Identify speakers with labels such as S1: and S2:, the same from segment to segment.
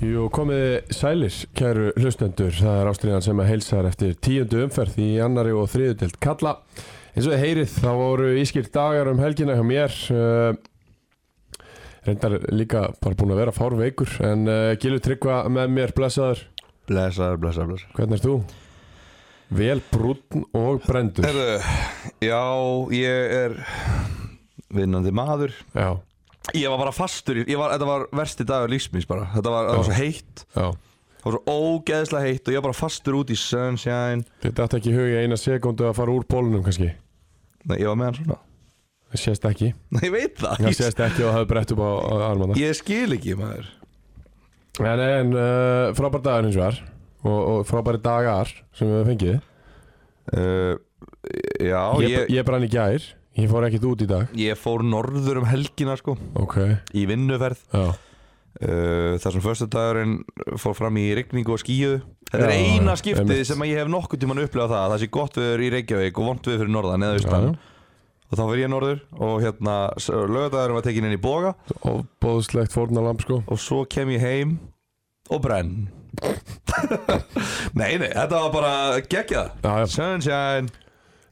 S1: Jú, komið sælir, kæru hlustendur. Það er ástriðan sem að heilsaðar eftir tíundu umferð í annari og þriðu delt kalla. Eins og þið heyrið, þá voru ískilt dagar um helgina hjá mér. eh, Reyndar líka bara búin að vera fárveikur, en uh, Gilur Tryggva með mér, blessaður.
S2: Blessaður, blessaður, blessaður
S1: Hvernig ert þú? Vel brún og brendur.
S2: Herðu, já, ég er vinnandi maður
S1: Já,
S2: Ég var bara fastur, í- ég var, þetta var versti dagur lífsmins bara Þetta var, það var
S1: Já.
S2: svo heitt,
S1: já.
S2: það var svo ógeðslega heitt og ég var bara fastur út í sunshine
S1: Þetta ætti ekki í hug í eina sekundu að fara úr bólunum kannski.
S2: Nei, ég var með hann svona
S1: Það sést ekki.
S2: Nei, ég veit það,
S1: Það
S2: ég,
S1: sést ekki og það hefur brett upp á, á armana.
S2: ég skil ekki maður
S1: En, en uh, frábær dagar hins vegar og, og frábæri dagar sem við höfum fengið
S2: uh, Já,
S1: ég,
S2: ég,
S1: ég, brann í gær, ég fór ekkert út í dag
S2: ég fór norður um helgina sko
S1: Ok,
S2: Í vinnuferð
S1: já,
S2: uh, Þar sem förstu dagurinn fór fram í rigningu og skíu Þetta er
S1: Já,
S2: eina
S1: já,
S2: skiptið
S1: einmitt.
S2: sem að ég hef nokkuð tíman upplegað það að Það sé gott viður í Reykjavík og vont viður fyrir norðan eða
S1: já.
S2: austan Og þá fyrir ég norður og hérna lögadagurinn var tekin inn í boga
S1: Og bóðslegt fórnalamb sko
S2: Og svo kem ég heim og brenn Nei, nei, þetta var bara geggjað
S1: Já, já,
S2: Sunshine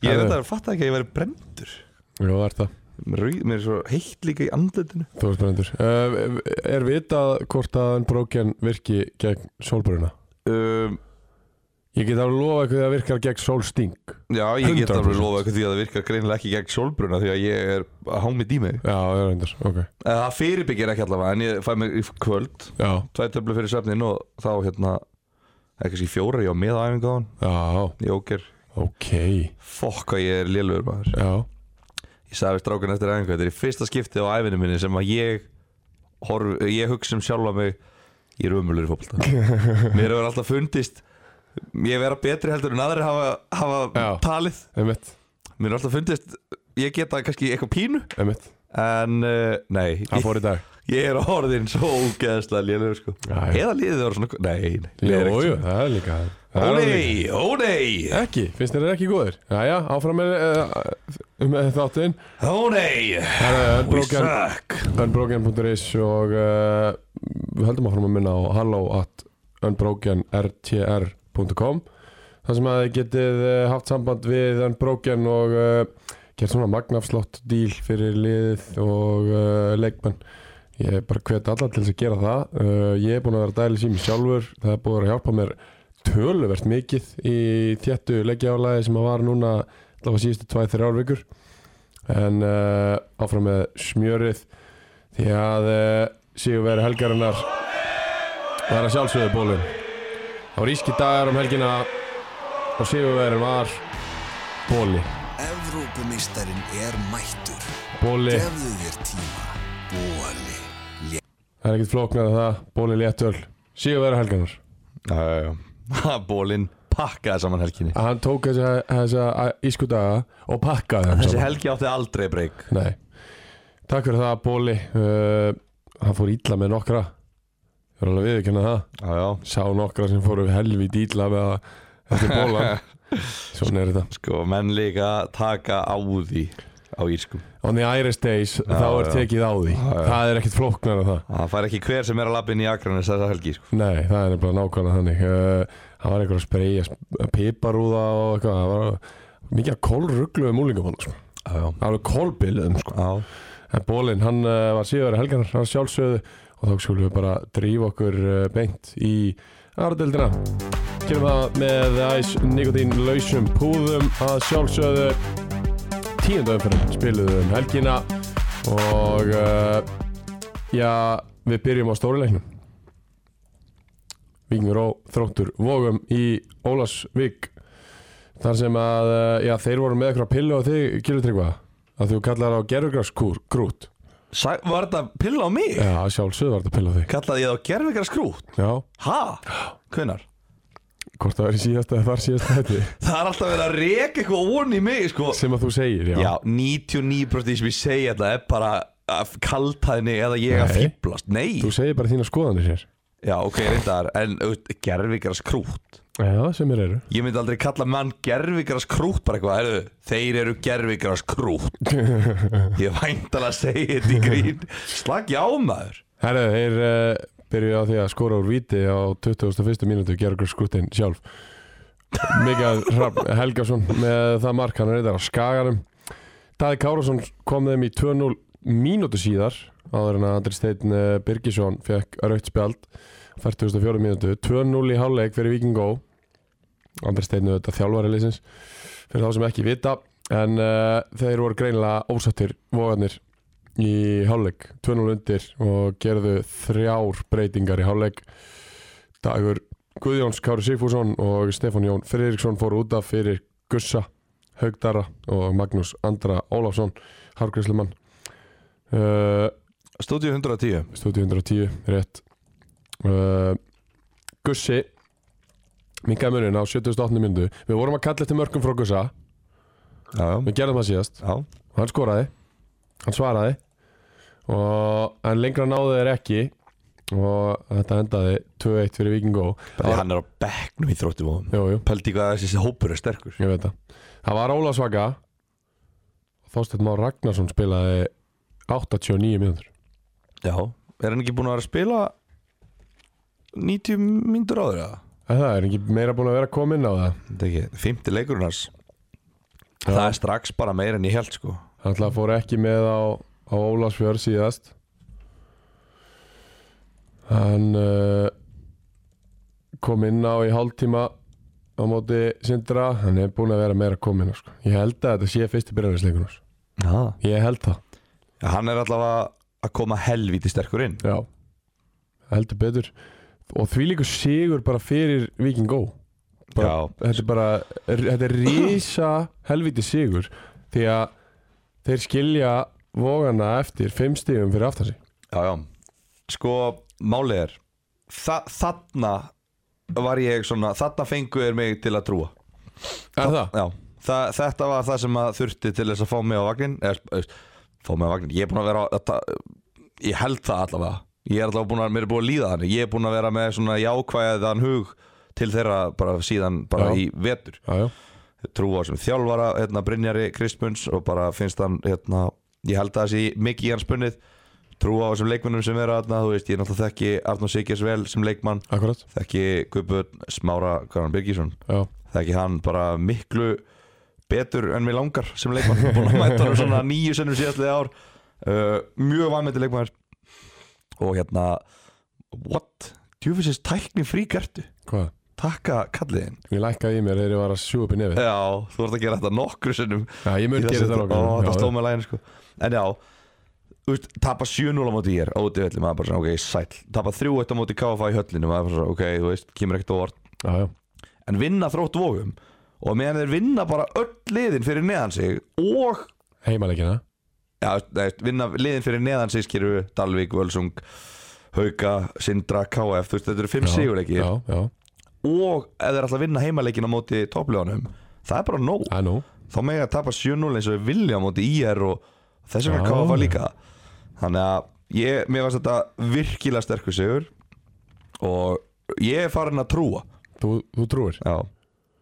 S2: Ég
S1: Herðu.
S2: veit að fatta ekki að ég væri brenndur
S1: já, það er það,
S2: Mér rý- mér er svo heitt líka í andlutinu
S1: þú veist brenndur uh, Er vitað hvort að en bróken virki gegn sólbruna?
S2: um,
S1: Ég get alveg lofa eitthvað að virkar gegn sólsting
S2: Já, ég get
S1: 100%.
S2: alveg lofa eitthvað því að það virkar greinilega ekki gegn sjólbruna Því að ég er að hámið í mig
S1: Já, það er reyndar, ok
S2: Eh, Það fyrirbyggir ekki allavega en ég fæ mér í kvöld
S1: Já,
S2: Tvæ töflu fyrir svefnin og þá hérna Ekki kannski fjóra, ég á með á æfingu á hann
S1: já,
S2: Ég óker,
S1: ok
S2: fokk að ég er lélugur maður
S1: Já,
S2: Ég sagði við strákan eftir æfingu Þetta er í fyrsta skipti á æfinu minni sem að ég horf, Ég hugsa um sjálfa mig Ég er umulur í fótbolta Mér hefur alltaf fundist Ég vera betri heldur en aðrir hafa, hafa
S1: Já.
S2: talið
S1: emitt,
S2: Mér hefur alltaf fundist Ég geta kannski eitthvað pínu
S1: emitt
S2: En uh, nei,
S1: Það
S2: ég,
S1: fór í dag
S2: ég er orðin svo ógeðslega lélugur sko
S1: Já, já.
S2: Eða liðið var svona Nei, nei
S1: Jú,
S2: liðið er ekkert
S1: jú,
S2: svona.
S1: það er líka
S2: Ó
S1: það er alveg-
S2: nei, ó nei
S1: Ekki, finnst þér þeir ekki góðir? Jæja, áfram með, uh, með þáttinn eh,
S2: Ó nei
S1: Það er
S2: We
S1: unbroken-
S2: suck
S1: Unbroken.is og uh, við höldum áfram að minna á hello at unbrokenrtr.com þar sem að þið getið uh, haft samband við Unbroken og uh, gert svona magnafslott díl fyrir liðið og uh, leikmenn ég bara hvet alla til þess að gera það uh, ég er búin að vera að dæla sími sjálfur það er búin að vera að hjálpa mér töluvert mikið í þéttu leggjálaði sem að var núna allavega síðustu 2-3 árvikur en uh, áfram með smjörið því að uh, Sigurveri helgarinnar var að sjálfsögðu bólum það var íski dagar um helgina og Sigurverin var bóli,
S3: Evrópumistarin er mættur
S1: bóli
S3: Gefðu þér tíma Bóli
S1: það er ekkert flóknar að það, bóli léttöl Sigurveri helgarinnar,
S2: Já, já, já. Ha, Bólinn pakkaði saman helginni
S1: að hann tók þessa, þessa ísku daga og pakkaði þeim
S2: Þessi
S1: saman.
S2: helgi átti aldrei breyk
S1: Nei. takk fyrir það bóli uh, hann fór ítla með nokkra ég var alveg viðkynna það
S2: Já, já
S1: sá nokkra sem fóru helvi dýla með að þetta er bólan svona er þetta
S2: Sko, menn líka taka á því á sko. írskum
S1: on the Irish days þá er
S2: já.
S1: tekið á því
S2: Já, já.
S1: það er ekkert flóknar en það
S2: Það fær ekki hver sem er að labba inn í Akranes þessa helgi sko.
S1: nei, það er nefnilega nákvæmlega þannig uh, það var einhver að spreja piparúða og eitthvað það var mikið að kólruglu um úlingabónu sko.
S2: Já, já
S1: alveg kólbilið sko.
S2: Já,
S1: en bólinn, hann uh, var síðan helganar hann sjálfsögðu og þá skulum við bara drífa okkur uh, beint í aðardeldina kemum það með æs nikotín lausum púðum að sjálfsögðu tíundu umferðin spiluðu um helgina og uh, já, við byrjum á stórileiknum Víkingur og þróttur vógum í Ólasvík þar sem að, uh, já, þeir voru með eitthvað pillu á þig, Gilutryggva að þú kallar á gerfugraskrút
S2: Sæ, var þetta pilla á mig?
S1: Já, sjálfsögðu var þetta pillu á þig
S2: Kallaði ég þá gerfikar skrút?
S1: Já,
S2: Ha? Hvenar?
S1: Hvort það verið síðast eða þar síðast þetta
S2: Það er alltaf verið að reka eitthvað von í mig sko.
S1: Sem að þú segir, já,
S2: Já, 99% því sem ég segi þetta er bara að kaltaðinni eða ég að
S1: Nei.
S2: fýblast Nei,
S1: Þú segir bara þína skoðanir sér
S2: já ok, reyndar En gerfingar skrútt
S1: Já, sem er eru
S2: Ég myndi aldrei kalla mann gerfingar skrútt bara eitthvað, heyrðu, þeir eru gerfingar skrútt Ég væntalega segi þetta í grín Slagi á maður
S1: Herru, þeir uh, byrjuðu á því að skora úr víti á 21. mínútu Gergur Skuttin sjálf Mikael Hrafn Helgason með það mark hann er reyndar á skaganum Daði Kárasson kom þeim í 2-0 mínútu síðar áður en að Andri Steinn eh, Birgisson fekk rautt spjald 44. mínútu 2-0 í hálfleik fyrir Víkingó Andri Steinn auðvitað þjálfari leysins fyrir þá sem ekki vita en uh, þeir voru greinilega ósattir vogarnir í hálfleik 2-0 undir og gerðu þrjár breytingar í hálfleik Dagur Guðjóns Kári Sigfússon og Stefán Jón Friðriksson fóru út af fyrir Gussa Haugdara og Magnús Andra Ólafsson Hargrislumann uh,
S2: Stúdíu 110
S1: stúdíu 110, rétt uh, Gussi minkaði munin á 78. myndu við vorum að kalla eftir mörgum frá Gussa
S2: Já,
S1: við gerðum það síðast
S2: já
S1: og hann skoraði hann svaraði og en lengra náðu þeir ekki og þetta endaði 2-1 fyrir Víkingó
S2: Því hann er á bekknum í þróttum og
S1: jú, jú,
S2: Pældi hvað þessi hópur er sterkur
S1: ég veit það það var Óla Svaga og Þorsteinn Már Ragnarsson spilaði 89 mínútur
S2: Já, er hann ekki búin að vera að spila 90 myndur áður eða?
S1: en það er ekki meira búin að vera komin á það
S2: Þetta er ekki, 50 leikurinn hans Það er strax bara meira en ég held sko
S1: hann ætla fór ekki með á, á Ólasfjörð síðast hann uh, kom inn á í hálftíma á móti Sindra hann er búin að vera meira komin á, sko. ég held að þetta sé fyrsti byrjarleikun
S2: Já
S1: ég held það
S2: Hann er allavega að koma helvíti sterkur inn
S1: Já. heldur betur og því líka sigur bara fyrir Viking Go bara, þetta er bara þetta er rísa helviti sigur því að þeir skilja vógana eftir fimm stífum fyrir aftan sig
S2: Já, já Sko, málið er þa Þarna var ég svona Þarna fengu er mig til að trúa
S1: Er það?
S2: Já, þa þetta var það sem að þurfti til þess að fá mig á vagnin eða, eða, Fá mig á vagnin, ég er búin að vera að, að, Ég held það allavega Ég er allavega búin að, mér er búin að líða þannig Ég er búin að vera með svona jákvæðan hug Til þeirra bara síðan bara
S1: Já.
S2: í vetur
S1: Já, já.
S2: Trúa sem þjálfara, hérna Brynjari Kristmunds Og bara finnst hann, hérna Ég held að það sé mikið í hans bunnið Trúa á þessum leikmönnum sem vera þarna Þú veist, ég náttúrulega þekki Arnó Siggjars vel sem leikmann
S1: Akkurat,
S2: Þekki Guðbjörn Smára Karan Birgisson
S1: já,
S2: það er ekki hann bara miklu betur en mér langar sem leikmann búin að mæta hann svona nýju sennum síðastlega ár uh, mjög vanmyndi leikmann og hérna what, djúfisins tækni fríkertu
S1: hvað?
S2: takka kalliðin
S1: Ég lækkaði í mér þegar ég var að sjú upp í nefið
S2: já, þú ert að gera þetta nokkru sennum
S1: Já, ég mun gera þetta
S2: Ó,
S1: nokkuð
S2: það stóð með lægin sko en já, þú veist, tapa 7-0 á móti ég er óti höllu, maður bara svona, ok, sæll tapa 3-1 á móti KFA í höllinu, maður bara svona, ok, þú veist kemur ekkert á orð
S1: Já, já,
S2: en vinna þrótt vógum og meðan þeir vinna bara öll liðin fyrir neðan sig og
S1: heimalegina
S2: ja, nei, vinna liðin fyrir neðan sig skýru Dalvik, Völsung Hauka, Sindra, KF þú veist þetta eru fimm
S1: Já,
S2: sigurleiki
S1: Já, já,
S2: og ef þeir ætla að vinna heimaleikin á móti toppljónum það er bara nóg
S1: það er nú
S2: þá með að tapa 7-0 eins og við vilja á móti IR og þess vegna
S1: Já.
S2: KF líka þannig að ég, mér varst þetta virkilega sterkur sigur og ég er farin að trúa
S1: Þú, þú trúir
S2: já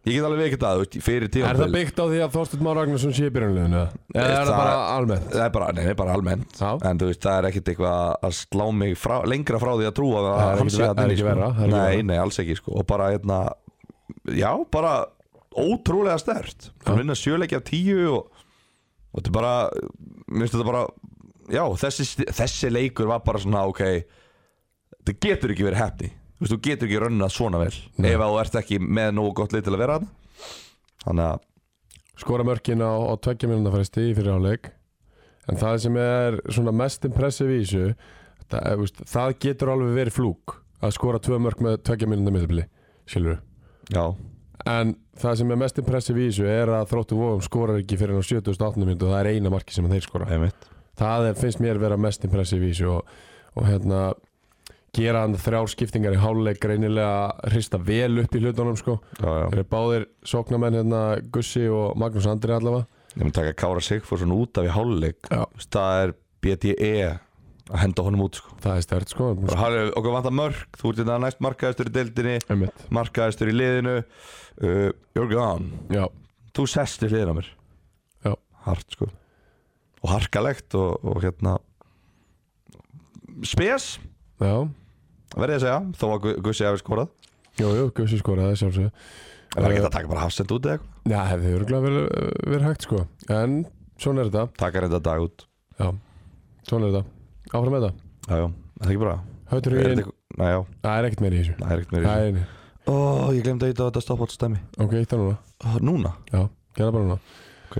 S2: Ég get alveg veikitt að, þú veist, fyrir tíma
S1: Er það byggt á því að Þorsteinn Már Ragnarsson sé í byrjunleginu? Eða er það
S2: Það-
S1: bara almennt?
S2: Það er bara, nei, nei, bara almennt
S1: Já.
S2: En þú veist, það er ekkit eitthvað að slá mig frá, lengra frá því að trúa að
S1: Það er
S2: hann
S1: ekkit
S2: sé
S1: ver- það er ekki
S2: þarna inni,
S1: verra,
S2: sko.
S1: það er ekki
S2: Nei,
S1: verra.
S2: nei, alls ekki, sko Og bara, hérna, já, bara ótrúlega stert Það vinna sjöleiki af tíu og, og þetta er bara, mér finnst þetta bara Já, þessi, sti- þessi leikur var bara svona, ok Þetta getur ekki verið hefni Þú veist, þú getur ekki rönnað svona vel
S1: Nei.
S2: Ef að þú ert ekki með nógu gott leið til að vera þarna Þannig að
S1: skora mörkin á, á tveggja mínúna fresti í fyrir áleik en það sem er svona mest impressiv í þessu það, eh, veist, það getur alveg verið flúk að skora tvö mörk með tveggja mínúna miðbili skilur
S2: Já,
S1: en það sem er mest impressiv í þessu er að þróttu vóðum skorar ekki fyrir á 78. mínútu og það er eina marki sem þeir skora
S2: einmitt
S1: það er, finnst mér vera mest impressiv í þessu og, og hérna gera hann þrjár skiptingar í háluleik greinilega hrista vel upp í hlutunum sko.
S2: já, já.
S1: Þeir eru báðir sóknarmenn hérna Gussi og Magnús Andri allavega
S2: Ég mun taka Kára Sigfússon út af í háluleik
S1: Já.
S2: Það er BDE að henda honum út sko.
S1: Það er stert sko,
S2: Og hann er- Okkur vantar mörg, þú ert þetta næst markaðistur í deildinni
S1: einmitt
S2: Markaðistur í liðinu uh, You're gone
S1: Já,
S2: Þú sest í hliðina á mér
S1: Já.
S2: Hart sko Og harkalegt og, og hérna Spes
S1: já,
S2: Verðið að segja, þó að Gu- Gussi hafi skorað
S1: jú, jú, Gussi skoraði sjálfsög
S2: Er það
S1: Eh,
S2: ekki hægt að taka bara hafsend út eða eitthvað?
S1: Já, hefði örgulega verið, verið hægt sko En svona er þetta
S2: Taka reynda dag út
S1: Já, svona er þetta Áfram með þetta
S2: Já, já, er það ekki bara
S1: Hautur í
S2: Er
S1: einn
S2: þetta eitthvað- Nei, já,
S1: Það er ekkert meir í þessu
S2: það er ekkert meira í
S1: Það
S2: þessu
S1: er einu
S2: Ó, ég glemdi að eitthvað að þetta stoppa alltaf stæmi
S1: Ok, eitt að núna
S2: Ó, Núna?
S1: Já, gera bara núna
S2: Ok.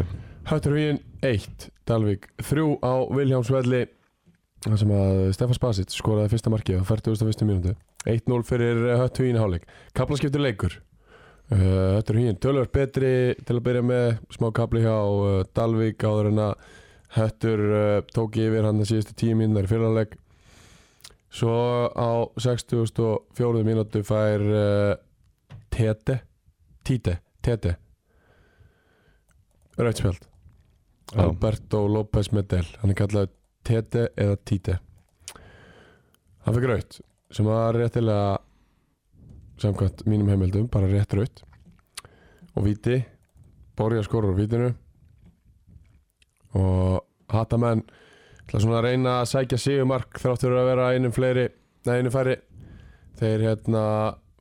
S1: Hautur í einn Eitt Dalvík Þrjú á Viljámsvelli Það sem að Stefán Spasic skoraði fyrsta markið á 41. mínúti 1-0 fyrir Höttu í einn hálfleik Kaplaskiptur leikur Uh, Höttur Hín, tölvöld betri til að byrja með smá kapli hjá uh, Dalvík áður en að Höttur uh, tók yfir hann að síðustu tíu mínútur í fyrraleg svo á 64. mínútu fær uh, Tete Tite, Tete Rauðspjöld
S2: Já.
S1: Alberto López Medel hann er kallað Tete eða Tite hann fikk rauð sem var réttilega samkvæmt mínum heimildum, bara rétt raut og viti Borja skorur úr vitinu og Hattamenn ætla svona að reyna að sækja sigumark þrátt fyrir að vera einum fleiri nei, einum færri þeir hérna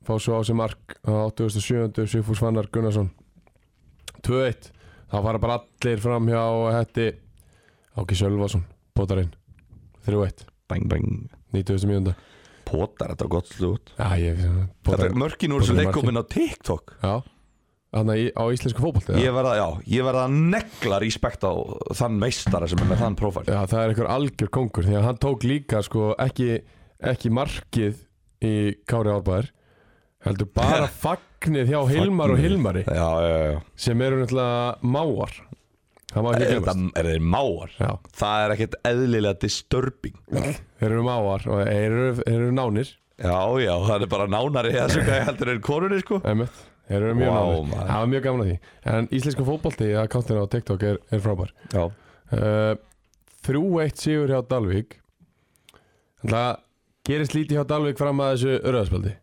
S1: fá svo á sig mark á 87. Sigfús Fannar Gunnarsson 2-1 þá fara bara allir fram hjá hætti Áki Sölvason bótarinn 3-1
S2: Bang, bang
S1: 90. mínúnda
S2: Potar, þetta er gott slut
S1: Já, ég
S2: Þetta er
S1: bótarinn
S2: mörkin úr þessu
S1: Potarinn
S2: leikkomin á TikTok
S1: Já Þannig á íslensku fótbolti eða?
S2: Ég verða, já, ég verða að negla respekt á þann meistara sem er með þann prófæl
S1: Já, það er einhver algjör kongur því að hann tók líka sko ekki, ekki markið í Kári Árbæðar heldur bara fagnið hjá Hilmar og
S2: Fagnið.
S1: Hilmari
S2: Já, já, já
S1: sem eru náttúrulega máar það má ekki
S2: Er
S1: glemast
S2: þetta- er þeir máar?
S1: Já,
S2: Það er ekkert eðlilega disturbing
S1: þeir eru máar og þeir eru, þeir eru nánir
S2: Já, já, það er bara nánari í þessu gæði heldur en konunni, sko
S1: einmitt, þeir eru mjög
S2: Vá,
S1: nánir
S2: maður.
S1: það var mjög gaman að því en íslensku fótbolti að káttina á TikTok er, er frábær
S2: Já,
S1: uh, 3-1 sigur hjá Dalvík þannig að gerist lítið hjá Dalvík fram að þessu röðspaldi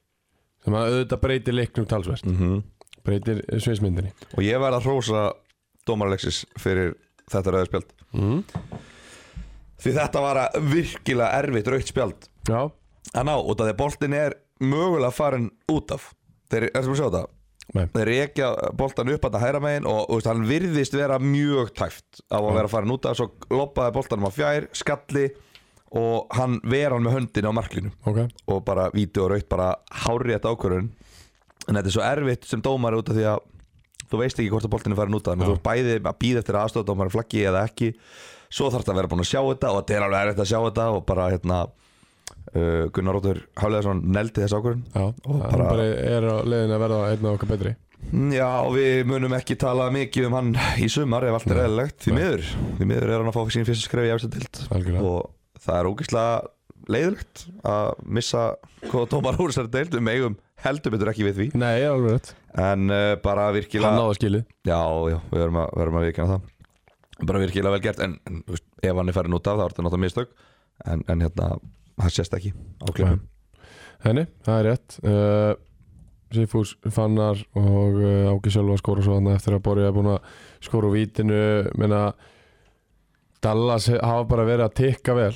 S1: sem að auðvitað breytir leiknum talsvert
S2: mhm
S1: breytir sveismyndinni
S2: Og ég verð að hrósa Dómaralexis fyrir þetta rauða spjald
S1: mm.
S2: Því þetta var að virkilega erfitt raukt spjald
S1: já,
S2: að ná út af því að boltin er mögulega farin út af Þeir, er sem að sjá þetta?
S1: Nei.
S2: Þeir rekja boltan upp að það hæra megin og, og veist, hann virðist vera mjög tæft á að vera farin út af svo loppaði boltanum á fjær, skalli og hann ver hann með höndin á marklinu
S1: ok
S2: og bara víti og raut bara hárétt ákvörðun en þetta er svo erfitt sem dómar út af því að þú veist ekki hvort að boltin er farin út af þannig að
S1: Já.
S2: þú ert bæði að býða eftir aðstofað dómar flaggi eða ekki svo þarf þetta að vera búin að sjá þetta og þetta er alveg erfitt að sjá þetta og bara hérna uh, Gunnar Róður Hálegaðsson neldi þess ákvörðun
S1: já,
S2: Og
S1: hann
S2: bara-
S1: bara er á leiðin að verða einn af okkar betri
S2: Mm, Já og við munum ekki tala mikið um hann í sumar ef allt er
S1: Nei.
S2: eðlilegt því
S1: Nei.
S2: miður, því miður er hann að fá sín fyrsta skref í efstadild
S1: algjörlega
S2: og það er ógeðslega leiðilegt að missa hvað Tómar úr þessari deild við eigum heldur betur ekki við því
S1: nei, er alveg rétt
S2: en uh, bara
S1: hann
S2: virkilega
S1: náða skilið
S2: já, já, við verðum að, verðum að vikina það bara virkilega vel gert en, en þú veist, ef hann er færin út af þá er þetta náttúrulega mistök en, en hérna, það sést ekki á klippum
S1: henni, það er rétt uh, Sifús Fannar og uh, Áki Sjálfa skóra svo hann eftir að Borja er búin að skóra úr vítinu menna Dallas he- hafa bara verið að tikka vel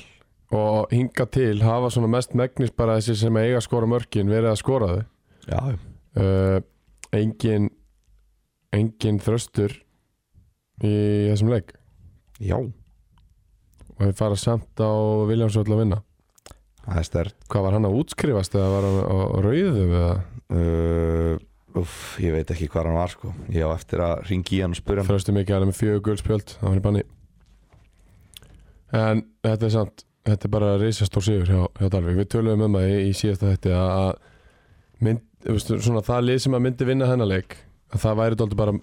S1: og hinga til hafa svona mest megnis bara þessi sem eiga að skóra mörkin verið að skóra þau
S2: já, já.
S1: uh, engin engin þröstur í þessum leik
S2: já,
S1: og þau fara samt á Viljámsvöld að vinna
S2: það er stert
S1: hvað var hann að útskrifast eða var hann á á rauðu eða
S2: uh, uff, ég veit ekki hvað hann var sko ég á eftir að ringi í hann og spura hann
S1: Þröstum ekki aðeins með fjögur guldspjöld Það var í banni En þetta er samt Þetta er bara reisastór sigur hjá, hjá Dalvik Við töluðum um það í, í síðasta þetta að mynd, þú veist, svona, það lið sem að myndi vinna hennar leik að það væri dóldi bara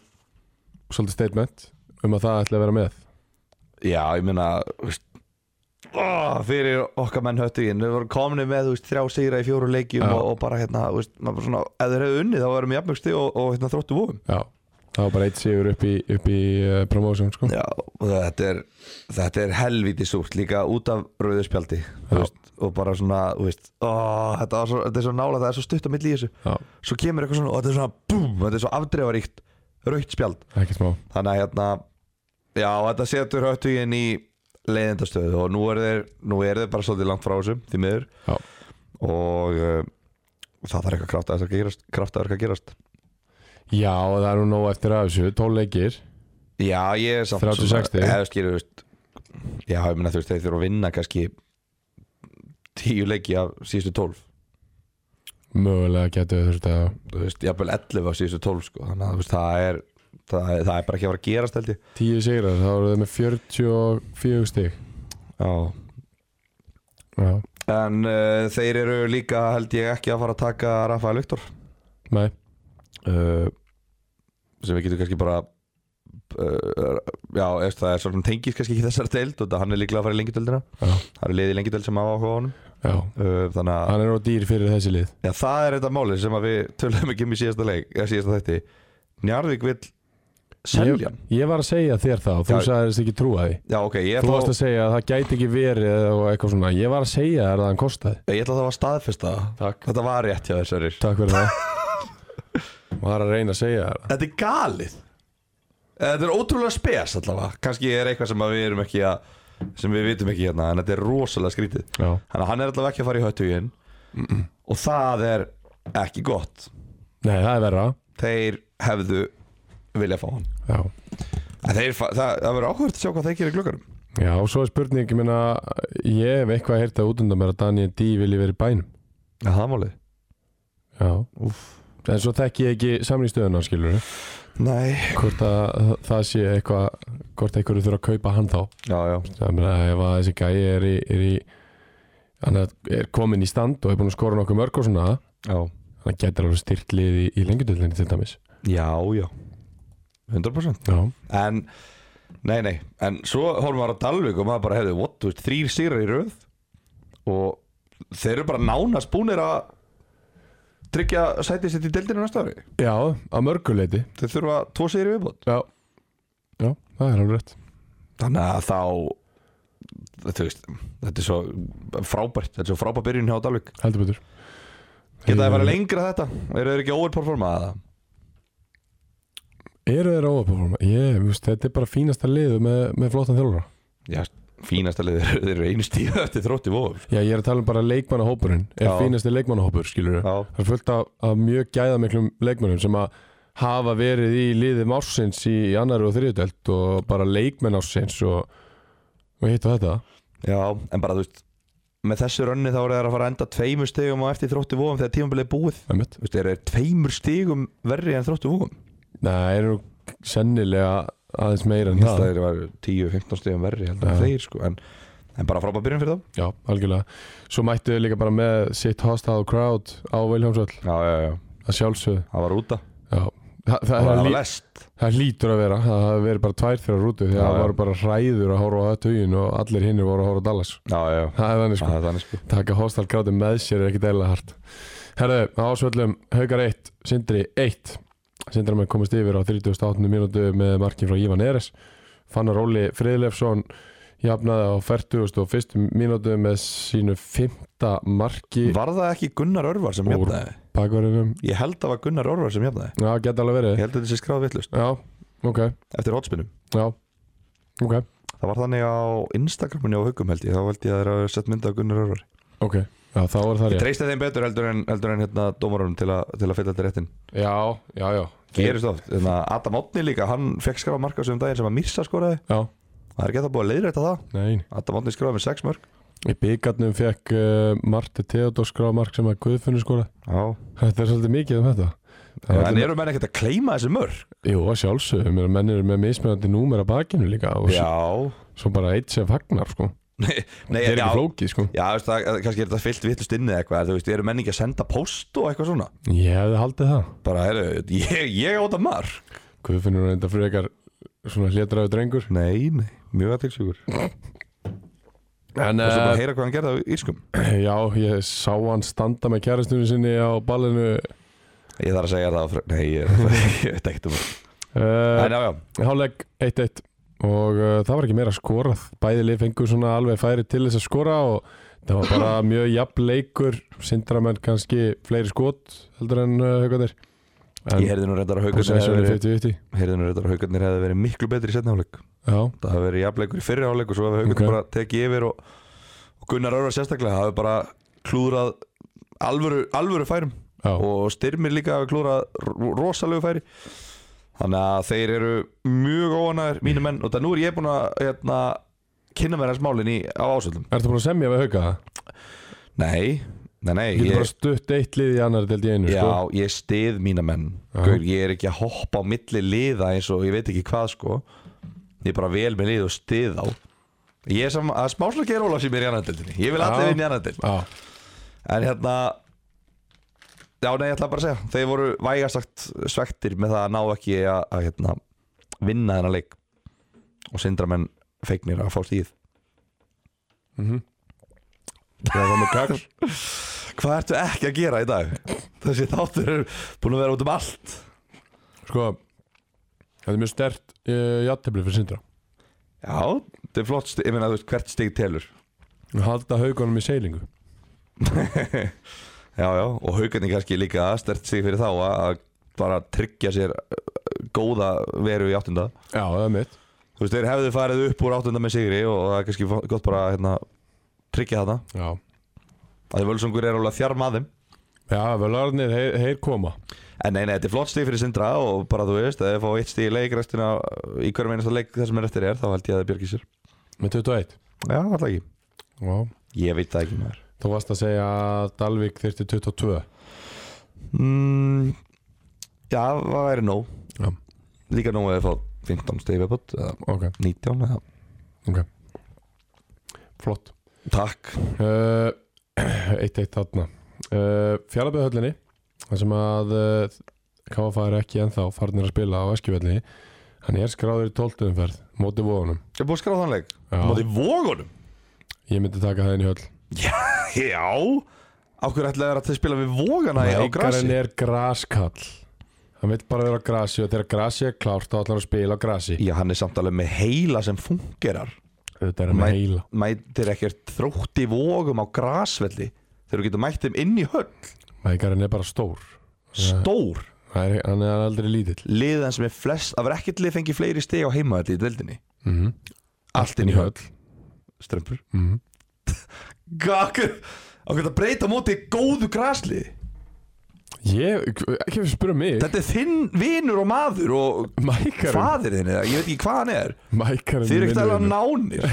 S1: svolítið statement um að það ætli að vera með
S2: já, ég meina, þú veist, oh, fyrir okkar menn höttingin við vorum komni með þú veist, þrjá sigra í fjóru leikjum
S1: Já.
S2: og, og bara hérna þú veist, maður bara svona, ef þeir hefðu unnið þá varum við jafnmjögsti og, og hérna, þróttu vóum
S1: Já, það var bara eitt sigur upp í, upp í uh, promotion sko.
S2: Já, og þetta er, þetta er helvítið súrt líka út af rauðspjaldi
S1: Já.
S2: veist, og bara svona þú veist, ó, þetta, var svo, þetta er svo nála, það er svo stutt á milli í þessu
S1: Já,
S2: svo kemur eitthvað svona og þetta er svona búm, þetta er svo afdreifaríkt rauðt spjald
S1: ekki smá
S2: þannig að hérna já, þetta setur höttuginn í leiðindastöðu og nú er þeir, nú er þeir bara svolítið langt frá þessu, því miður
S1: Já.
S2: og uh, það þarf eitthvað kraftaverk að gerast, kraftaverk að gerast
S1: Já, og það er nú nóg eftir af þessu, 12 leikir
S2: já, ég er samt
S1: 36 stig.
S2: eða skilur, þú veist já, ég meina þú veist, þeir þurfa að vinna kannski tíu leiki af síðustu tólf
S1: Mögulega getur þau þurft að
S2: þú veist, jafnvel 11 af síðustu tólf sko. þannig að þú veist, það er það, er- það er bara ekki að fara að gerast held ég
S1: 10 sigrar, þá eru þau með 44 stig
S2: já,
S1: Já,
S2: En uh, þeir eru líka held ég ekki að fara að taka Rafael Viktor
S1: nei,
S2: uh, sem við getum kannski bara uh, já, eftir, það er svona tengis kannski ekki þessar deild og það hann er líklega að fara í lengjudeldina
S1: Já.
S2: það eru liðið í lengjudeld sem hafa áhuga á honum
S1: já
S2: uh, þannig að
S1: Hann er nú dýr fyrir þessi lið
S2: já, það er þetta máli sem að við töluðum ekki um í síðasta leik eða síðasta þætti Njarðvík vill selja hann
S1: Ég, ég var að segja þér það og þú
S2: Já.
S1: sagðist ekki trúa því
S2: Já, ok, ég
S1: Þú
S2: ætla,
S1: varst að
S2: þá,
S1: segja að það gæti ekki verið og eitthvað svona Ég var að segja þér að hann kostaði
S2: ég ætla þá að staðfesta það.
S1: Takk
S2: Þetta var rétt hjá þessari
S1: Takk fyrir það Var að reyna að segja þér það.
S2: Þetta er galið Þetta er ótrúlega spes allavega Kanski er eitthvað sem að við erum ekki að sem við vitum ekki hérna, en þetta er rosalega skrítið
S1: Já,
S2: Þannig að hann er allavega ekki að fara í höttugin og það er ekki gott
S1: nei það er verra
S2: Þeir hefðu vilja fá hann
S1: Já,
S2: En þeir, fa- það, það verður áhverjum að sjá hvað þeir gerir glöggarum
S1: já og svo er spurning Ég meina, ég hef eitthvað heyrt að útundan mér að Daniel D vilji verið bænum
S2: Já, það máli
S1: Já En svo þekki ég ekki samlýstöðuna skilur
S2: Nei
S1: Hvort að það sé eitthvað Hvort einhverju þurfa að kaupa hann þá
S2: Já, já,
S1: Það meina ef að þessi gæi er í, er í Hann er- er komin í stand og er búin að skora nokkuð mörg og svona
S2: já
S1: Hann gætir alveg styrt lið í, í lengjudöldinni til dæmis
S2: Já, já 100%
S1: Já,
S2: En, nei, nei En svo horfum við á Dalvik og maður bara hefði What, þú veist, þrýr sýrar í röð Og þeir eru bara nánast búnir að Tryggja sætið sitt í deildinu næsta ári
S1: já að mörguleiti
S2: Þeir þurfa tvo sýri viðbót
S1: Já Já, það er alveg rétt
S2: Þannig að þá Þú veist, þetta er svo frábært Þetta er svo frábært byrjun hjá Dalvik
S1: Heldur betur
S2: Geta það
S1: Eh,
S2: fara lengra þetta? Eru þeir ekki overperformað það?
S1: Eru þeir óaperforma? Ég, þú veist, þetta er bara fínasta liðu með, með flottan þjálfara
S2: Já, fínasta lið þeir- Þeir eru einu stíð eftir þrótti vóð
S1: Já, ég er að tala um bara leikmannahópurinn er
S2: Já.
S1: fínasti leikmannahópur, skilur
S2: Já,
S1: Það er fullt af, af mjög gæðamiklum leikmannum sem að hafa verið í liði mársins í annari og þriðutöld og bara leikmenn ársins og, og hitt og þetta
S2: Já, en bara þú veist Með þessu rönni þá eru þeir að fara að enda tveimur stigum á eftir þróttu vóðum þegar tímabilið er búið
S1: Einmitt.
S2: Þú veist, eru þeir tveimur stigum verri en þróttu vóðum
S1: Nei, eru sennilega aðeins meira en
S2: Það
S1: það
S2: eru var 10-15 stigum verri heldur
S1: Já.
S2: en þeir sko En, en bara frábæð byrjun fyrir þá
S1: Já, algjörlega Svo mættu þau líka bara með sitt hostile crowd á Viljámsvöll
S2: Já, já, já,
S1: að sjálfsögðu
S2: það var úta
S1: Já, Þa, það,
S2: Það
S1: það,
S2: var
S1: lí,
S2: lest
S1: það lítur að vera það hafi verið bara tvær þeirra rútu því
S2: Já,
S1: að það
S2: já.
S1: var bara hræður að horfa á þetta hugin og allir hinnir voru að horfa á Dallas
S2: Já, já,
S1: Það er þannig sko
S2: það er þannig sko
S1: taka hostal gráti með sér er ekki dæla hart Herðu, ásvöllum, Haukar 1 Sindri 1 Sindri með komist yfir á 38. mínútu með marki frá Ívan Eres Fannar Óli Friðlefsson jafnaði á 41. mínútu með sínu 5. marki
S2: Var það ekki Gunnar Örvar sem
S1: Úr-
S2: jafnaði?
S1: bakverðinum
S2: Ég held það var Gunnar Örvar sem jafnaði
S1: Já, geta alveg
S2: Ég
S1: verið
S2: held að þetta sé skráð vittlust
S1: Já, ok,
S2: Eftir hotspinnum
S1: já Ok,
S2: Það var þannig á Instagraminu á haugum held ég Þá held ég að þeir hafa sett mynda af Gunnar Örvar
S1: ok Já, þá er það
S2: Ég
S1: rétt
S2: treysti þeim betur heldur en, heldur en hérna, dómarunum til, að- til að fylla þetta réttin
S1: Já, já, já
S2: gerist oft þannig að Adam Otni líka, hann fekk skrafa marka sem daginn sem að Mirsa skoraði
S1: Já,
S2: það er ekki að það búið að leiðrætta það
S1: nein
S2: Adam Otni skrafaði með 6 mörg
S1: Í byggarnum fekk uh, Marti Theodor skrámark sem að Guðfinnur skora
S2: já.
S1: Þetta er svolítið mikið um þetta Það
S2: en
S1: allir-
S2: eru menn ekkert að kleima þessi mörg
S1: Jú, að sjálfsögum, menn menn eru með mismunandi númer að bakinu líka og s-
S2: já
S1: svo bara eitt sem fagnar sko.
S2: Nei,
S1: Þetta er
S2: já,
S1: ekki flókið sko.
S2: já veist, það, kannski er þetta fyllt vittlust inni eða eitthvað þú veist, eru menn ekki að senda post og eitthvað svona
S1: Ég hefði haldið það
S2: bara, heru, ég, ég áta mark
S1: Guðfinnur er enda frekar svona hlétraðu drengur
S2: nei, nei, mjög aðtilsjúkur
S1: En,
S2: og svo bara
S1: eh,
S2: heyra hvað hann gerði á írskum
S1: Já, ég sá hann standa með kærastunni sinni á ballinu
S2: Ég þarf að segja það, fr- nei, ég, ég veit ekkert um það
S1: uh,
S2: En já, já,
S1: Háleg 1-1 og uh, það var ekki meira skorað Bæði lið fengu svona alveg færi til þess að skora og það var bara mjög jafn leikur Sindramenn kannski fleiri skot heldur en uh, haugarnir
S2: ég heyrði nú reyndar að haugarnir hefði verið
S1: hefði
S2: heyrði nú reyndar að haugarnir hefði verið miklu betri í setna hálfleik
S1: Já,
S2: Það hefði verið jafnleikur í fyrri hálfleik og svo hefði haugarnir
S1: Ok.
S2: bara tekið yfir og, og Gunnar Örvar sérstaklega hafi bara klúðrað alvöru, alvöru færum
S1: já,
S2: og styrmir líka hafi klúðrað ro- rosalegu færi Þannig að þeir eru mjög óanæður mínu menn og það nú er ég búinn að hérna, kynna mér hans málin í, á ásöldum
S1: ertu búin að semja við hauga það?
S2: Nei, nei, nei
S1: Getur bara stutt eitt lið í annar delt í einu
S2: Já,
S1: sko?
S2: ég stið mína menn
S1: Já.
S2: Gaur, ég er ekki að hoppa á milli liða eins og ég veit ekki hvað sko Ég er bara vel með lið og stið á Ég er sem að smáslega gera Ólafs í mér í annaðdeldinni Ég vil
S1: Já.
S2: allir vinna í annaðdeld
S1: Já,
S2: En hérna Já, nei, ég ætla bara að segja Þeir voru vægasagt svektir með það að ná ekki að, að hérna, vinna þennan leik Og sindramenn feignir að fá stíð
S1: mhm Já, það með kakl
S2: Hvað ertu ekki að gera í dag? Þessi þáttur er búin að vera út um allt
S1: Sko, það er mjög stert uh, jattefli fyrir Sindra
S2: Já, þetta er flott, sti- ég meina þú veist hvert stig telur
S1: að halda haugunum í seilingu
S2: Já, já, og haugarnir kannski líka stert sig fyrir þá að að bara tryggja sér uh, góða veru í áttunda
S1: Já, það er mitt
S2: Þú veist, þeir hefðu farið upp úr áttunda með sigri og það er kannski gott bara að hérna, tryggja þarna
S1: Já,
S2: að því völsungur er alveg að þjarma að þeim
S1: Já velarnir, heyr, heyr koma
S2: En nei, nei, þetta er flott stig fyrir sindra og bara þú veist, ef þeir fá eitt stig í leik restina í hverjum einasta leik það sem er eftir er þá held ég að það björgi sér
S1: með 21
S2: Já, alltaf ekki
S1: Já
S2: Ég veit það ekki maður
S1: Þú varst að segja að Dalvik þyrfti 22
S2: mm, Já, það væri nóg
S1: Já.
S2: Líka nóg að þeir fá 15 stig í viðbót eða
S1: Ok,
S2: 19 eða
S1: ok Flott
S2: Takk
S1: uh, Eitt eitt þarna uh, Fjallaböðhöllinni þar sem að uh, KFA er ekki ennþá farnir að spila á Eskjöfellinni Hann er skráður í 12. umferð móti vóðunum
S2: Ég er búið að skráða þann leik
S1: Já.
S2: Móti vógunum
S1: Ég myndi taka það inn í höll
S2: Já Á hverju ætlaði þeir að spila við vógana á grasi
S1: Leikarinn er graskall Hann vil bara vera á grasi og þegar grasi er klárt þá ætlar hann að spila á grasi
S2: Já, hann er samt alveg með heila sem fungerar
S1: Þetta er hann með
S2: Mæ-
S1: heila
S2: Mætir ekkert þrótt í vógum á grasvelli Þegar þú getur mætt þeim inn í höll
S1: Leikarinn er bara stór
S2: Stór
S1: Það er, Hann er aldrei lítill
S2: Liðan sem er flest Það var ekkert lið fengið fleiri stig á heima í deildinni
S1: mm -hmm.
S2: Mhm. Allt inn í höll Mhm. Strömpur
S1: mm -hmm.
S2: Gakur Á hverju að breyta á móti góðu grasliði
S1: Ég, ekki fyrir að spura mig
S2: Þetta er þinn vinur og maður og
S1: Mækarinn
S2: fadir þinn eða ég veit ekki hvað hann er
S1: Mækarinn
S2: Þið eru ekkert alveg
S1: ná
S2: nánir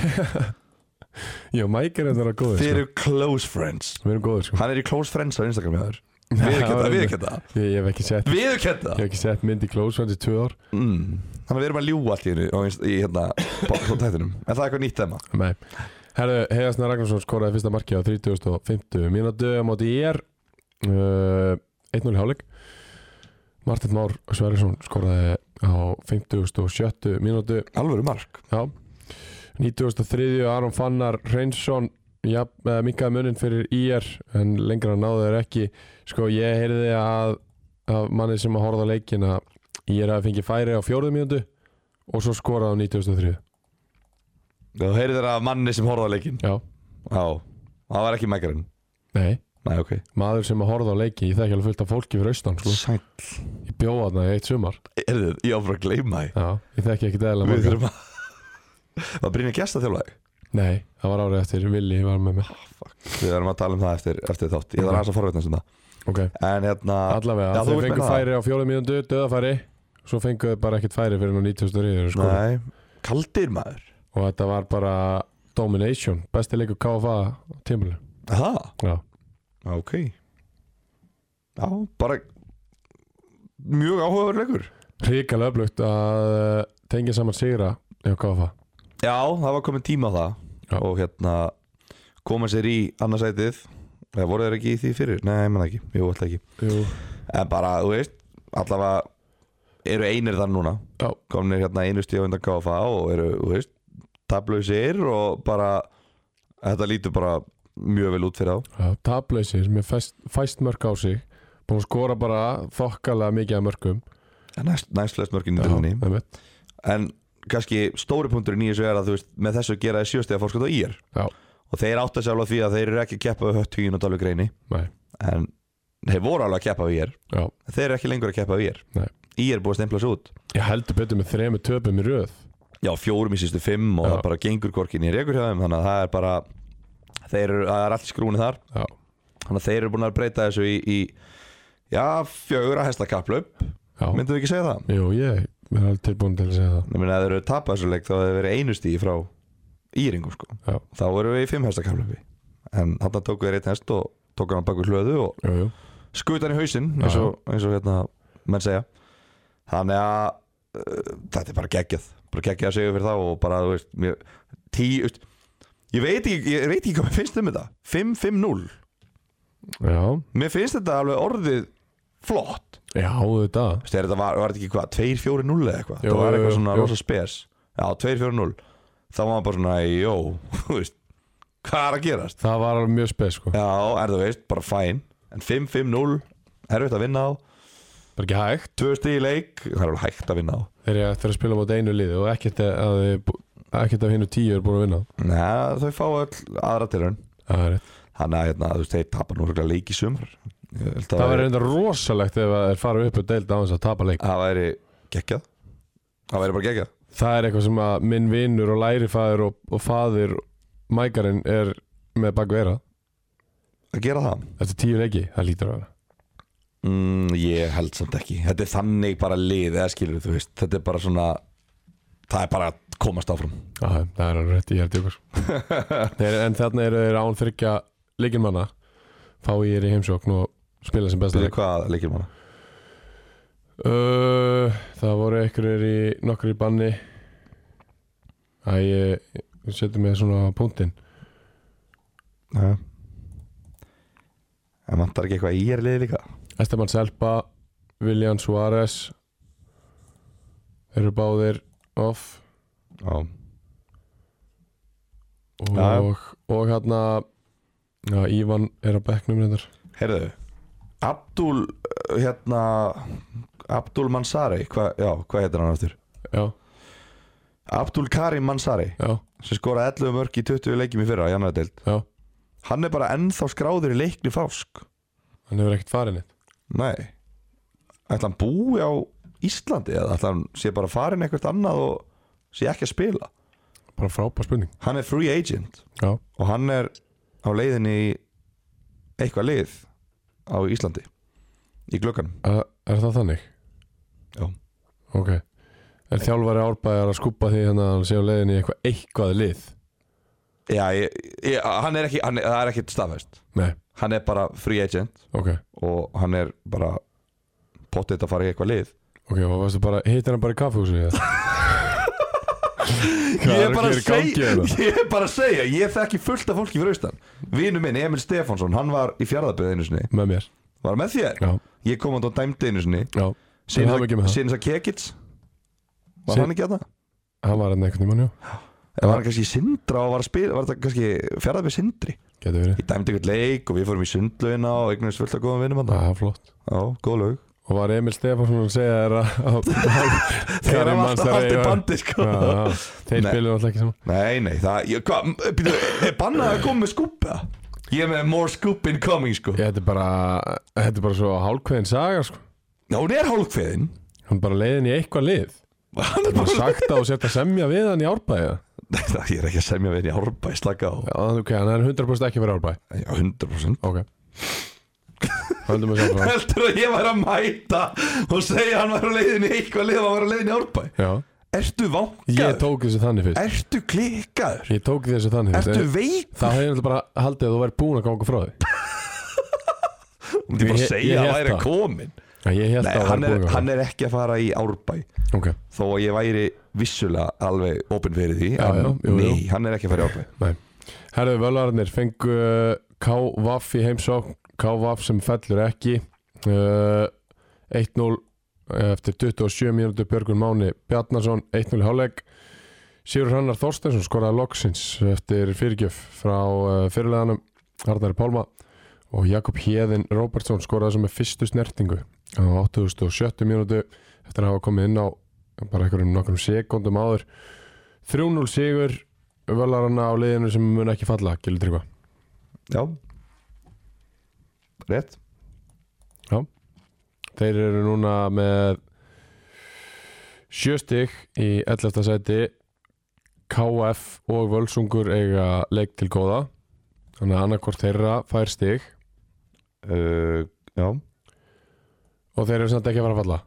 S1: Já, mækarinn er að góða
S2: Þið eru close friends
S1: Við erum góðir sko
S2: Hann er í close friends á Instagram hjá þér Viðurkenda, viðurkenda
S1: Ég, ég hef ekki sett
S2: Viðurkenda
S1: Ég hef ekki sett mynd í close friends í tvö ár
S2: mm. Þannig að við erum að ljúga allt í hennu Í hérna, tættinum En það er eitthvað nýtt þema
S1: Nei Herðu, Heiðarsna Ragnarsson skoraði fyrsta marki á 30.50 mínútu á móti ég er uh, 1-0 í hálfleik Martin Már Sverjesson skoraði á 50.70 mínútu
S2: Alvöru mark
S1: já 93. Aron Fannar Reynsson ja, minkaði munin fyrir IR en lengra náðu þeir ekki sko ég heyrði að, að manni sem að horfa á leikin að IR hafi fengið færi á fjóruðu mínútu og svo skoraði á 93.
S2: Þú heyrið þeirra af manni sem horfði á leikinn
S1: Já,
S2: Já Það var ekki mækarinn
S1: nei
S2: Nei, ok
S1: maður sem að horfa á leiki ég þekki alveg fullt af fólki fyrir austan sko.
S2: Sæl
S1: ég bjóða þarna í eitt sumar
S2: Erðu, ég á bara að gleyma því
S1: já, ég þekki ekki dæla
S2: Við
S1: marga
S2: þurfum að Var Brynja gæsta þjálfaði?
S1: nei, það var árið eftir, Vili var með mér
S2: Ah, Við verðum að tala um það eftir, eftir þátt Ég þarf aðeins að forvitna um það
S1: ok,
S2: En hérna
S1: allavega,
S2: Já, þú
S1: þeir
S2: vilt
S1: fengu
S2: meina
S1: færi á fjórum mínundu, döðafæri svo fengu þeir bara ekkert færi fyrir nú 9000 sko.
S2: Nei Kaldir maður
S1: og þetta var bara domination, besti leikur KFA á tímulu
S2: Það
S1: já,
S2: Ok Já, bara Mjög áhugaður leikur
S1: ríkala öflugt að eh, tengja saman sigra hjá KFA
S2: Já, það var komin tíma á það
S1: Já.
S2: Og hérna Koma sér í annarsætið Eða voru þeir ekki í því fyrir? Nei, menn ekki, jú, ætla ekki
S1: Jú.
S2: En bara, þú veist, allavega Eru einir þar núna
S1: Já.
S2: Komnir hérna einu stíð á undan KFA Og eru, þú veist, tablausir Og bara Þetta lítur bara mjög vel út fyrir þá
S1: Já, Taplausir með fæst, fæst mörk á sig Búin að skora bara þokkalega mikið af mörkum
S2: En Næst, næst flest mörgin í
S1: Já,
S2: dildinni
S1: einmitt.
S2: En kannski stóri punkturinn í þessu er að þú veist Með þessu gera þið sjöstega fórskot á ír
S1: Já,
S2: Og þeir átt að sjálfa því að þeir eru ekki að keppa við hött hugin og dalveg reyni
S1: nei,
S2: En þeir voru alveg að keppa við ír
S1: já
S2: Þeir eru ekki lengur að keppa við ír
S1: Nei.
S2: Ír er búið að stempla svo út
S1: Ég heldur betur með þremi töpum í röð
S2: já, fjórum í sístu fimm og
S1: Já.
S2: það bara gengur korkin í rekur hjá þeim þannig að það er bara þeir eru, það er allt skrúni þar
S1: Já,
S2: þannig að þeir eru búin að breyta þessu í, í já, fjögur að hesta kapplaup
S1: já
S2: myndum við ekki segja það
S1: Jú, ég er alveg tilbúin til að segja það
S2: ég meina að þeir eru tapað þessu leik þá hefur verið einu stíði frá íringum sko
S1: Já.
S2: þá eru við í fimm hesta kapplaupi en þarna tóku þeir eitt hest og tóku hann á baku hlöðu og
S1: Jú, jú,
S2: skuta hann í hausinn
S1: Já.
S2: eins og, eins og hérna menn segja þannig að uh, þetta er bara geggjað bara geggjað að segja fyrir þá og bara þú veist mér, tí, veist, ég veit ekki ég veit ekki hvað mér finnst um þetta 5-5-0
S1: já,
S2: mér finnst þetta alveg orðið flott
S1: já, þetta
S2: Þú veist, er þetta var, var þetta ekki hvað 2-4-0 eða eitthvað
S1: Jú,
S2: það var
S1: jú,
S2: eitthvað
S1: jú,
S2: svona
S1: jú.
S2: rosa spes já 2-4-0 þá var maður bara svona jó þú veist hvað er að gerast
S1: Það var alveg mjög spes, sko
S2: já er það veist bara fæn en 5-5-0 erfitt að vinna á
S1: Bara ekki hægt
S2: tvö stig í leik, það er alveg hægt að vinna á
S1: Þegar ég ætti að spila mát einu liði og ekkert að þið bú- ekkert af hinu tíu er búin að vinna
S2: Nei, þau fá öll aðra tilraun
S1: Það er rétt
S2: Þannig að hérna, þú veist, þeir tapar nú örugglega leik í sumar Ég held að
S1: Það væri reynda rosalegt ef að þeir fara upp og deildi á þess að tapa leik
S2: Það væri geggjað Það væri bara geggjað
S1: Það er eitthvað sem að minn vinnur og lærifæður og, og faðir mækarinn er með baku eira
S2: að gera það
S1: Þetta er tíu leiki, það lítur að vera
S2: mm, Ég held samt ekki Þetta er þannig bara lið, eða skilur þú veist Þetta er bara svona Það er bara að komast áfram
S1: Já, það er alveg rétt, ég held ykkur þeir, En þarna eru þeir án þryggja leikinmanna fá ég er í heimsókn og spila sem besta
S2: Þetta
S1: leik
S2: er hvað leikir manna
S1: uh, Það voru einhverjir í nokkur í banni Æ, ég ég setur mig svona á punktinn
S2: Já En vantar ekki eitthvað í er lið líka
S1: Esteban Selpa, William Suárez Þeir eru báðir off
S2: Já
S1: og,
S2: Já.
S1: og hérna já, Ívan er á bekknum reyndar
S2: Herðu Abdul, uh, hérna Abdul Mansari, hvað, já, hvað heitir hann aftur?
S1: Já,
S2: Abdul Karim Mansari
S1: já,
S2: sem skoraði 11 mörg í 20 leikjum í fyrra í annaði deild
S1: já
S2: hann er bara ennþá skráður í leikni fásk
S1: Hann hefur ekkert farin eitt
S2: nei ætla hann búi á Íslandi eða ætla hann sé bara farin eitthvað annað og sé ekki að spila
S1: Bara frábær spurning
S2: hann er free agent
S1: Já,
S2: og hann er á leiðinni í eitthvað leið á Íslandi í glöggan
S1: er, er það þannig?
S2: Já.
S1: Ok Er þjálfari árbæðar að skúpa því hérna að hann sé á leiðinni í eitthvað eitthvað lið?
S2: já, ég, ég, hann er ekki, hann, er- það er ekki staðfæst
S1: Nei,
S2: hann er bara free agent
S1: ok
S2: og hann er bara potið að fara í eitthvað lið
S1: Ok, og varstu bara, hittir hann bara í kaffehúsi eða? Hvað
S2: ég
S1: er
S2: er
S1: að
S2: bara
S1: gera
S2: að
S1: í gangi
S2: segja
S1: hérna?
S2: ég er bara að segja, ég þekki fullt af fólki fyrir austan vinu minn Emil Stefánsson, hann var í fjárðaböð einu sinni,
S1: Með mér
S2: var með þér
S1: Já,
S2: ég kom hann og dæmdi einu sinni
S1: já Til hamingju með það.
S2: sinns að Kekits var
S1: Sin-
S2: hann ekki að það?
S1: Hann var hann einhvern tímann, já
S2: eða var hann kannski í Sindra og var að spila var þetta kannski fjárðaböð Sindri
S1: Getur verið
S2: ég dæmdi einhvern leik og við fórum í sundlauna og eignast fullt af góðum vinnum hann
S1: Það er flott
S2: já, góð lög
S1: Og var Emil Stefánsson að segja þér að- að
S2: þeir
S1: Karim
S2: eru alltaf
S1: Mansari
S2: allt í
S1: var-
S2: bandi sko
S1: Já, já, Þeir
S2: Nei.
S1: spiluðu alltaf ekki saman
S2: nei, nei, það ég- hvað, býtu, er bannað að koma með skúpa ég er með more scoop incoming sko
S1: Ég, Þetta er bara, þetta er bara svo hálkveðin saga sko.
S2: já, hún er hálfkveðin
S1: Hann bara leiðin í eitthvað lið
S2: hann er
S1: Bara
S2: bara
S1: sagt á og setja semja við hann í árbæði
S2: Nei, það, ég er ekki að semja við henni í árbæ, slaka á
S1: Já, ok, hann er 100% ekki verið árbæði
S2: Já, 100%
S1: Ok Höldum við sjálf frá
S2: Heldur að ég væri að mæta og segja hann var á leiðinni í eitthvað lið og hann var á leiðinni í árbæ
S1: Já,
S2: Ertu vangaður?
S1: ég tók þessu þannig fyrst
S2: Ertu klikkaður?
S1: Ég tók þessu þannig fyrst
S2: Ertu
S1: En
S2: veik?
S1: Það hefði náttúrulega bara haldið að þú væri búin að ganga frá því
S2: Þú myndir bara
S1: Ég-
S2: að
S1: ég
S2: segja að
S1: held
S2: hann væri
S1: það.
S2: komin
S1: En ég held
S2: Nei,
S1: að það
S2: hann
S1: væri
S2: er,
S1: búin að
S2: hann er ekki að fara í árbæ
S1: ganga Ok,
S2: Þó að ég væri vissulega alveg opinn fyrir því
S1: Já,
S2: en
S1: já, jú, jú.
S2: Nei, hann er ekki að fara í árbæ
S1: nei Herðu völarnir fengu eh, K-Vaff í heimsókn K-Vaff sem fellur ekki uh, eh, 1-0 eftir 27 mínútur Björgun Máni Bjarnason 1-0 í hálfleik Sigur Hrannar Þorstensson skoraði loksins eftir fyrirgjöf frá uh, fyrirleganum Arnari Pálma og Jakob Hjeðin Róbertsson skoraði sem með fyrstu snertingu á 8.70 mínútu eftir að hafa komið inn á bara einhverjum nokkrum sekundum áður 3-0 sigur völarana á liðinu sem mun ekki falla Gildur Tryggva
S2: Já Rétt
S1: Þeir eru núna með sjö stig í 11. sæti KF og Völsungur eiga leik til góða þannig að annarkvort þeirra fær stig
S2: uh, Já
S1: og þeir eru samt ekki að fara að falla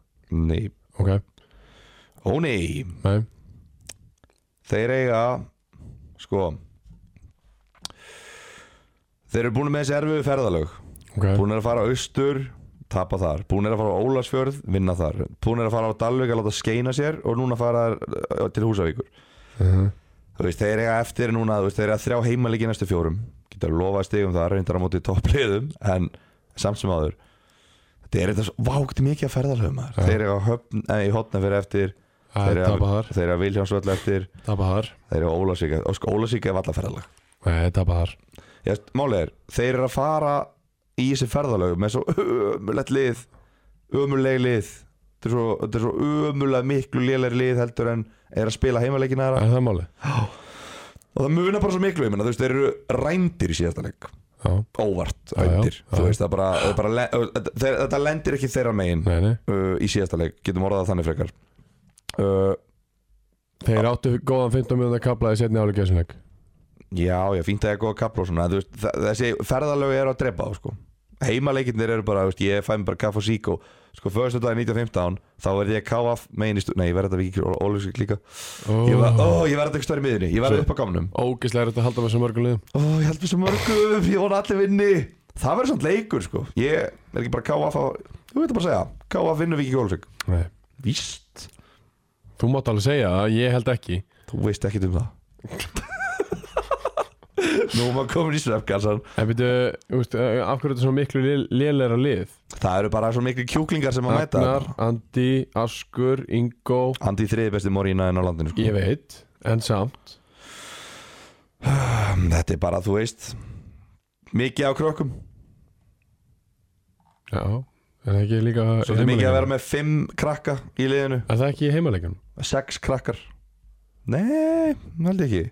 S2: Nei
S1: ok,
S2: Ó nei
S1: nei,
S2: Þeir eiga Sko Þeir eru búin með þessi erfiðu ferðalög
S1: ok
S2: Búin að fara austur Tapa þar, búin að fara á Ólasfjörð, vinna þar Búin að fara á Dalvik að láta skeina sér Og núna fara uh, til Húsavíkur
S1: Mhm.
S2: Þú veist, þeir eiga eftir núna Þú veist, þeir eiga þrjá heimalegi næstu fjórum Getur að lofa stigum þar, reyndar á móti toppliðum En samt sem áður Þetta er eitthvað svo vágt mikið að ferðalöfum ja. Þeir eiga höfn, nei, hótna fyrir eftir
S1: Æ,
S2: Þeir
S1: tapa
S2: eiga
S1: þar,
S2: þeir eiga Vilhjámsvöll eftir
S1: tapa þar
S2: Þeir eru ólasíka og sko ólasíka er vallaferðalag
S1: nei, tapa þar
S2: Ég veist, Málið er, þeir eru að fara í þessi ferðalög með svo ömulegt lið ömuleg lið þetta er svo, þetta er svo ömulega miklu lélæri lið heldur en er að spila heimaleikina þeirra
S1: er það máli?
S2: og það munar bara svo miklu, ég meina, þú veist, þeir eru rændir í síðasta leik,
S1: já, Já,
S2: óvart
S1: já,
S2: rændir,
S1: já, já.
S2: þú veist, það bara, það bara le- þetta- þeir, þetta lendir ekki þeirra megin
S1: nei, nei
S2: uh, í síðasta leik, getum orðað það þannig frekar uh,
S1: þeir áttu góðan 15 minúta kapla í setni áleik þessu leik
S2: Já, já, fínt að ég er góða kapla og svona en þú veist, þa- Þessi ferðalög eru að drepa á sko. Heimaleikindir eru bara, þú veist, ég fæ mér bara kaff og sík og sko, fyrstu dag 1915 þá verði ég káaf megin í stúr Nei, ég verði þetta vikið og ólöfsvík líka Ég verði oh, þetta ekki stóri miðinni, ég verði
S1: Svo-
S2: upp á gamnum
S1: ógislega er þetta að halda með svo mörgum liðum
S2: Ó, ég held mér svo mörgum, ég vona allir vinni Það verður svona leikur, sko Ég er ekki bara káaf á, þú veit að bara segja Káaf vinnur vikið og ólöfsvík
S1: nei.
S2: Víst,
S1: þú mátt alveg segja að ég held ekki
S2: þú veist ekkit um það Nú er maður komin í svefgalsan
S1: En veitu, úst, af hverju þetta er svona miklu lélæra lið?
S2: Það eru bara svo miklu kjúklingar sem að mæta
S1: Agnar, Andi, Askur, Ingo
S2: Andi þriði besti morína en á landinu sko.
S1: Ég veit, en samt
S2: Um, Þetta er bara, þú veist Mikið á krökkum
S1: Já, en það ekki líka
S2: Svo er mikið að vera með fimm krakka í liðinu
S1: Er það ekki í heimaleikjum?
S2: Sex krakkar Nei, held ég ekki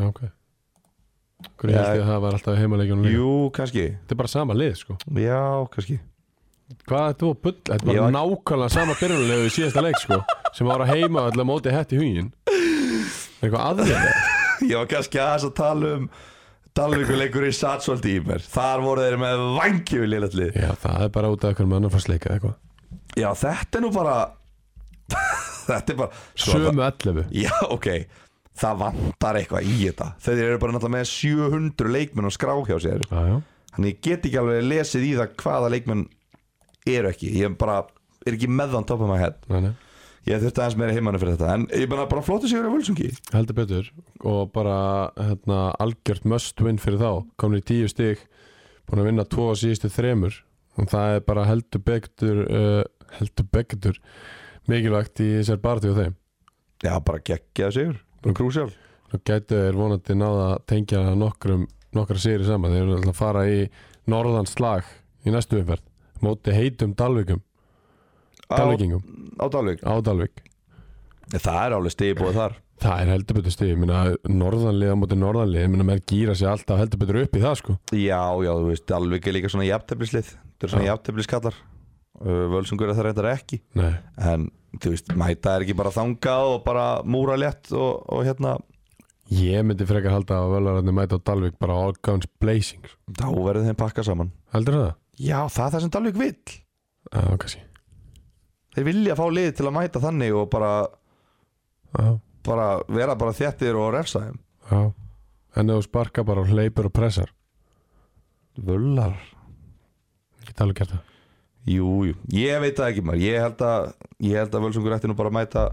S1: Já, ok Hverju
S2: Já.
S1: held ég að það var alltaf í heimaleikjum líka?
S2: Jú, kannski
S1: Þetta er bara sama lið, sko
S2: Já, kannski
S1: Hvað er þú að bulla? Þetta
S2: Ég
S1: var
S2: var-
S1: nákvæmlega sama byrjulegu í síðasta leik, sko sem var að heima öll að móti hett í hugin Er eitthvað aðrið?
S2: Ég var kannski aðeins að tala um Dalvíkuleikur í Satsvaldi í mér Þar voru þeir með vangi við liðalli
S1: Já, það er bara út af hverjum annar fannst leika eitthvað
S2: Já, þetta er nú bara Þetta er bara Sko, það-
S1: Sömu 11
S2: Já, ok Það vantar eitthvað í þetta Þeir eru bara náttúrulega með 700 leikmenn og skrá hjá sér
S1: Já, já
S2: Þannig ég get ekki alveg lesið í það hvaða leikmenn eru ekki Ég bara er ekki með þann top of my head
S1: Nei, nei
S2: Ég þurfti aðeins meira heimannu fyrir þetta En ég bara, bara flóttu sigur á völsungi
S1: heldur betur og bara hérna, algjört must win fyrir þá komin í tíu stig búin að vinna tvo á síðustu þremur og það er bara heldur betur uh, heldur betur mikilvægt í þessar barðu og þeim
S2: Já, bara geggjaðu sigur Bara krúsjál
S1: og gætu er vonandi náða að tengja nokkrum, nokkra sigri saman þeir eru alltaf að fara í norðan slag í næstu umferð móti heitum Dalvíkum,
S2: Á,
S1: Dalvíkingum
S2: á Dalvík
S1: á Dalvík
S2: Það er alveg stigbúið þar
S1: það er heldur betur stig, ég meina norðanlið á móti norðanlið, ég meina maður gýra sig alltaf heldur betur upp í það sko
S2: Já, já, þú veist, Dalvík er líka svona jafnteflislið Það er svona
S1: Já.
S2: jafntefliskallar Uh, Völsungur er það reyndar ekki
S1: Nei.
S2: En, þú veist, mæta er ekki bara þangað og bara múra létt og, og hérna
S1: Ég myndi frekar halda að völararnir mæta á Dalvik bara all guns blazing sko.
S2: Þá verður þeim pakka saman
S1: Heldur það?
S2: Já, það er það sem Dalvik vill
S1: Já, kannski
S2: Þeir vilja fá lið til að mæta þannig og bara,
S1: Já,
S2: bara vera bara þéttir og refsa þeim
S1: já En ef þú sparka bara og hleypur og pressar
S2: Völlar
S1: Ég get alveg gert það
S2: Jú, jú, ég veit það ekki maður Ég held að, ég held að Völsungur ætti nú bara að mæta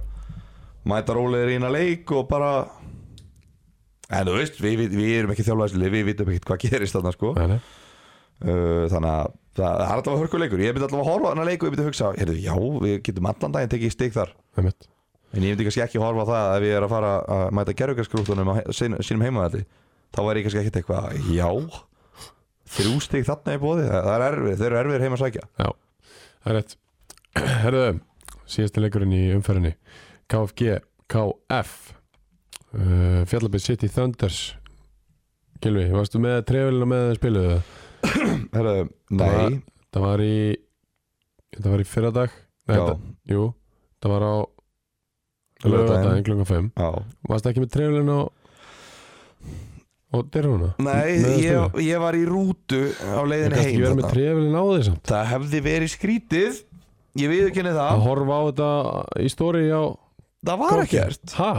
S2: mæta rólegir í eina leik og bara En þú veist, við, við, við erum ekki þjálfæðislega Við vitum ekkert hvað gerist þarna sko
S1: Nei, nei
S2: Uh, þannig að það það er allavega hörkuleikur ég myndi allavega að horfa á hana leik og ég myndi að hugsa heyrðu, já, við getum allan daginn tekið stig þar
S1: Það mitt
S2: en ég myndi kannski ekki horfa á það ef ég er að fara að mæta gerðugarskrúftunum á he- sín- sínum heimavalli þá væri ég kannski ekkert eitthvað, já þrjú stig þarna í bóði það, það er erfið, þeir eru erfiðir heima að sækja
S1: Það er rétt Herðu, síðasti leikurinn í umferðinni KFG, KF uh, Fjallabæð City Thunders Gilvi, varstu með trefilina með þeim spiluðu það?
S2: Herðu,
S1: var-
S2: nei,
S1: Það var í Það var í fyrradag Nei,
S2: já,
S1: þetta, Jú, það var á
S2: Laugardaginn.
S1: Laugardaginn klukkan 5
S2: já
S1: Varstu ekki með trefilina og og derfuna?
S2: Nei, ég, ég var í rútu á
S1: er
S2: leiðinni
S1: heim Ég
S2: heim
S1: verið með
S2: þarna.
S1: trefilina á því samt
S2: Það hefði verið skrítið Ég viðurkenni
S1: Að
S2: það
S1: horfa á þetta í stóri á
S2: Það var ekkert,
S1: Hæ?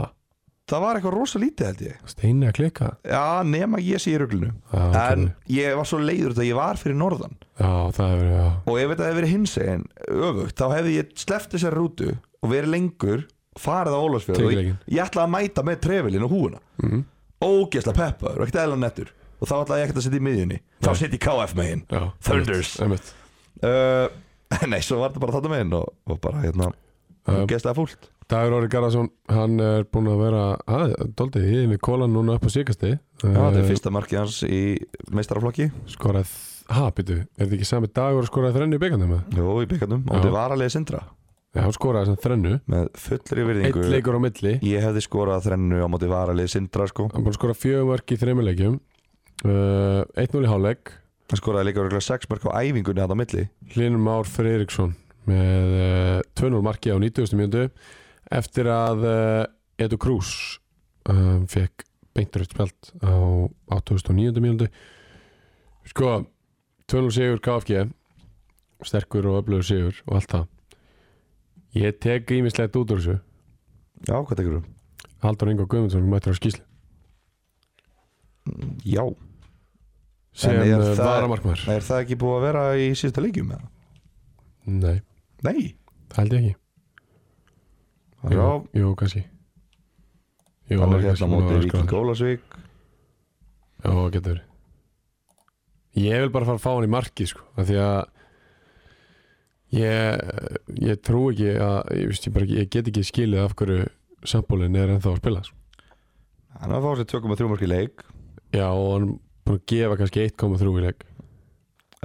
S2: það var eitthvað rosa lítið held ég
S1: Steini að klika
S2: Já, nema ég sé í ruglunu
S1: Já, ok.
S2: En ég var svo leiður út að ég var fyrir norðan
S1: Já, það hefur, já,
S2: Og ef þetta hefði verið hins en öfugt Þá hefði ég sleppt þessari rútu Og verið lengur, farið á Ólafsfjörð og ég,
S1: Tekjuleikinn.
S2: ég ætlaði að mæta með trefilin og húuna
S1: Mhm.
S2: Ógeðslega peppaður og ekkert eðlan nettur Og þá ætlaði ég ekkert að setja í miðjunni Þá
S1: Nei.
S2: setja ég KF megin
S1: já
S2: Thunders.
S1: einmitt,
S2: uh, Nei, svo var þetta bara þarna megin Og, og bara hérna,
S1: einmitt. Um,
S2: ógeðslega fúlt
S1: Dagur Orri Garðarsson, hann er búinn að vera að, doldið í við kólan núna upp á síkasti
S2: Já, þetta er fyrsta markið hans í meistaraflokki
S1: Skorað, ha, býtu, er þetta ekki sami Dagur að skoraði þrennu í byggandum? eða?
S2: Jó, í byggandum Og
S1: Já.
S2: þetta var alveg sindra
S1: Já, hann skoraði þess þrennu
S2: Með fullri
S1: Eitt
S2: virðingu
S1: leikur á milli
S2: Ég hefði skorað þrennu á móti varalið Sindra sko
S1: Hann er búinn að skora fjögum verk í þreimuleikjum uh, 1-0 í hálfleik
S2: Hann skoraði líka örgulega 6 mörg á æfingunni hann á milli
S1: Hlinur Már Freiríksson með uh, 2-0 marki á 90. mjöndu eftir að uh, Edu Krús um, fekk beinturut spjald á 89. mjöndu sko 2-0 sigur KFG sterkur og öflugur sigur og allt það ég tek ímislegt út úr þessu
S2: Já, hvað tekur þú?
S1: Haldur Ingo Guðmundsson mættur á skýslu
S2: Já
S1: sem
S2: En er
S1: uh,
S2: það-
S1: varamarkmaður
S2: Er það ekki búið að vera í síðustu leikjum með það?
S1: nei,
S2: Nei
S1: það held ég ekki
S2: Já,
S1: jú, jú, kannski Jú,
S2: hann er
S1: kannski
S2: hérna á
S1: búin að
S2: móti
S1: vera sko.
S2: Víking
S1: skráður.
S2: Gólasvík
S1: Já, getur Ég vil bara fara að fá hann í markið sko, af því að ég, ég trú ekki að ég, veist, ég, bara, ekki- ég get ekki skilið af hverju sambólin er ennþá að spila sko.
S2: Hann var að fá sér 2,3 mörg í leik
S1: Já, og hann er búin að gefa kannski 1,3 í leik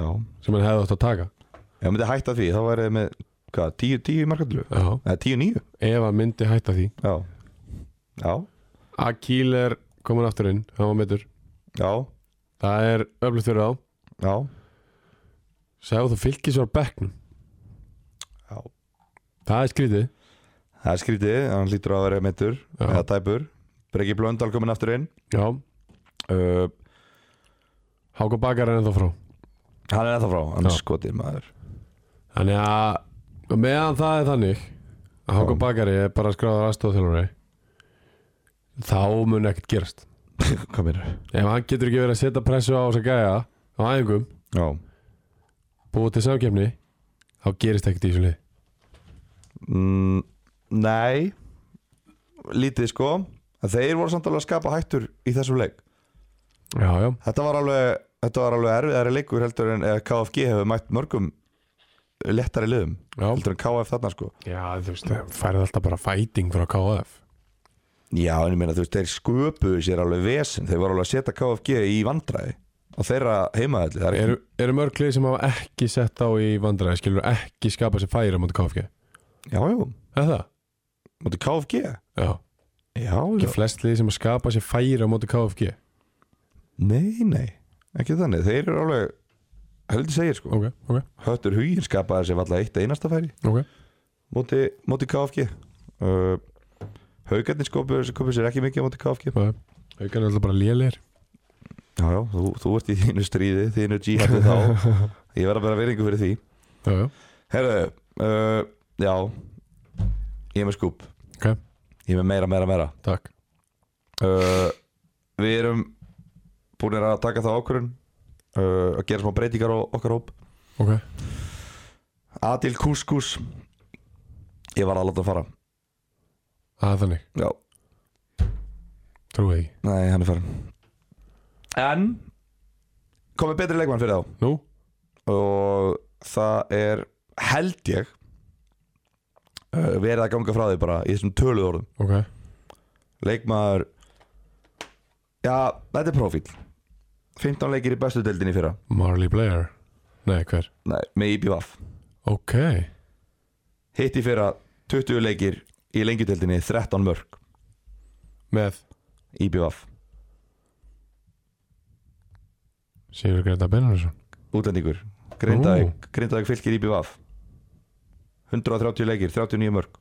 S2: Já
S1: sem hann hefði átt að taka
S2: Ef hann myndi hætta því, þá værið með, hvað, 10, 10 markandlu?
S1: Já.
S2: Eða 10, 9?
S1: ef hann myndi hætta því
S2: Já Já,
S1: Akil er komin aftur inn, hann var meittur
S2: já,
S1: Það er öflugt fyrir þá
S2: já,
S1: Sæðu þú fylgis var á bekknum
S2: já.
S1: Það er skrítið
S2: Það er skrítið, hann lítur að vera meittur
S1: Já.
S2: eða tæpur Breki Blöndal komin aftur inn
S1: Já,
S2: uh,
S1: Háka Bakar er ennþá frá
S2: Hann er ennþá frá, hann er
S1: Já.
S2: skotin maður
S1: Þannig að meðan það er þannig að Háka
S2: Já.
S1: Bakari er bara skráður aðstofþjálfari þá mun ekkert gerast
S2: Hvað meina?
S1: ef hann getur ekki verið að setja pressu á þess að gæja á æfingum,
S2: Já,
S1: búið til samkefni þá gerist ekkert í þessu lið
S2: mm, nei Lítið sko En Þeir voru samt alveg að skapa hættur í þessum leik
S1: Já, já,
S2: Þetta var alveg, þetta var alveg erfiðari leikur heldur en eh, KFG hefur mætt mörgum lettari liðum
S1: já,
S2: heldur en KF þarna sko
S1: já þú veist það færið alltaf bara fighting frá KF
S2: Já, en ég meina þú veist, þeir sköpuðu sér alveg vesen Þeir voru alveg að setja KFG í vandræði og þeirra heimaðalli Það er
S1: Eru, eru mörg lið sem hafa ekki sett á í vandræði, skilur ekki skapa sér færi á móti KFG,
S2: ekki- Já, já,
S1: er það?
S2: Móti KFG?
S1: Já,
S2: Já,
S1: ekki flest lið sem hafa skapa sér færi á móti KFG
S2: Nei, nei, ekki þannig Þeir eru alveg, heldur segir sko
S1: Ok, ok,
S2: Höttur huginn skapaði sér alltaf eitt einasta færi
S1: ok
S2: Móti, móti KFG uh, Haukarnir skopuðu skopu sér ekki mikið á móti KFG
S1: Haukan er alltaf bara lélir
S2: Já, já, þú, þú ert í þínu stríði, þínu jihadi þá Ég verð að bera veringu fyrir því
S1: Já, já,
S2: Herðu, uh, já Ég er með skúp
S1: ok,
S2: Ég er með meira, meira, meira
S1: takk
S2: uh, Við erum búinir að taka það ákvörun uh, að gera smá breytingar á okkar hóp
S1: Ok,
S2: Adil Kuskus Ég var að láta fara
S1: að þannig,
S2: Já,
S1: trúið ekki
S2: nei, hann er farin En Komið betri leikmann fyrir þá
S1: Nú,
S2: Og það er held ég uh, verið að ganga frá því bara í þessum töluð orðum
S1: ok
S2: leikmaður já, þetta er profíl 15 leikir í bestu deildin í fyrra
S1: Marley Blair Nei, hver?
S2: Nei, með IPVAF
S1: Ok
S2: hitt í fyrra 20 leikir í lengjudeldinni 13 mörg
S1: Með
S2: IPVAF
S1: Sigur Greta Benarsson
S2: útlendingur Grindavík, Grindavík fylgir IPVAF 130 leikir, 39 mörg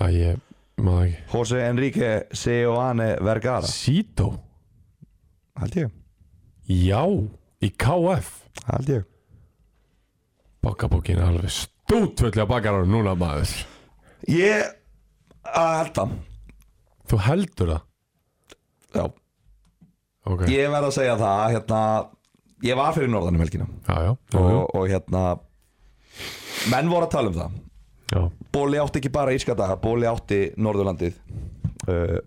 S1: Það ég maður ekki
S2: Jose Enrique Seoane Vergara
S1: Sito
S2: held ég,
S1: Já Í KF
S2: held ég
S1: Bakkabókin er alveg stútvöldi á bakkaranum núna maður
S2: ég að held það
S1: Þú heldur það
S2: já,
S1: Ok
S2: ég verð að segja það hérna, ég var fyrir norðan um helgina
S1: Já, já Já,
S2: og, og hérna menn voru að tala um það
S1: já.
S2: Bóli átti ekki bara írska daga, Bóli átti Norðurlandið uh,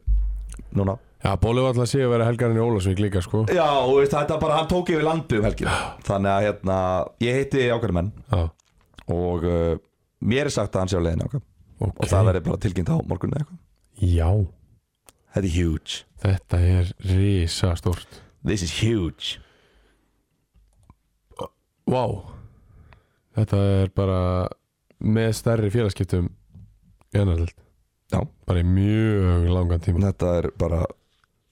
S2: Núna
S1: já bólið var alltaf að sé að vera helgarinn í Ólasvík líka sko
S2: Já, þú veist, þetta bara, hann tók yfir landið um helgina Þannig að hérna, ég heiti ákveðnum menn
S1: Já
S2: Og uh, mér er sagt að hann sé á leiðinu ákveð
S1: Ok
S2: Og það verði bara tilkynnt á morgunni eða eitthvað
S1: Já
S2: Þetta er huge
S1: Þetta er risa stort
S2: This is huge
S1: Vá Þetta er bara með stærri félagskiptum ennaldelt
S2: Já,
S1: bara í mjög langan tíma
S2: þetta er bara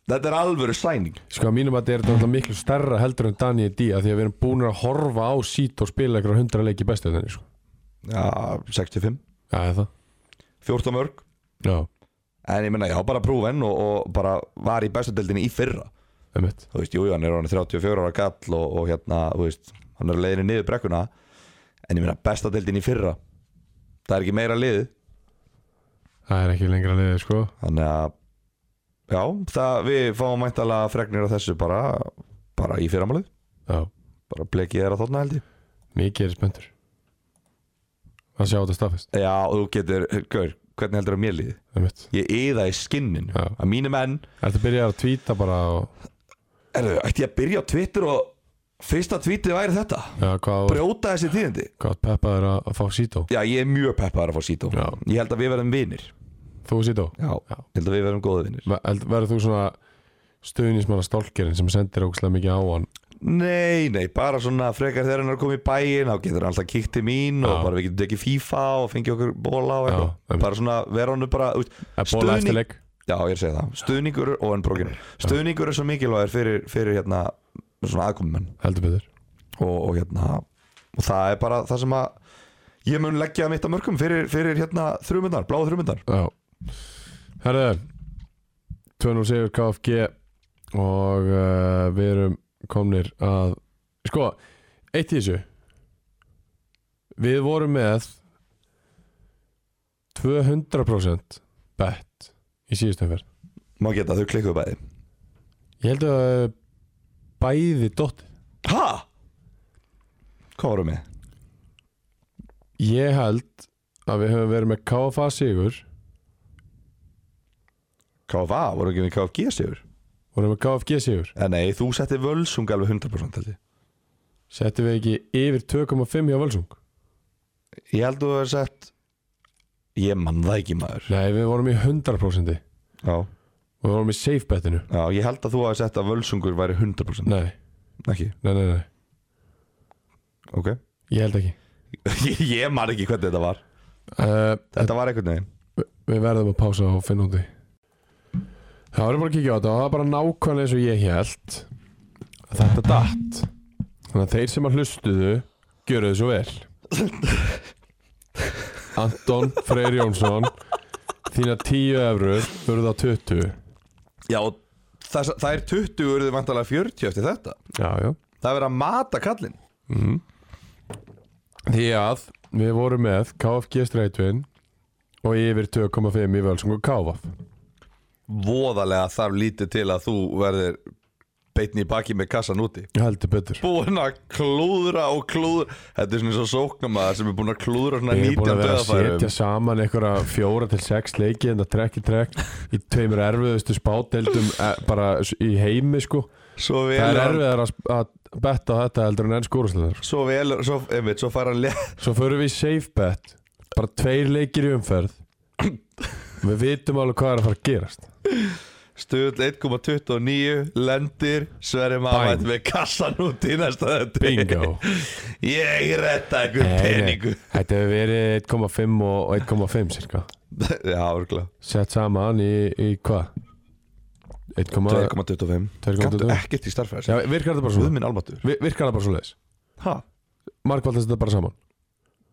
S2: Þetta er alvöru sæning
S1: Sko að mínum að þetta er náttúrulega miklu stærra heldur en Daniel D að því að við erum búin að horfa á sít og spila ykkur hundra leik í bestu þenni sko.
S2: Já, 65
S1: Já, er það
S2: 14 mörg
S1: Já,
S2: En ég meina, já, bara prúven og, og bara var í bestu deildinni í fyrra
S1: einmitt
S2: þú veist, jújú, hann er orðin 34 ára gall og, og hérna, þú veist, hann er á leiðinni niður brekkuna en ég meina besta deildin í fyrra það er ekki meira lið
S1: Það er ekki lengra liðið sko
S2: þannig að, já, það við fáum mæntalega fregnir á þessu bara bara í fyrramalið,
S1: Já,
S2: bara blekið er að þarna held ég
S1: mikið er spöndur að sjá þetta staðfest
S2: já, og þú getur, gaur, hvernig heldur að mér liði
S1: Einmitt
S2: ég yða í skinninu
S1: Já.
S2: að mínu menn,
S1: Ertu að byrja að tvíta bara og
S2: erðu, ætti ég að byrja á Twitter og fyrsta tweetið væri þetta
S1: Já, hvað var-
S2: brjóta þessi tíðindi
S1: hvað Peppa er að, að fá sít
S2: já, ég er mjög peppaður að fá sító
S1: Já.
S2: ég held að við verðum vinir
S1: Þú sít á
S2: Já,
S1: Já.
S2: ég held að við verðum góða vinnir
S1: Verður þú svona stuðnismanna stólkerinn sem sendir ógslag mikið á hann
S2: Nei, nei, bara svona frekar þegar hann er að koma í bæinn þá getur hann alltaf kíkt til mín og
S1: Já.
S2: bara við getum tekið FIFA og fengið okkur bóla og
S1: Já, einmitt.
S2: eitthvað Bara svona, vera hann bara þú veist,
S1: að bóla
S2: stuðning-
S1: eftir leik
S2: Já, ég er að segja það, stuðningur og enn brókinu Stuðningur er svo mikilvægur fyrir, fyrir hérna, svona aðkomumenn
S1: Heldur betur
S2: og, og hérna, og það er bara það sem að Ég mun leggja mitt að mörgum fyrir, fyrir hérna þrjumundar, bláða þrjumundar
S1: Já Herðu 2-0 sigur KFG og uh, við erum komnir að sko, eitt í þessu við vorum með 200% bet í síðustum fyrr
S2: Má geta, þau klikkuðu bæði
S1: ég held að það hafi bæði dott
S2: Ha? Hvað vorum við?
S1: ég held að við höfum verið með KFA sigur
S2: KFA, vorum við ekki með KFG sigur?
S1: vorum með KFG sigur
S2: En Eh, nei, þú settir völsung alveg 100% held ég
S1: settum við ekki yfir 2,5 hjá Völsung
S2: Ég held að þú hefur sett Ég mann það ekki maður
S1: nei við vorum í 100%
S2: Já,
S1: við vorum í safe betinu
S2: já ég held að þú hefur sett að völsungur væri 100%
S1: Nei,
S2: Ekki,
S1: nei, nei, nei,
S2: ok
S1: ég held ekki
S2: Ég, ég man ekki hvernig þetta var
S1: uh,
S2: Þetta var einhvern veginn
S1: Við verðum að pása og finna út í Það verður bara að kíkja á þetta og það er bara nákvæmlega eins og ég held að Þetta datt Þannig að þeir sem að hlustuðu gjöru þið svo vel Anton Freyr Jónsson Þína 10 eurur Vörðu það 20
S2: Já, og þess, það er 20 urðu vantalega 40 eftir þetta
S1: Já, já
S2: Það er verið að mata kallinn
S1: Því að við vorum með KFG strætvin og yfir 2,5 í völsungu KVAF
S2: Voðalega þarf lítið til að þú verðir beitni í baki með kassan úti
S1: Heldur betur
S2: Búin að klúðra og klúðra Þetta er svona eins og sóknamaður sem er búin að klúðra svona
S1: Ég er
S2: 19
S1: búin að vera að
S2: dauðafærum.
S1: setja saman einhverja fjóra til sex leiki en það trekk í trekk í tveimur erfiðustu spáteldum e, bara s- í heimi sko
S2: Svo vel
S1: Það er
S2: hann-
S1: erfiðar að, sp- að betta á þetta heldur en enn skóraslega
S2: Svo vel, svo, einmitt, svo fær hann le-
S1: Svo förum við í safe bet bara tveir leikir í umferð við vitum alveg hvað er að fara að gerast
S2: Stuðl 1,29 Lendir Sverri Mamætt með kassan út í næsta þetta
S1: bingo
S2: Ég retta einhver
S1: Nei, nei.
S2: peningu
S1: þetta hefur verið 1,5 og 1,5 cirka
S2: Já, örgulega
S1: sett saman í, í hvað 1,2
S2: 2,25 Gattu
S1: 2,25.
S2: ekkert í starfæðis
S1: Já, virkar þetta bara
S2: Guð
S1: svona
S2: minn almatur
S1: Vi- virkar það bara svona leis
S2: Ha?
S1: margvaldast þetta bara saman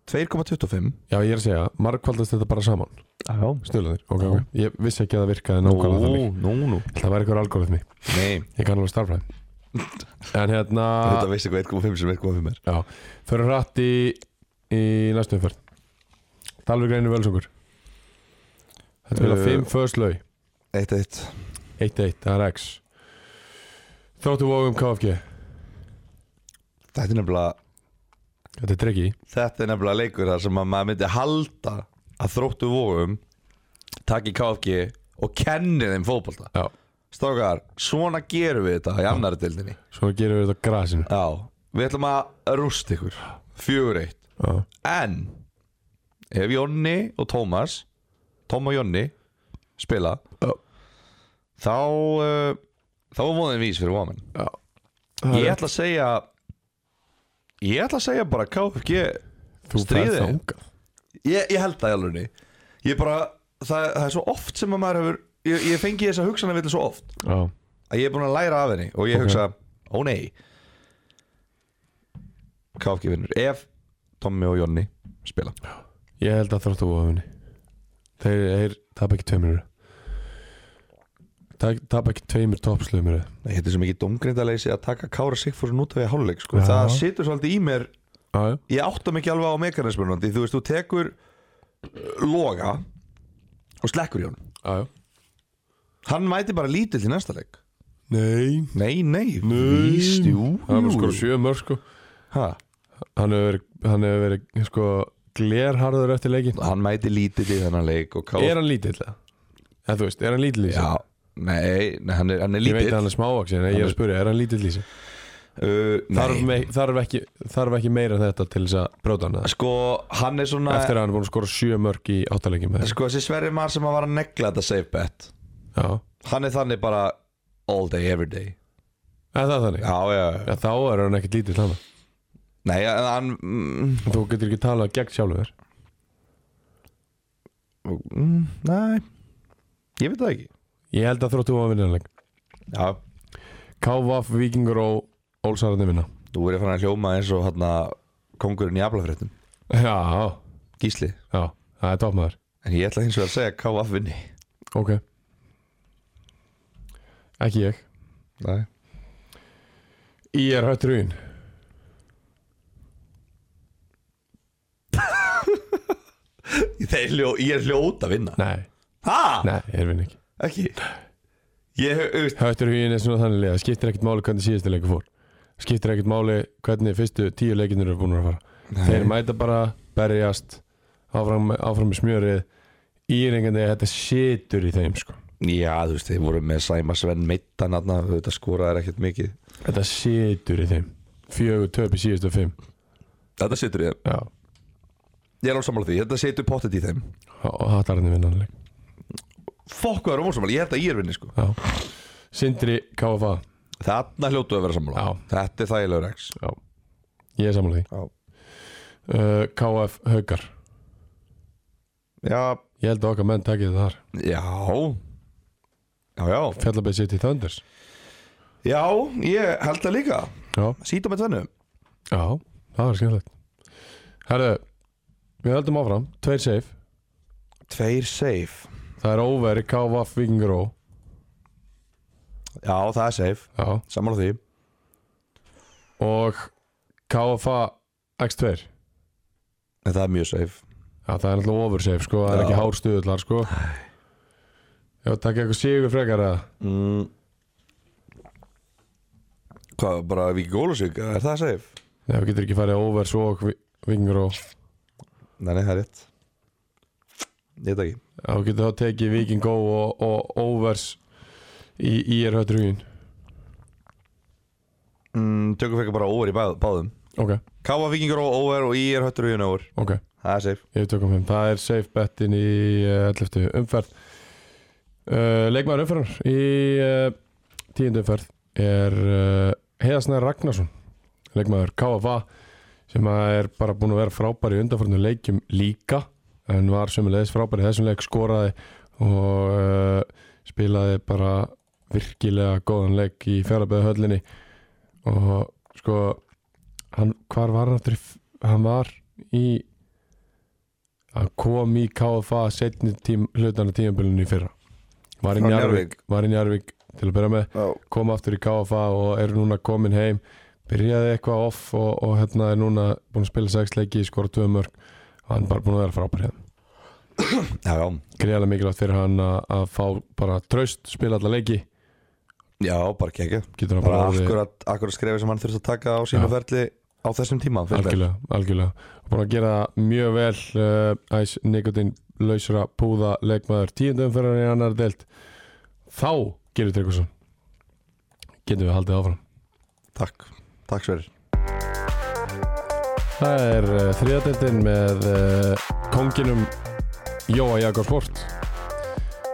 S2: 2,25
S1: já ég er að segja margvaldast þetta bara saman
S2: Já
S1: snurlaðir ok
S2: Já.
S1: ok ég vissi ekki að það virkaði
S2: Nú,
S1: nákvæmlega þannig
S2: nú, nú
S1: það var eitthvað algoritmi
S2: Nei
S1: ég kann alveg starfræði en hérna
S2: Þetta veist eitthvað 1,5 sem 1,5 er
S1: já förum hratt í í næstu umferð Dalvik reynir völsungur þetta verða
S2: Uh,
S1: 5 first lög
S2: 1-1
S1: 1-1 það er X þróttu vóðum KFG
S2: Þetta er nefnilega
S1: þetta er tryggi
S2: Þetta er nefnilega leikur þar sem að maður myndi halda að þróttu vóum taki KFG og kenni þeim fótbolta
S1: já
S2: Strákar, svona gerum við þetta í annari deildinni
S1: svona gerum við þetta á grasinu
S2: Já, við ætlum að rústa ykkur Fjögur eitt
S1: já
S2: En Ef Jonni og Tómas Tóm og Jonni spila
S1: Já.
S2: Þá uh, Þá er móðin vís fyrir vóðamenn
S1: já
S2: Ég ætla að segja Ég ætla að segja bara KFG
S1: þú
S2: stríðið.
S1: ferð þangað
S2: Ég, ég held það í alvegni Ég bara, það, það er svo oft sem að maður hefur Ég, ég fengi þessa hugsanlega vilja svo oft
S1: já
S2: Að ég er búin að læra af henni Og ég
S1: Ok.
S2: hugsa, ó nei KFG vinnur Ef Tommi og Jonni spila
S1: ég held að þróttu vóðumni þeir, þeir tap ekki tveimur í röð. tap, tap ekki tveimur toppslöfum í röð.
S2: Nei, þetta er svo mikið domgrindaleysi að taka Kára Sigfússon út af því að háluleik sko.
S1: Já.
S2: Það situr svolítið í mér
S1: já já
S2: Ég átta mikið alveg á mekanismunandi Þú veist, þú tekur uh, Loga og slekkur í honum
S1: já já
S2: Hann mæti bara lítill í næsta leik
S1: nei
S2: Nei, nei,
S1: Nei.
S2: víst, jú,
S1: hann hefur
S2: jú.
S1: skor sjö mörg sko
S2: Ha,
S1: hann hefur verið hann hefur verið sko glerharður eftir leikin
S2: Hann mæti lítill í þennan leik og Kára
S1: er hann lítill það eða þú veist er hann lítill í sig
S2: Já, nei, nei, hann er, hann er
S1: ég veit
S2: lítill
S1: að hann er smávaksin en ég er að spyrja er hann lítill í sig
S2: uh,
S1: þarf,
S2: Nei,
S1: me, þarf, ekki, þarf ekki meira en þetta til þess að bróta hann eða?
S2: sko, hann er svona
S1: eftir að hann er búin að skora sjö mörg í áttalegjum með þér
S2: Sko, þessi Sverri maður sem að var að negla þetta safe bet
S1: já,
S2: Hann er þannig bara all day, every day
S1: eða það er þannig
S2: Já, já, já
S1: ja, þá er hann ekkert lítill hann
S2: Nei, en hann mm,
S1: þú getur ekki talað gegn sjálfur þér
S2: mm, Nei Ég veit það ekki
S1: ég held að þróttu að vinna hann leik
S2: Já,
S1: Kávaf, Víkingur og Ólsararni vinna
S2: þú verður fann að hljóma eins og hann Kongurinn í aflafréttum
S1: já,
S2: Gísli
S1: já, það er toppmaður
S2: En ég ætla hins vegar að segja KF vinni
S1: ok ekki ég
S2: Nei
S1: í er höttrúin
S2: Þeir hljó, Ég er hljóta að vinna
S1: nei,
S2: Hæ?
S1: nei, ég vinn ekki
S2: Ekki Ég hef, auðvist
S1: höttrúin er svona þannig liða, það skiptir ekkert máli hvernig síðustu leikur fór skiptir ekkert máli hvernig fyrstu tíu leikinur eru búin að fara Þeir mæta bara, berjast áfram, áfram í smjörið Íringandi, þetta situr í þeim sko.
S2: Já, þú veist, þeir voru með Sæma Sven Mittan Þarna, þetta skoraði ekkert mikið
S1: Þetta situr í þeim Fjögur töp í síðustu fimm
S2: Þetta setur ég
S1: Já,
S2: Ég er ósammála því, þetta setur pottet í þeim
S1: og hattarni vinnanleik
S2: Fokk, það er ósammála, ég held að ég er vinni sko
S1: Já Sindri KFA
S2: Þarna hljótu að vera sammála
S1: Já.
S2: Þetta er þægilegur X
S1: Já Ég er sammála því
S2: Já.
S1: uh, KF Haukar
S2: Já,
S1: Ég held að okkar menn takið þetta þar
S2: Já Já, já
S1: Fjallabæð City Thunders
S2: Já, ég held það líka
S1: Já
S2: Sýta með tvennu
S1: Já, það var skemmtilegt Herðu, við höldum áfram Tveir safe
S2: Tveir safe
S1: Það er óveri KF Vingró
S2: Já, það er safe
S1: Já
S2: Sammála því
S1: og KFA X2
S2: En það er mjög safe
S1: Já, það er alltaf oversave sko, það er
S2: Já.
S1: ekki hár stuðlar sko Já, takk eitthvað sigur frekar eða
S2: mm. Hvað, bara Viki Gólusík Er það safe?
S1: Nei, við getur ekki farið over svo og vingur og
S2: Nei, nei, það er rétt Ég veit það ekki
S1: Já, við getur þá tekið Viking Go og, og overs í IR höttrugin
S2: mm, Tökum fekk bara over í báð, báðum
S1: Ok,
S2: Káa vikingur og over og í er höttur og hún over
S1: ok,
S2: Það er safe
S1: Yfir 2.5, það er safe bettin í eh, 11. umferð uh, Leikmaður umferðar í uh, 10. umferð er uh, Heiðasnær Ragnarsson Leikmaður KFA sem að er bara búin að vera frábær í undanförnum leikjum líka en var sömulegis frábær í þessum leik skoraði og uh, spilaði bara virkilega góðan leik í fjárabæðu höllinni og sko hann, hvar var hann aftur í, f- hann var í hann kom í KFA setni tím, hlutana tímabilinu í fyrra var í
S2: Frá
S1: Njarvík, var í Njarvík til að byrja með,
S2: Já,
S1: kom aftur í KFA og er núna komin heim byrjaði eitthvað off og, og hérna er núna búin að spila sex leiki, skora tvö mörg hann er bara búin að vera frábær hérna
S2: já, já.
S1: greiðlega mikilvægt fyrir hann að, að fá bara traust, spila alla leiki
S2: já bara kekja
S1: getur hann
S2: Bara
S1: bara orðið-
S2: akkurat, akkurat skrefi sem hann þurfti að taka á sínu
S1: Já.
S2: ferli á þessum tíma finnst mér.
S1: algjörlega, algjörlega búin að gera það mjög vel uh, æs Nikotin lausra púða leikmaður tíundum fyrir hann í annar deilt þá gerir Tryggvason getum við haldið áfram
S2: Takk, takk sverir
S1: það er uh, þriðadeildin með uh, konginum Jóa Jakob Sport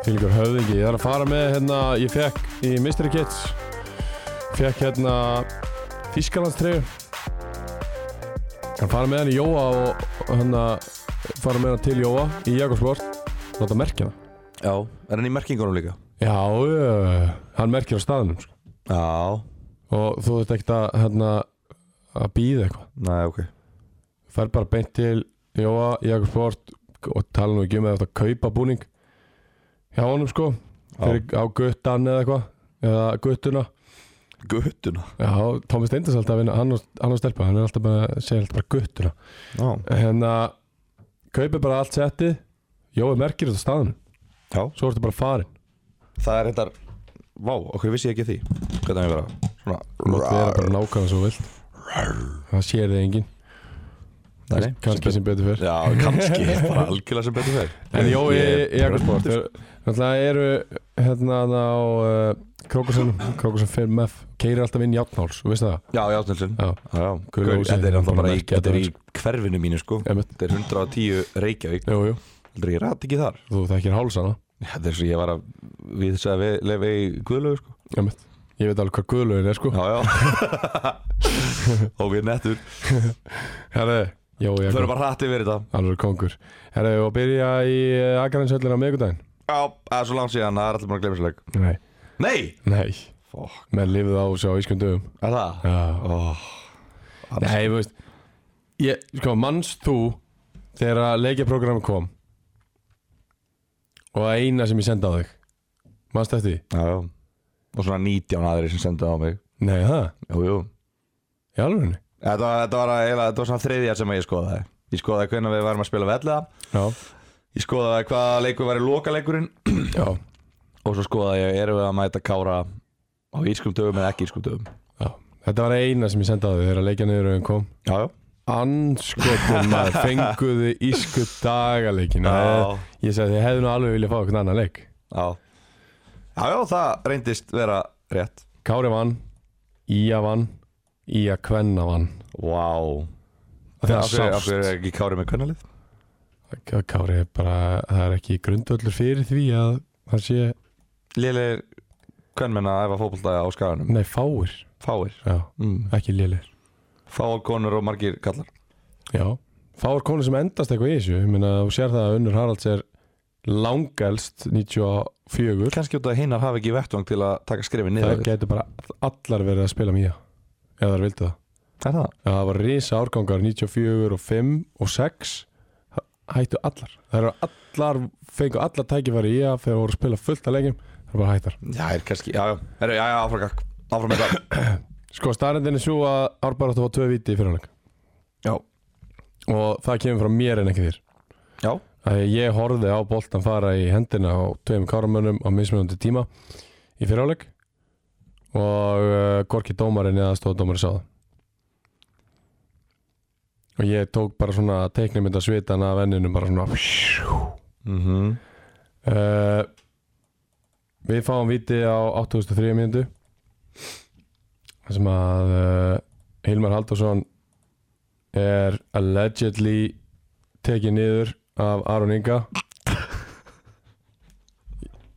S1: fylgur höfðingi, ég þarf að fara með hérna, ég fekk í Mystery Kids fekk hérna Þískalandstreyju hann fara með hann í Jóa og og hérna fara með hann til Jóa í Jakob Sport láta merkja það
S2: Já, er hann í merkingunum líka?
S1: já, uh, hann merkir á staðnum sko.
S2: Já,
S1: og þú veit ekkert að hérna að býða eitthvað
S2: næ, ok
S1: fer bara beint til Jóa, Jakob Sport og tala nú ekki um að þetta kaupa búning hjá honum sko fyrir á guttan eða eitthvað eða guttuna
S2: Guttuna
S1: já, Tómi Steindars alltaf að vinna hann og, hann og stelpa, hann er alltaf bara að segja alltaf bara guttuna
S2: Já,
S1: hérna, kaupi bara allt settið Jói merkir þetta á staðan
S2: já.
S1: svo ertu bara farin
S2: það er hendar Vá, okkur vissi ég ekki því Hvernig er ég vera?
S1: Mátt vera
S2: Svona
S1: bara nákvæmlega svo vilt það sér þig enginn
S2: Nei,
S1: kannski sem betur fyrr
S2: Já, kannski Bara algjörlega sem betur fer
S1: En Jói
S2: Ég-
S1: í Jakobsport Þannig eru hérna á uh, Krókusunum, Krókusun 5F Keiri alltaf inn Játnáls, þú veist það?
S2: Já, Játnilsson
S1: Já,
S2: Já, já
S1: Gull
S2: Gaur,
S1: Ósi,
S2: Þetta er
S1: bara
S2: náttúrulega bara í,
S1: merkja
S2: þetta er í
S1: þetta,
S2: hverfinu mínu sko
S1: einmitt
S2: Þetta er 110 Reykjavík
S1: Jú, jú,
S2: Heldur ég rætt ekki þar
S1: þú þekkir hálsana
S2: Þetta er svo ég var að Við þess að lefa í Guðlaugur sko
S1: Einmitt, ég veit alveg hvað guðlaugin er sko
S2: Já, já Og við nettur
S1: Herre, Jói
S2: Þau eru
S1: Jakob,
S2: bara rætt yfir þetta
S1: alveg kongur Herre, og byrja í Akarinshöllin á miðgudaginn
S2: Já, það er svo langt síðan, það er allir búin að glemja sérleik
S1: Nei,
S2: Nei!
S1: nei,
S2: Fokk,
S1: menn lifið á þessu á ískundum
S2: er það?
S1: Já,
S2: Oh,
S1: nei, þú veist ég, Sko, manst þú þegar að leikjaprogrammi kom og að eina sem ég senda á þig Manst þetta því?
S2: já, já Og svona 19 aðri sem sendu á mig
S1: Nei, það?
S2: Jú, jú
S1: Í alvegni?
S2: Þetta var, þetta var, eila, þetta var svona þriðja sem ég skoðaði Ég skoðaði hvernig við varum að spila vellega
S1: Já,
S2: Ég skoðaði hvaða leikur var í lokaleikurinn
S1: já,
S2: Og svo skoðaði ég, erum við að mæta kára á írskum dögum eða ekki írskum dögum
S1: já Þetta var eina sem ég senda á þig þegar að leikja niður auðin kom
S2: Já, já
S1: Anskotum maður fenguðu ísku dagaleikina
S2: Já.
S1: Ég sagði þið hefðu nú alveg viljað fá eitthvað annan leik
S2: Já, já, já það reyndist vera rétt
S1: Kári vann, Ía vann, Ía kvenna vann
S2: Vá wow.
S1: Það
S2: Af hverju af
S1: sást
S2: hverju er ekki kári með kvennalið?
S1: Kári er bara, það er ekki grundvöldur fyrir því að það sé,
S2: Lélir kvennmenn að æfa fótbolta á skaganum
S1: nei fáir
S2: Fáir
S1: Já,
S2: mm.
S1: ekki lélir
S2: Fáar konur og margir kallar
S1: Já, fáir konur sem endast eitthvað í þessu Ég meina, þú sér það að Unnur Haralds er langelst 94
S2: Kanski út að hinnar hafi ekki vettvang til að taka skrifin
S1: Það
S2: niður
S1: getur bara allar verið að spila mýja ef þær vildu það
S2: Er það?
S1: Já, Það var risa árgangar 94 og 5 og 6 það hættu allar Það eru allar, fengu allar tækifæri í að þegar voru að spila fullt að leikjum það eru bara hættar
S2: Já, er kannski, já, já, er, já, já, áfram gakk Áfram með það
S1: Sko, starrendin er svo að Árbæra áttu að fá tvö viti í fyrirleik
S2: Já,
S1: og það kemur frá mér en ekki þér
S2: já,
S1: að ég horfði á boltan fara í hendina á tveim kárumönnum á mismunandi tíma í fyrirleik og uh, Gorki dómarinn eða stóðdómarinn sá það og ég tók bara svona teiknumynda svitana af enninu bara svona
S2: mm -hmm.
S1: uh, Við fáum viti á 8.003 mínútu þar sem eh, að uh, Hilmar Haldursson er allegedly tekið niður af Aron Inga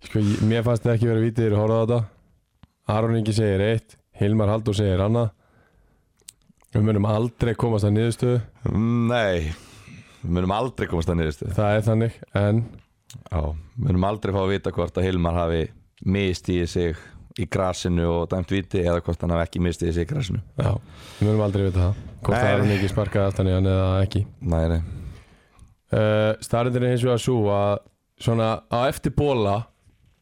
S1: Sko, ég- mér fannst það ekki verið vitið þegar ég horfði á þetta Aron Ingi segir eitt Hilmar Haldur segir annað Við munum aldrei komast að niðurstöðu
S2: Mm, Nei Við munum aldrei komast að niðurstu
S1: Það er þannig, en
S2: Já, við munum aldrei fá að vita hvort að Hilmar hafi mistið sig í grasinu og dæmt viti eða hvort hann hafi ekki mistið sig í grasinu
S1: já, við munum aldrei vita það Hvort
S2: Nei.
S1: Aron Ingi sparkaði aftan í hann eða ekki
S2: Nei, nei
S1: uh, Starrendin er hins vegar svo að svona á eftir bóla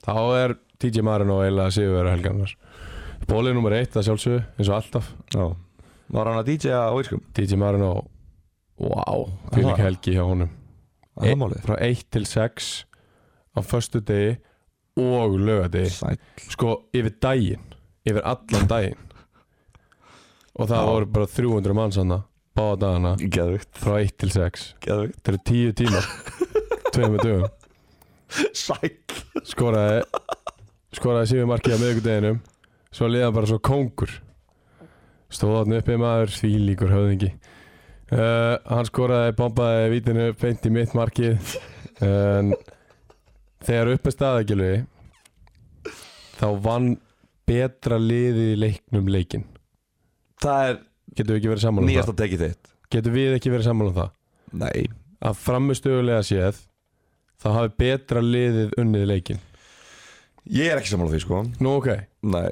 S1: þá er TJ Marino eiginlega sigurverið helgarnar Bólið nummer eitt að sjálfsögðu, eins og alltaf
S2: Já. Var hann að DJ-a á Írskum?
S1: DJ Marino Wow, fyrir
S2: Aha.
S1: helgi hjá honum
S2: Það er málið
S1: Frá 1 til 6 á föstu degi og lögadegi
S2: Sæl
S1: Sko, yfir daginn Yfir allan daginn Og það
S2: Já.
S1: voru bara 300 manns hann Báða dagana
S2: Geðvikt
S1: frá 1 til 6
S2: Geðvikt
S1: Það eru 10 tímar Tveimur dögum
S2: Sæl
S1: skoraði skoraði sífið markið á miðvikudeginum svo liða hann bara svo kóngur stóð hann uppi maður því líkur höfðingi uh, hann skoraði, bombaði vítinu beint í mitt markið en þegar uppi staðagjölvi þá vann betra liðið í leiknum leikin
S2: Það er
S1: getum við ekki verið sammála um
S2: nýjasta tekið þitt
S1: það getum við ekki verið sammála um það
S2: Nei
S1: að framustugulega séð þá hafi betra liðið unnið leikin
S2: Ég er ekki sammála því sko
S1: nú ok,
S2: Nei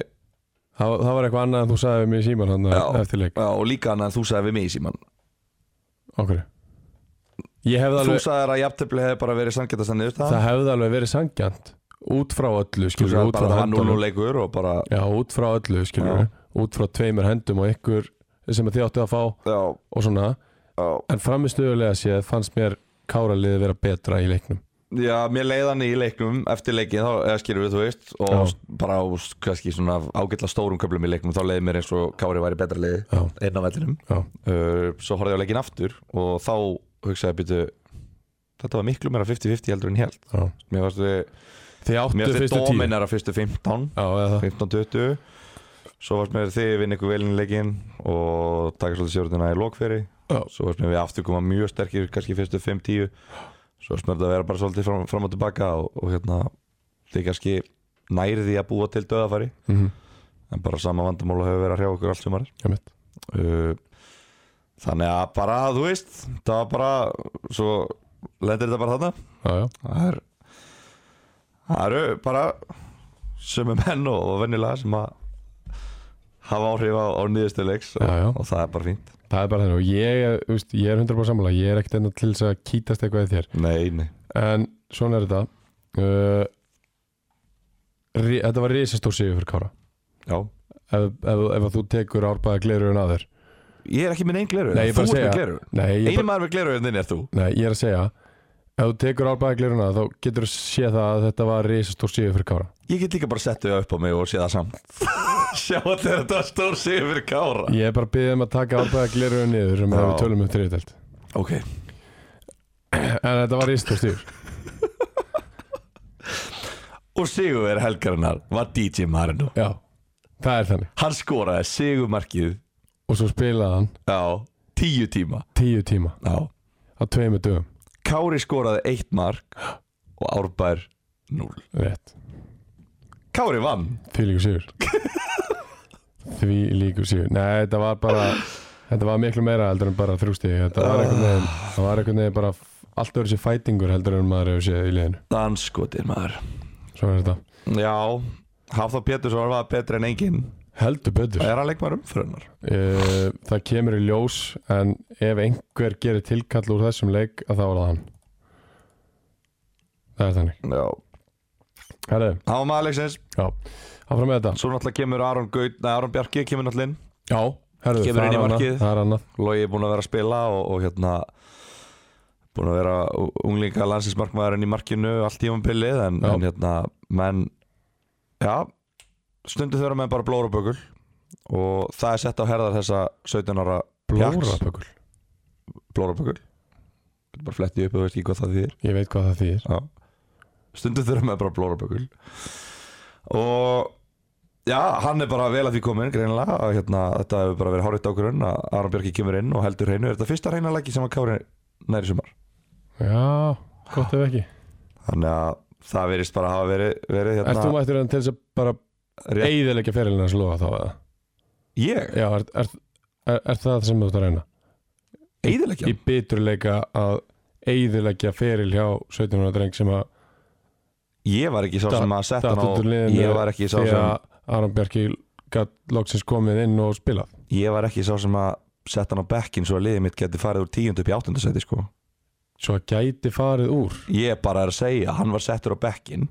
S1: Það, það var eitthvað annað en þú sagði við mig í síman hann
S2: Já.
S1: eftir leik
S2: Já, og líka hann að þú sagði við mig í síman
S1: Okkur Ég hefði
S2: Þú
S1: alveg,
S2: sagði að jafntöfli hefði bara verið sanngjöndast að niður
S1: það hefði alveg verið sangjant Út frá öllu
S2: Þú
S1: skilur
S2: sagði
S1: út
S2: bara
S1: frá
S2: að hann nú
S1: höndunum
S2: leikur og bara
S1: Já, út frá öllu skilur
S2: Já.
S1: Út frá tveimur hendum og ykkur sem þið áttu að fá
S2: Já,
S1: og svona
S2: já
S1: En framistuðulega séð fannst mér káraliði vera betra í leiknum
S2: Já, mér leið hann í leiknum eftir leikin þá, eða skilur við, þú veist og
S1: Já.
S2: st- bara á, s- kannski svona ágætla stórum köflum í leiknum, þá leiði mér eins og Kári væri betra leiði
S1: Já,
S2: einn á vellinum
S1: já,
S2: uh, svo horfði ég á leikin aftur og þá hugsaði ég býtu þetta var miklu meira 50-50 heldur en ég held
S1: já
S2: mér varst við,
S1: Þið áttu
S2: mér varst við
S1: fyrstu tíu Já,
S2: dominar að fyrstu 15
S1: eða það
S2: 15-20 svo varst mér þið vinna ykkur velin í leikin og taka svolítið sjórnina í lokferi
S1: Já.
S2: svo varst mér við aftur koma mjög sterkir kannski fyrstu 5-10 svo varst mér þetta að vera bara svolítið fram, fram og tilbaka og, og hérna þið kannski nærið því að búa til döðafæri
S1: mm
S2: en bara sama vandamála hefur verið að hrjá okkur allt sumar
S1: -hmm.
S2: uh, þannig að bara þú veist það var bara svo lendir þetta bara þarna
S1: Já, já,
S2: það er það eru bara sömu menn og, og venjulega sem að hafa áhrif á, á nýðustu leiks og,
S1: Já, já.
S2: og það er bara fínt
S1: það er bara þannig og ég, er, þú veist, ég er 100% sammála, ég er ekkert enn til þess að kýtast eitthvað í þér
S2: nei, nei,
S1: En svona er þetta uh, ri, Þetta var risastór sigur fyrir Kára
S2: já
S1: Ef, ef, ef að þú tekur árbæða glerurinn að þér
S2: ég er ekki minn einn gleru,
S1: Nei, ég
S2: þú
S1: bara
S2: ert
S1: segja-
S2: með gleru
S1: Nei, ég,
S2: eini
S1: bara,
S2: maður með gleru en þinn er þú
S1: nei, ég er að segja Ef þú tekur árbæða glerurinn að þér, þá getur þú séð það að þetta var risastór sigur fyrir Kára
S2: ég get líka bara sett þau upp á mig og sé það samt sjá að þetta var stór sigur fyrir kára
S1: Ég er bara að byggðið um að taka árbæða glerurinn niður sem
S2: Já.
S1: við tölum um þriðutelt
S2: ok,
S1: En þetta var risastór sigur
S2: og sigurveri helgarinnar var DJ Marino
S1: Já, það er þannig
S2: hann skoraði sigurmarkið
S1: Og svo spilaði hann
S2: á tíu tíma
S1: tíu tíma
S2: já.
S1: á tveimur dögum
S2: Kári skoraði eitt mark og Árbær núl
S1: Rétt,
S2: Kári vann
S1: því líkur sigur Því líkur sigur Nei, þetta var bara Þetta var miklu meira heldur en bara þrjústi Þetta var einhvern veginn Það var einhvern veginn bara f- Allt öðru sér fætingur heldur en maður hefur séð í liðinu
S2: Danskotir maður
S1: Svo er þetta
S2: Já, Hafþór Pétursson var betri en engin
S1: Heldur betur
S2: Er hann leikmaður umfyrunar?
S1: uh, Það kemur í ljós En ef einhver gerir tilkall úr þessum leik að Þá var það hann Það er þannig
S2: Já
S1: Herðu,
S2: Hann var maður leiksins
S1: já Áfram með þetta
S2: Svo náttúrulega kemur Aron, Gaut, nei, Aron Bjarki kemur náttúrulega inn
S1: Já, herðu,
S2: Kemur
S1: það
S2: inn í
S1: er annað
S2: markið.
S1: Það er annað
S2: Logi er búin að vera að spila og, og hérna búin að vera u- unglinga landsinsmarkmaðurinn í markinu allt tímambilið en,
S1: Já.
S2: en hérna menn já, stundu þurfa menn bara blóra bökul og það er sett á herðar þessa 17 ára pjaks.
S1: Blórapökul
S2: blóra bökul getur bara flettið upp og veist ekki hvað það þýðir
S1: Ég veit hvað það þýðir
S2: já. stundu þurfa menn bara blóra bökul og já, hann er bara vel að því komin greinilega að hérna, þetta hefur bara verið hárið ákvörðun að Aron Björki kemur inn og heldur hreinu er þetta fyrsta hreina leggi sem að Kári næri sumar
S1: Já, gott ef ekki
S2: Þannig að það verist bara að hafa verið, verið
S1: Ert þú
S2: hérna
S1: mættur hann til þess að bara
S2: rétt,
S1: eigðilegja ferilina að slóa þá eða?
S2: Ég?
S1: Já, er, er, er, er það sem þú ert að reyna?
S2: Eðilegja?
S1: Í biturleika að eigðilegja feril hjá 17 ára dreng sem að
S2: Ég var ekki sá sem að setja
S1: datt
S2: hann á
S1: út úr liðinu
S2: Ég var ekki sá
S1: því
S2: sem
S1: að Aron Bjarki gatt loksins komið inn og spilað
S2: Ég var ekki sá sem að setja hann á bekkin svo að liðið mitt geti farið úr tíundu upp í áttundasæti sko
S1: svo að gæti farið úr
S2: Ég bara er að segja, hann var settur á bekkin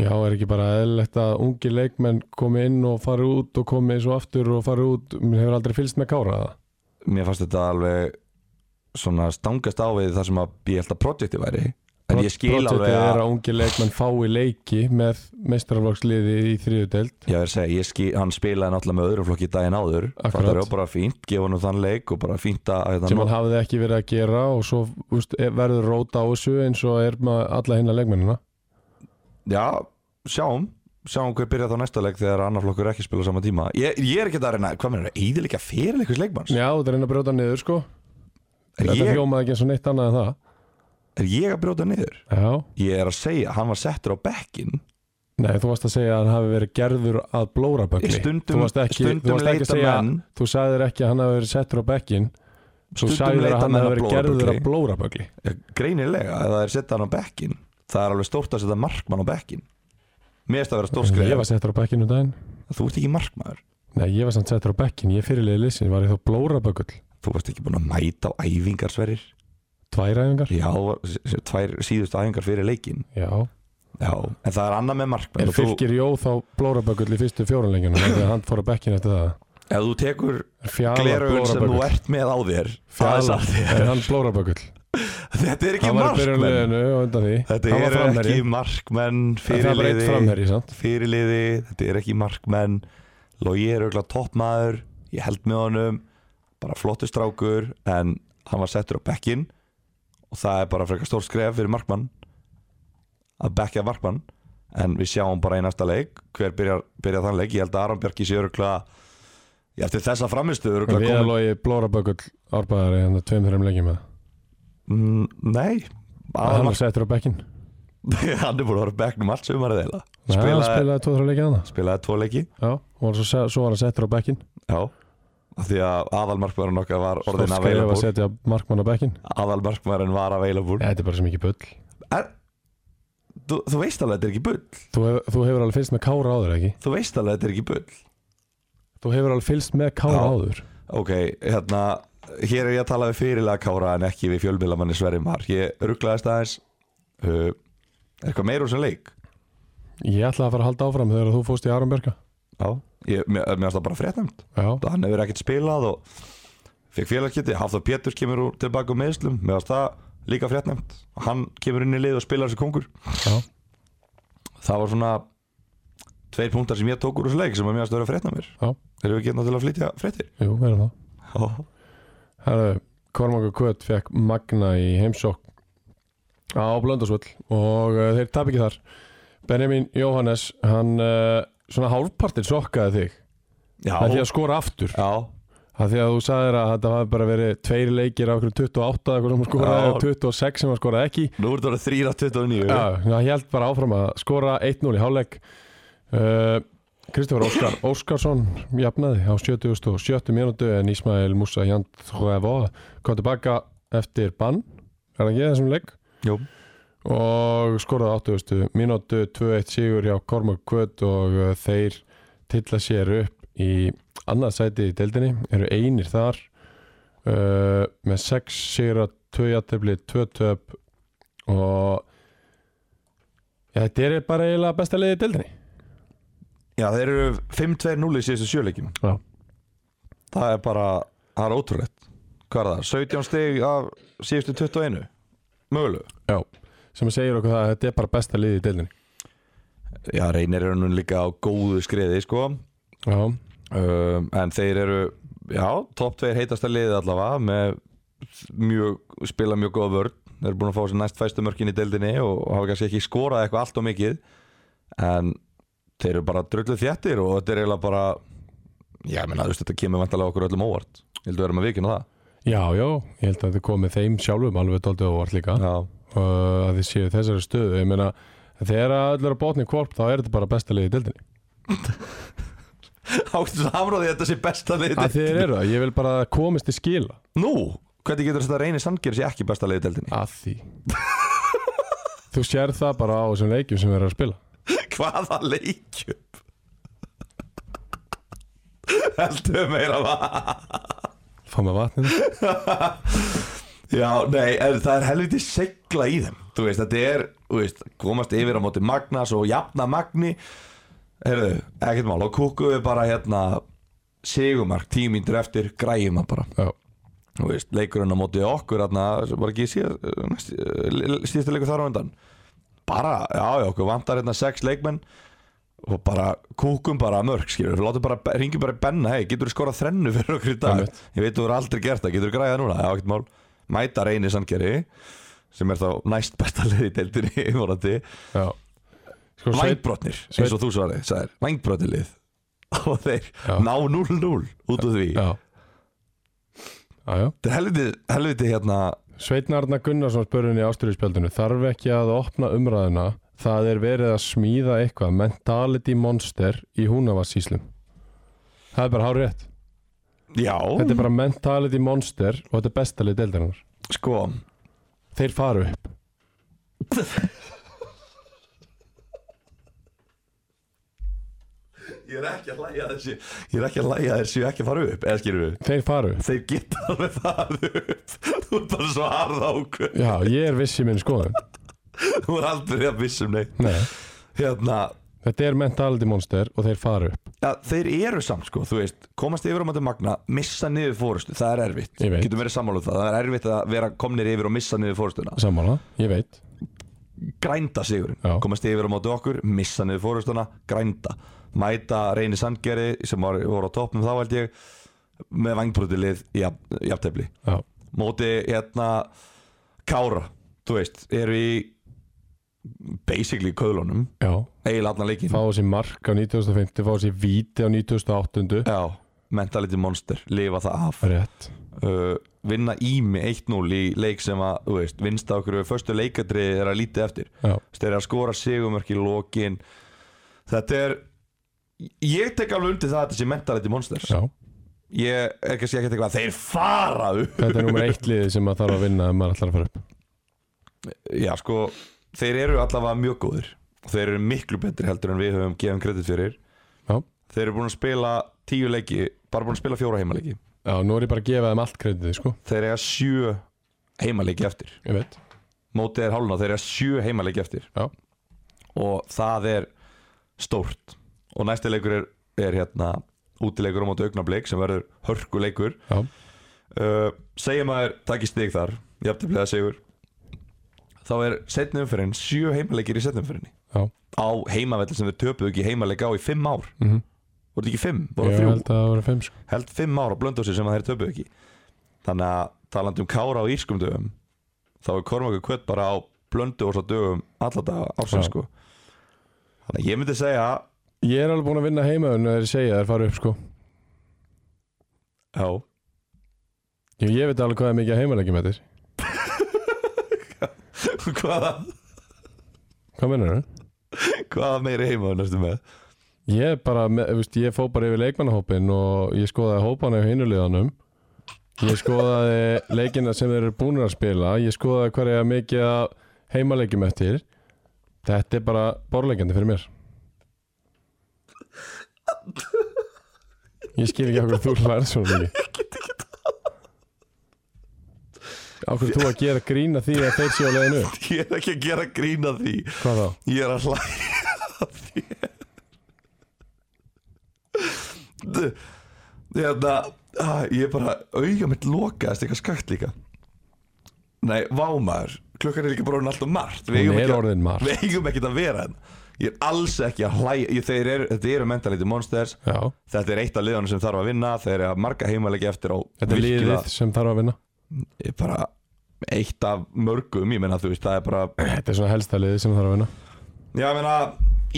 S1: Já, er ekki bara eðlilegt að ungi leikmenn komi inn og fari út og komi svo aftur og fari út, mér hefur aldrei fylst með kára það.
S2: Mér fannst þetta alveg svona stangast á við það sem að ég held að projekti væri En ég skil alveg
S1: Projektið er
S2: að
S1: að ungi leikmenn fái leiki með meistaraflagsliði í þriðu deild.
S2: Ég verð að segja, ég skil, hann spilaði náttúrulega með öðrum flokki daginn áður
S1: Akkurat.
S2: Það er bara fínt, gefa hann þann leik og bara fínt að hérna,
S1: sem hann hafði ekki verið að gera og svo úst, verður róta á þessu eins og er með alla hinna leikmennina
S2: Já, sjáum Sjáum hver byrja þá næsta leik þegar annar flokkur ekki spila á sama tíma Ég, ég er ekki að reyna, hvað meður, eðilega fyrir leikvist leikmanns?
S1: Já, þetta er einn að brjóta niður sko
S2: Er
S1: Þetta
S2: ég,
S1: hljómaði ekki eins og neitt annað en það
S2: er ég að brjóta niður?
S1: Já,
S2: Ég er að segja, hann var settur á bekkin
S1: nei, þú varst að segja að hann hafi verið gerður að blóra bökli Þú
S2: Stundum,
S1: varst ekki, þú
S2: stundum
S1: varst ekki að
S2: leita
S1: segja
S2: menn
S1: Þú sagðir ekki að hann hafi verið settur á bekkin Þú
S2: Stundum
S1: sagðir að
S2: leita
S1: hann
S2: menn
S1: hafi
S2: að
S1: verið gerður að
S2: blóðabökli
S1: blóra bökli
S2: Greinilega, ef það er setja hann á bekkin Það er alveg stórt að setja markmann á bekkin Mér erst að vera stórt
S1: Ég
S2: skrið
S1: var settur á bekkinu um daginn
S2: Þú ert ekki markmaður
S1: Nei, ég var samt settur á bekkin, ég fyrirlega lissin Var ég þá blóra bökull,
S2: Þú varst ekki búin að mæta á æfingar sverir
S1: tværæðingar
S2: Já, þú var- s- s- tvær síðustu æfingar fyrir leikin
S1: Já,
S2: Já, en það er annað með markmann
S1: er
S2: og þú-
S1: fylgir Jó þá blóra bökull í fyrstu fjórunleikinu Þegar hann fór á bekkin eftir það
S2: Ef þú tekur
S1: Fjalar
S2: gleraugun sem þú
S1: blórabökull
S2: ert með á þér það er
S1: Fjalar,
S2: satt.
S1: er hann blórabökull
S2: Þetta er ekki
S1: Hann var í
S2: markmenn
S1: byrjunleginu og undan því
S2: Þetta
S1: Hann var
S2: eru
S1: framherji.
S2: ekki markmenn
S1: En Það var eitt
S2: fyrirliði,
S1: framherji, sant?
S2: fyrirliði Þetta eru ekki markmenn Logi er auðvitað toppmaður Ég held með honum Bara flottur strákur En hann var settur á bekkin Og það er bara frekar stór skref fyrir markmann Að bekka markmann En við sjáum bara í næsta leik Hver byrjar, byrjar þann leik Ég held að Aron Bjarki sé auðvitað Eftir þessa framistu
S1: Við erum logi blórabökull árbæðari hann er tveim þeirra leikjum með
S2: Mm, Nei
S1: Hann
S2: Aðalmark-
S1: var settur á bekkin
S2: hann er búin að vera á bekknum allt sumarið
S1: Nei,
S2: eða
S1: hann
S2: spilaði,
S1: spilaði tvo þeirra leikja þannig
S2: spilaði tvo leiki
S1: Já, og hann svo, se- svo var hann settur á bekkin
S2: já af því að aðalmarkmaðurinn okkar var orðin að
S1: Stórskref að
S2: veilabúr
S1: setja markmann á bekkin
S2: aðalmarkmaðurinn var að veilabúr
S1: Þetta er bara sem ekki bull
S2: þú, þú veist alveg að þetta er ekki bull
S1: Þú, hef, þú hefur alveg fylst með kára áður, ekki?
S2: þú veist alveg að þetta er ekki bull
S1: Þú hefur alveg fylst með kára
S2: Já.
S1: áður
S2: ok, hérna hér er ég að tala við fyrirlega Kára en ekki við fjölmiðlamanni Sverri Mar ég rugglaðist aðeins uh, er eitthvað meira úr sem leik
S1: Ég ætlaði að fara að halda áfram þegar þú fóst í Aronberga
S2: já, ég, mér, mér varst það bara fréttnæmt
S1: Já,
S2: og hann hefur ekkert spilað og fekk félagskipti, Hafþór Péturs kemur úr tilbaka um meðslum, mér varst það líka fréttnæmt og hann kemur inn í lið og spilar þessi kongur
S1: já,
S2: það var svona tveir punktar sem ég tók úr þessu leik sem að mér varst að vera fréttna mér
S1: Já.
S2: erum við getna hérna til að flytja fréttir
S1: jú, verðum það
S2: oh.
S1: Herðu, Kormákur Kvöt fekk Magna í heimsókn á Blöndasvöll og uh, þeir tap ekki þar Benjamin Jóhannes, hann uh, svona hálfpartinn sokkaði þig
S2: já,
S1: Það er því að sko- skora aftur
S2: já,
S1: Það því að þú sagðir að þetta hafi bara verið tveir leikir af okkur 28 eitthvað sem hann skoraði
S2: Já.
S1: og 26 sem hann skoraði ekki
S2: nú er þetta þrýra 29
S1: Já, það held bara áfram að skora 1-0 í hálfleik uh, Kristoffer Óskar Óskarsson jafnaði á 77. mínútu en Ísmael Musa Jandhrevo kom tilbaka eftir bann er það ekki í þessum leik
S2: Jú.
S1: og skoraði 80. mínútu 2-1 sigur hjá Kormák Kvöt og uh, þeir tilla sér upp í annað sæti í deildinni eru einir þar uh, með 6 sigra 2 jættefli, 2 töp og ja, þetta er bara eiginlega besta liðið í deildinni
S2: já, þeir eru 5-2-0 í síðustu sjöleikin
S1: Já.
S2: það er bara, það er ótrúlegt hvað er það, 17 stig af síðustu 21 möguleg
S1: sem segir okkur það að þetta er bara besta liðið í deildinni
S2: já, reynir er nú líka á góðu skriði sko
S1: Já,
S2: um, en þeir eru já, topp tveir heitasta liðið allavega með mjög, spila mjög góða vörn þeir eru búin að fá sér næst fæstu mörkin í deildinni og hafa kannski ekki skorað eitthvað allt og mikið en þeir eru bara drullu þjættir og þetta er eiginlega bara já, ég meina, þú veist, þetta kemur vantarlega okkur öllum óvart ég held að vera með vikinu það
S1: Já, já, ég held að þið komið þeim sjálfum alveg doldið óvart líka
S2: Já,
S1: uh, að þið séu í þessari stöðu ég meina, þegar að öll eru að botni kvorp þá er þetta bara besta liðið í dildinni
S2: áttu samráði að þetta sé besta liðið
S1: að þeir eru það, ég vil bara að það komist í skila
S2: Nú, hvernig getur þetta reynir sanngir sé ekki besta liðið deildinni?
S1: að því þú sér það bara á þessum leikjum sem við erum að spila
S2: Hvaða leikjöp? Heldur meira það
S1: fá með vatnið
S2: Já, nei, en það er helviti segla í þeim Þú veist, þetta er, þú veist, komast yfir á móti Magnas og jafna Magni Heyrðu, ekkert mál og kúku við bara hérna Sigumark, tíu mínútur eftir, græjum það bara
S1: já,
S2: Þú veist, leikurinn á móti okkur hérna, sem var ekki eh, síðasta leikur þar á undan Bara, já, já, okkur vantar hérna sex leikmenn og bara kúkum bara að mörg skilur, við látum bara, ringjum bara í benna hei, getur þú skorað þrennu fyrir okkur í dag
S1: Einmitt.
S2: ég veit þú er aldrei gert það, getur þú græðað núna já, ekkert mál, mæta reyni sangeri sem er þá næst besta leið í deildinni vorandi,
S1: já sko, Sveit,
S2: vængbrotnir
S1: Sveinn-
S2: eins og þú svarði, sagðir, vængbrotnir lið og þeir
S1: Já.
S2: ná 0-0 út úr því,
S1: já já, já
S2: þetta er helviti, helviti hérna,
S1: Sveitnarna Gunnarsson spurði henni í ástyrjuspjaldinu þarf ekki að opna umræðina það er verið að smíða eitthvað mentality monster í húnavassíslum það er bara hár rétt
S2: já
S1: þetta er bara mentality monster og þetta er bestalið deildarinnar
S2: sko,
S1: þeir fara upp
S2: ég er ekki að læja þessi ég er ekki að læja þessi, ég er ekki að fara upp eða skilur við
S1: þeir fara upp
S2: þeir geta alveg það upp þú ert bara svo harð ákveð
S1: já ég er viss í minn skoðun
S2: þú er aldrei að vissum neitt
S1: Nei,
S2: hérna,
S1: þetta er mentality monster og þeir fara upp
S2: ja, þeir eru samt sko, þú veist, komast yfir á mæti magna missa niður fórustu, það er erfitt
S1: Ég veit.
S2: getum verið sammáluð það, það er erfitt að vera komnir yfir og missa niður fórustuna
S1: sammála ég veit
S2: grænda sigurinn,
S1: Já.
S2: komast yfir á móti okkur missa niður fórustuna, grænda mæta reyni sandgeri sem var, voru á toppum þá held ég með vangbrotilið í jafntefli
S1: já
S2: móti hérna Kára, þú veist, eru í basically köðlunum
S1: já
S2: eiginlega allan leikin
S1: fá þessi mark á 1950 fá þessi víti á 1908
S2: Já, mentality monster, lifa það af
S1: rétt
S2: uh, vinna ími 1-0 í leik sem að, þú veist, vinsta okkur við förstu leikadrið er að lítið eftir
S1: já
S2: Þess, þeir eru að skora sigumörk í lokin þetta er ég tek alveg undir það að þetta sé mentality monster
S1: já
S2: ég er kannski ekki að teka að þeir fara upp
S1: Þetta er nummer eitt liðið sem maður þarf að vinna ef maður ætlar að fara upp
S2: Já, sko, þeir eru allavega mjög góðir Þeir eru miklu betri heldur en við höfum gefum kredit fyrir
S1: Já,
S2: Þeir eru búin að spila tíu leiki Bara búin að spila fjóra heimaleiki
S1: já nú er ég bara að gefa þeim allt kreditið sko
S2: Þeir eru sjö heimaleiki eftir
S1: Ég veit
S2: Mótið er hálfuna, þeir eru sjö heimaleiki eftir
S1: Já,
S2: Og það er stórt Og næsti leikur er, er hérna Útileikur á móti augnablik sem verður hörkuleikur
S1: já,
S2: uh, Segja maður, takk í stig þar Jafntiflega sigur Þá er setni umferðin, sjö heimaleikir í setni umferðinni
S1: já
S2: á heimavelli sem þeir töpuðu ekki heimaleika á í fimm ár
S1: mm
S2: voru þetta ekki fimm, voru
S1: Ég
S2: þrjú held...
S1: held að það voru fimm sko
S2: fimm ár á blöndósi sem þeir töpuðu ekki þannig að talandi um kára á írskum dögum þá er Kormakur Kvöt bara á blöndósa dögum alla daga
S1: Já.
S2: ársins sko þannig að ég myndi segja
S1: Ég er alveg búin að vinna heimaðun þegar ég segja þeir fara upp sko
S2: já,
S1: Ég, ég veit alveg hvað er mikið að heimalegjum þetta er.
S2: hvaða,
S1: Hvað mennur þau?
S2: hvaða meiri heimaður næstu með
S1: Ég bara, með, veist, ég fó bara yfir leikmannahópin og ég skoðaði hópana hjá hinuleganum Ég skoðaði leikina sem þeir eru búin að spila Ég skoðaði hverja mikið að heimalegjum eftir Þetta er bara borlegjandi fyrir mér Ég skil ekki okkur þú hlærð svona mikið Ég get ekki tala Okkur þú að gera grína því að þeir séu á leiðinu upp?
S2: ég er ekki að gera grína því
S1: Hvað þá?
S2: ég er að hlæja að þér D- Hérna, ah, ég er bara auga mitt lokaðist eitthvað skakt líka Nei, vámaður Klukkan er líka bara orðin alltaf margt
S1: Hún
S2: eigum
S1: er
S2: ekki að-
S1: orðin margt.
S2: Við eigum ekki að vera henn Ég er alls ekki að hlæja ég, þeir eru, Þetta eru mentality monsters
S1: Já,
S2: Þetta er eitt af liðanum sem þarf að vinna Þeir eru að marga heimalegi eftir á
S1: þetta er
S2: virkilega-
S1: liðið sem þarf að vinna
S2: Ég er bara eitt af mörgum Ég meina þú veist, það er bara
S1: Þetta er svona helsta liðið sem þarf að vinna
S2: Já, ég meina,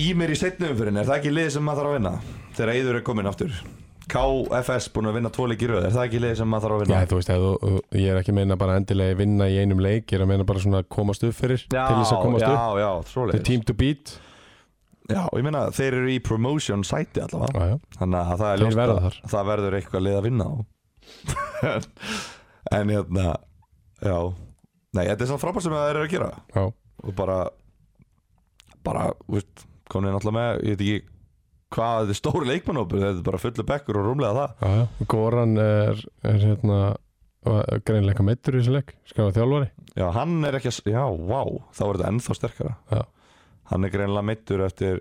S2: í mér í setnumfyrin, er það ekki lið sem maður þarf að vinna? Þegar Eður er komin aftur KFS búin að vinna tvo leik í röð Er það ekki leið sem maður þarf að vinna?
S1: Já, þú veist, ef þú, ég er ekki að meina bara endilega vinna í einum leik, ég er að meina bara svona komast upp fyrir, til þess að komast
S2: já,
S1: upp.
S2: já,
S1: The
S2: svoleiðis
S1: team to beat.
S2: Já, og ég meina þeir eru í promotion sæti allavega
S1: Já, já.
S2: Þannig að það er
S1: Þeir
S2: ljóst
S1: verða
S2: að
S1: þar.
S2: það verður eitthvað leið að vinna á En hérna Já Nei, þetta er svona frábært sem það eru að gera
S1: já.
S2: Og bara Bara, þú veist, komin alltaf með Ég veit ekki hvað, þetta er stóri leikmannhópur Þetta er bara fullu bekkur og rúmlega það
S1: Já, já. Goran er, er hérna var greinilega meittur í þessu leik skráði þjálfari
S2: Já, hann er ekki að, s- já, vá Þá er þetta ennþá sterkara
S1: Já.
S2: Hann er greinilega meittur eftir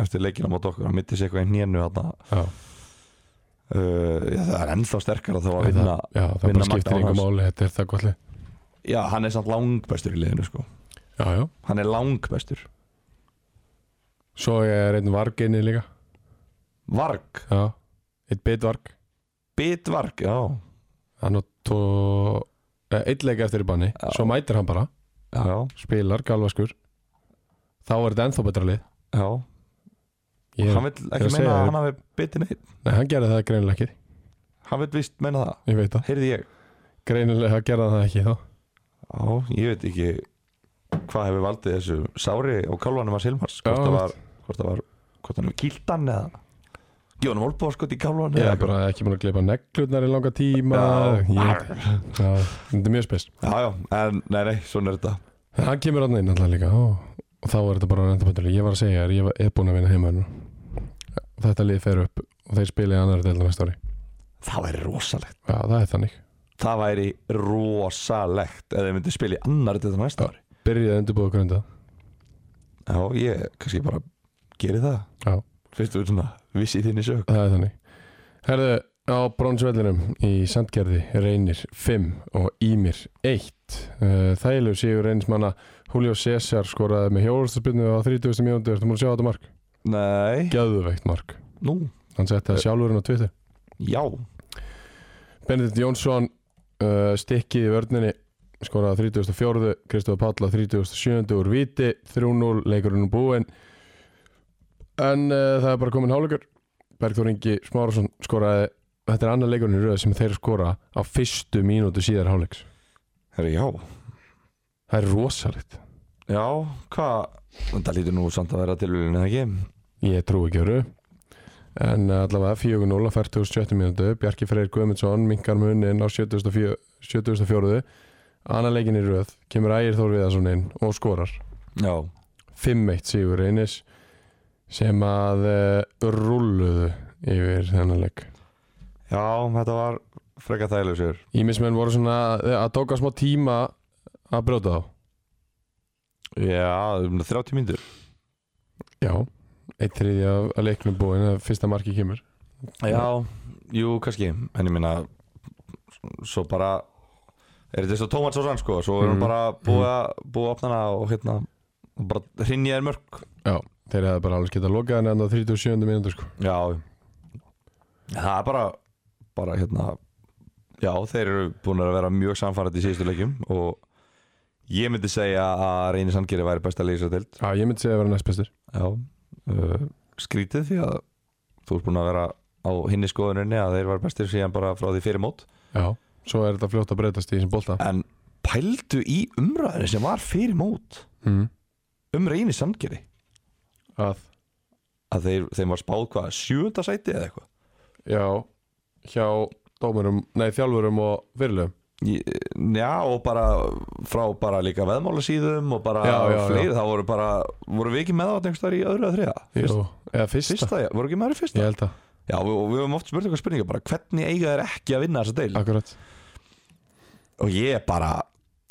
S2: Eftir leikina mót okkur, hann mitti sér eitthvað í hnénu þarna.
S1: Já,
S2: uh, já, það er ennþá sterkara þá að
S1: það,
S2: vinna
S1: já, það
S2: vinna
S1: bara skiptir
S2: Magna
S1: yngur
S2: Ármanns.
S1: máli þetta er það gott lið
S2: Já, hann er samt langbestur í liðinu sko
S1: Já, já,
S2: Hann er langbestur
S1: svo er einn varg inni líka
S2: Varg,
S1: Já, eitt bitvarg
S2: bitvarg, já
S1: hann á tvo eh, einn leik eftir í banni,
S2: Já.
S1: svo mætir hann bara
S2: Já, já,
S1: spilar, galvaskur þá er þetta ennþá betra lið
S2: já.
S1: Ég,
S2: Hann vill
S1: er að
S2: ekki
S1: segja
S2: meina að
S1: þér.
S2: hann hafi bitið neitt
S1: Nei, hann gerði það greinilega ekki
S2: Hann vill vist meina það,
S1: ég veit það,
S2: heyrði ég
S1: greinilega gerði hann það ekki þá
S2: Já, ég veit ekki hvað hefur valdið þessu sári og kálvanum að Silmars
S1: Já,
S2: hvort það
S1: einmitt.
S2: var, hvort það var, hvort hann hefur kýlt hann eða Jónum Olbóskot í kálvanum
S1: ég er bara ekki búin að gleypa neglutnar í langa tíma ég,
S2: já,
S1: já, þetta er mjög spes
S2: já, já, en nei, nei, svona er þetta
S1: En hann kemur hann inn alltaf líka ó, og þá er þetta bara enda betur Ég var að segja þér, ég var- er búinn að vinna heimöðinu Þetta lið fer upp og þeir spila í annar deildar næsta ári
S2: Það væri rosalegt
S1: Já, það er þannig
S2: Það væri rosalegt eða þið myndið spila í annar þetta næsta ári
S1: Byrjaði að undirbúða okkur undan
S2: Já, ég kannski bara geri það
S1: Já,
S2: Fyrst þú svona, vissi þinni sög
S1: það er þannig Herðu, á bronsvellinum í Sandgerði reynir 5 og Ímir 1 Þælu séu reynismanna Julio César skoraði með hjóðurstaspinnu á 30. mjóndu Ertu múin að sjá þetta mark?
S2: Nei,
S1: Gjöðuveikt mark
S2: nú,
S1: Hann setti það sjálfurinn á Twitter
S2: já
S1: Benedikt Jónsson uh, stikkið í vörninni skoraði á 34. Kristofur Páll á 37. úr Víti 3-0 leikurinn er búinn en uh, það er bara komin hálfleikur Bergþór Ingi Smárasson skoraði þetta er annar leikurinn í röð sem þeir skora á fyrstu mínútu síðar hálfleiks
S2: Herri, já
S1: það er rosalegt
S2: Já, hvað, það lítur nú samt að vera tilvíðin eða ekki
S1: ég trúi ekki öru en eh, allavega 4-0 á 47 mínútu Bjarki Freyr Guðmundsson minkar munin á 74. 74. annar leikin í röð kemur Ægir Þór Viðarsson inn og skorar
S2: Já,
S1: 5-1 sigur Einis sem að uh, rulluðu yfir þennan leik
S2: já, þetta var freka þægilegur
S1: Ímismenn voru svona eh, að tóka smá tíma að brjóta þá
S2: Já, um 30 mínútur
S1: Já, eitt þriði af, af leiknum búin að fyrsta marki kemur
S2: Já, jú, kannski En ég minna, svo bara Er þetta svo tómat svo sann sko Svo er
S1: Mhm.
S2: hún bara búið að búið að opna hana og hérna og bara hrinja er mörg
S1: Já, þeir hefði bara alveg getað lokað henni en á 37. mínútu sko
S2: Já Það er bara, bara hérna Já, þeir eru búin að vera mjög samfærandi í síðustu leikjum og ég myndi segja að Reyni Sandgeri væri besta leikisardild
S1: Já, ég myndi segja að vera næst bestur
S2: Já uh, Skrítið því að þú ert búin að vera á hinni skoðuninni að þeir væri bestir síðan bara frá því fyrir mót
S1: Já, svo er þetta fljótt að breytast í þessum bolta
S2: en pældu í umræðinu sem var fyrir mót
S1: mm.
S2: um Reyni Sandgeri
S1: Að,
S2: að þeir, þeim var spáð hvað, sjöunda sæti eða eitthvað
S1: já, hjá dómurum, nei þjálfurum og fyrirlegum
S2: Ég- Já og bara frá bara líka veðmálasíðum og bara
S1: Já, já, já.
S2: fleiri, þá voru bara, voru við ekki með á einhverstaðar í öðru að þriða?
S1: Jú, eða fyrsta,
S2: Fyrsta, já, voru ekki með það í
S1: Ég
S2: fyrsta?
S1: held það,
S2: Já, við, og við höfum oft spurt eitthvað spurninga bara hvernig eiga þeir ekki að vinna þessa deil?
S1: akkurat
S2: Og ég bara,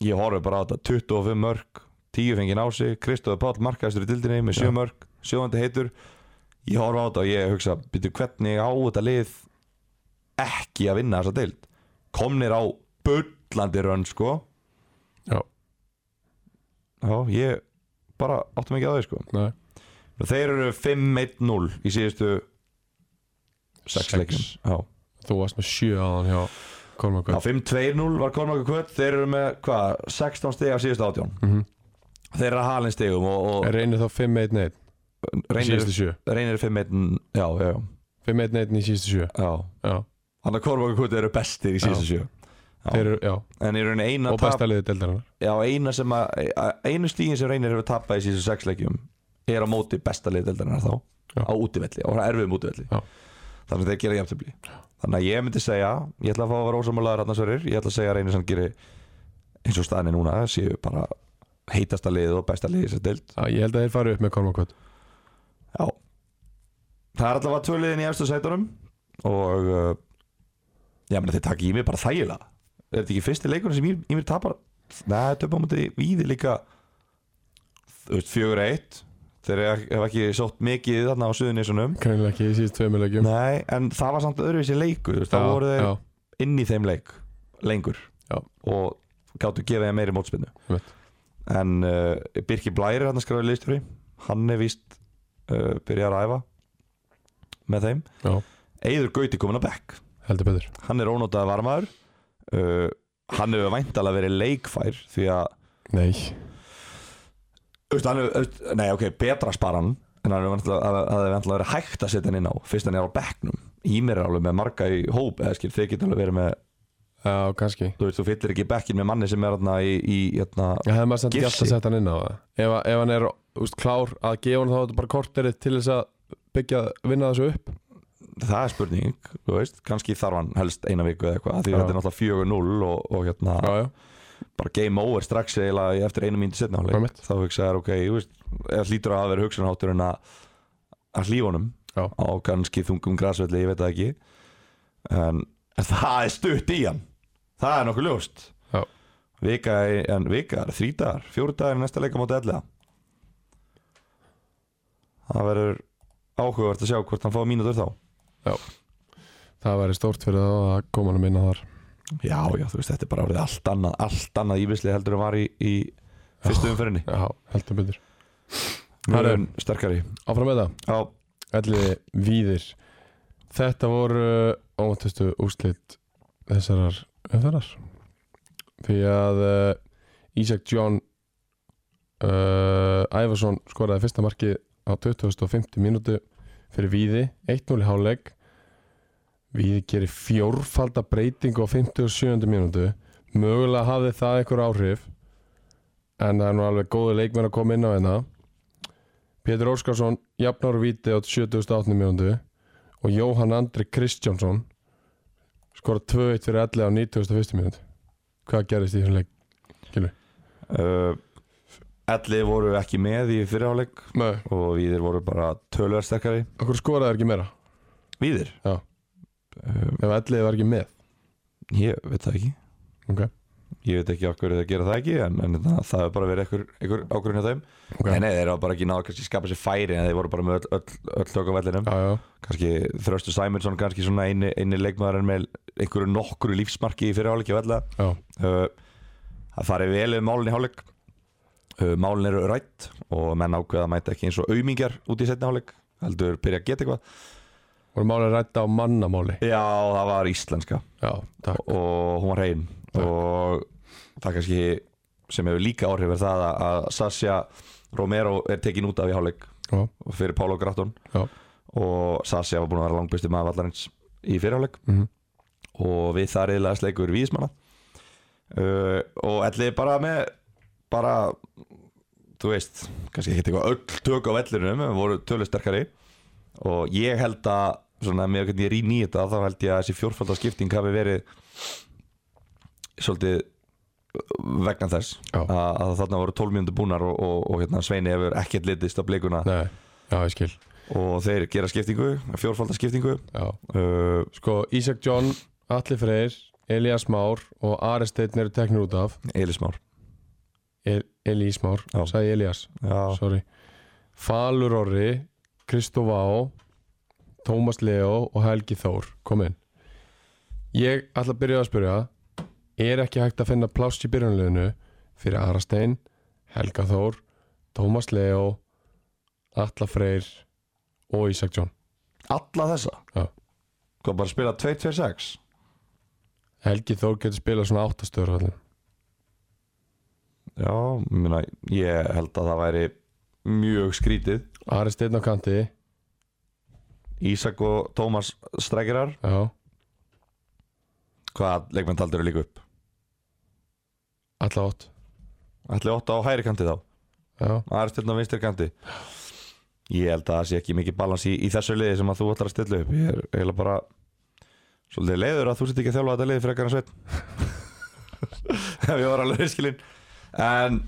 S2: ég horfi bara á þetta 25 mörg, 10 fengið á sig, Kristóður Páll markaðistur í dildinni með 7
S1: Já.
S2: mörg, 7. heitur Ég horfi á þetta og ég hugsa, byrju hvernig á þetta lið ekki að vinna þessa deil? Komnir á bullandi rönn sko
S1: Já,
S2: Já, ég bara áttum ekki að þau sko
S1: nei
S2: Þeir eru 5-1-0 í síðustu 6 leikjum Já,
S1: Þú varst með sjö áðan hjá
S2: Já
S1: Kormakvöld
S2: 5-2-0 var Kormáku Kvöld Þeir eru með, hvað, 16 stig af síðustu 18
S1: Mhm.
S2: Þeir eru að halin stigum og,
S1: Reynir þá 5-1-1
S2: og
S1: Síðustu sjö
S2: reynir 5-1 Já, já, já
S1: 5-1-1 í síðustu sjö
S2: Já
S1: já,
S2: Þannig að Kormáka Kuti eru bestir í síðan sjö Já.
S1: þeir eru, já,
S2: En í rauninni eina
S1: og besta liðið deildarinnar
S2: Já, eina sem að að- Einu stíðin sem reynir hefur tapað í síðan sex leikjum Er á móti besta liðdeldarinnar þá
S1: Já.
S2: Á útivelli, á erfiðum útivelli
S1: Já.
S2: Þannig að þeir gera jafntöfli Þannig að ég myndi segja Ég ætla að fá að vera ósammálaður hann sverir Ég ætla að segja að reynir sem gerir Eins og staðinni núna Séu bara heitasta liðið og besta liðið sem deild
S1: Já, ég held að þeir fari upp með Kormakot
S2: Já Það er alltaf að töluðin í efstu sætunum Og uh, Já, menn þeir taka í mig bara þægilega Er þetta ekki fyrsti leikunum sem ég, ég mér tapar Nei, töpum á móti víði líka Þú veist, fjögur eitt Þeir hafa ekki sótt mikið þarna á suðunisunum
S1: Greinilega ekki í síðustu tveimur leikjum
S2: Nei, en það var samt öðruvísi leikur þú veist,
S1: Já,
S2: Það voru þeir
S1: já,
S2: inn í þeim leik lengur
S1: Já.
S2: og gáttu að gefa þeim meiri mótspinnu
S1: Einmitt.
S2: en uh, Birki Blæri hann skræði liðstjóri hann er víst uh, byrjað að æfa með þeim
S1: já,
S2: Eyður Gauti komin á bekk
S1: heldur betur
S2: hann er ónótaði varmaður uh, hann hefur væntalega verið leikfær því að
S1: Nei,
S2: Þú veist, hann hefur, þú veist, nei ok, betra spara hann en hann hefur vantilega verið hægt að setja hann inn á fyrst hann er á bekknum Ímir er alveg með marga í hóp eða skil, þeir geta alveg verið með
S1: já, kannski
S2: þú veist, þú fyllir ekki bekkin með manni sem er hérna í, í hérna,
S1: Já, hefði maður samt ekki
S2: Gifsi.
S1: alltaf sett hann inn á það ef, ef hann er úst, klár að gefa hann þá er þetta bara korterið til þess að byggja, vinna þessu upp
S2: það er spurning, þú veist, kannski þarf hann helst eina viku eða eitthvað, af því
S1: Já.
S2: þetta er náttúrulega 4-0 og, og hérna,
S1: Já, já,
S2: bara game over strax eiginlega eftir einu mínúti setna
S1: Einmitt.
S2: hálfleik þá hugsaði, ok, þú veist, eða hlýtur að hafa verið hugsunháttur en að, að hlýfa honum
S1: Já.
S2: á kannski þungum græsvelli, ég veit það ekki en, en það er stutt í hann það er nokkuð ljóst
S1: Já.
S2: vika, í- en vika, er þrý dagar fjóru dagar í næsta leikamóti ellega það verður áhugavert að sjá hvort hann fá mínútur þá
S1: það væri stórt fyrir það að koma hann minna þar
S2: Já, já, þú veist, þetta er bara orðið allt annað allt annað ívisli heldur en var í, í fyrstu umferinni
S1: Já, heldur betur
S2: Mjög
S1: Herru.
S2: mun sterkari
S1: Áfram með það
S2: Já,
S1: Elliði Víðir Þetta voru óvantustu úrslit þessarar umferðar því að uh, Ísak John uh, Ævarsson skoraði fyrsta markið á 2050 mínútu fyrir Víði, 1-0 í háleik Víði gerir fjórfalda breytingu á 57. mínútu mögulega hafði það einhver áhrif en það er nú alveg góðu leikmenn að koma inn á hérna Pétur Óskarsson jafnar og víti á 78. mínútu og Jóhann Andri Kristjánsson skora 2-1 fyrir 11 á 91. mínútu hvað gerist í þessum leik?
S2: uh, Elli voru ekki með í fyrirháleik
S1: Nei,
S2: og Víðir voru bara tölver sterkari
S1: okkur skoraði ekki meira
S2: Víðir?
S1: Já.
S2: uh,
S1: ef 11 var ekki með
S2: Ég veit það ekki
S1: Ok.
S2: Ég veit ekki okkur þeir gera það ekki en, en það, það er bara verið einhver, einhver ákvörðin hjá þeim
S1: okay.
S2: Nei, nei, þeir hafa bara ekki náðu kannski skapa sér færi en þeir voru bara með öll, öll, öll tök á vellinum
S1: Já, já,
S2: kannski Þröstur Sæmundsson kannski svona eini, eini leikmaðurinn með einhverju nokkru lífsmarki í fyrirháleiki vella
S1: já,
S2: uh, það farið vel við málun í háleik uh, málun eru rætt og menn ákveða að mæta ekki eins og aumingjar út í setna háleik heldur byrja að geta eitthvað
S1: voru málið rætta á mannamáli
S2: já það var íslenska
S1: Já, takk
S2: og hún var hrein
S1: Takk.
S2: og það kannski sem hefur líka áhrif er það að- að Sasha Romero er tekin út af í háleik
S1: Já.
S2: og fyrir Pálo Gratton
S1: Já.
S2: og Sasha var búin að vera langbæsti maður vallarins í fyrirháleik
S1: Mhm.
S2: og við það reyðlega sleikur víðismanna uh, og ætliði bara með bara þú veist, kannski ekki eitthvað öll tök á vellunum, en voru tölu sterkari og ég held að svona með hvernig ég rýn í þetta, þá held ég að þessi fjórfaldarskipting hafi verið svolítið uh, vegna þess
S1: Já.
S2: að, að þarna voru 12 mjöndu búnar og, og, og hérna, Sveini hefur ekkert litist á blikuna
S1: Nei, já, ég skil
S2: og þeir gera skiptingu, fjórfaldarskiptingu
S1: já.
S2: uh,
S1: Sko, Ísak John, Atli Freyr Elías Már og Ari Steinn eru teknir út af
S2: Elismár
S1: El Elís Már,
S2: Já.
S1: sagði Elías
S2: Já,
S1: sorry Falur Orri, Kristof Á Tómas Leo og Helgi Þór kom inn ég ætla að byrja að spyrja er ekki hægt að finna pláss í byrjunleginu fyrir Arastein, Helga Þór Tómas Leo Atla Freyr og Ísak John
S2: alla þessa
S1: Já.
S2: Hvað bara að spila 2-2-6
S1: Helgi Þór getur spilað svona áttastöður allir.
S2: Já, ég meina, ég held að það væri mjög skrítið
S1: Ari Steinn á kanti
S2: Ísak og Tómas strækirar
S1: já,
S2: Hvað leikmenn taldur eru líka upp?
S1: alla átt
S2: Ætli 8 á hægri kanti þá
S1: já,
S2: Aðra stjórn á vinstri kanti Ég held að það sé ekki mikið balans í, í þessu liði sem að þú ætlar að stilla upp Ég er eiginlega bara Svolítið leiður að þú sett ekki að þjálfa þetta liði frekar en sveit Ef ég var alveg reyskilinn En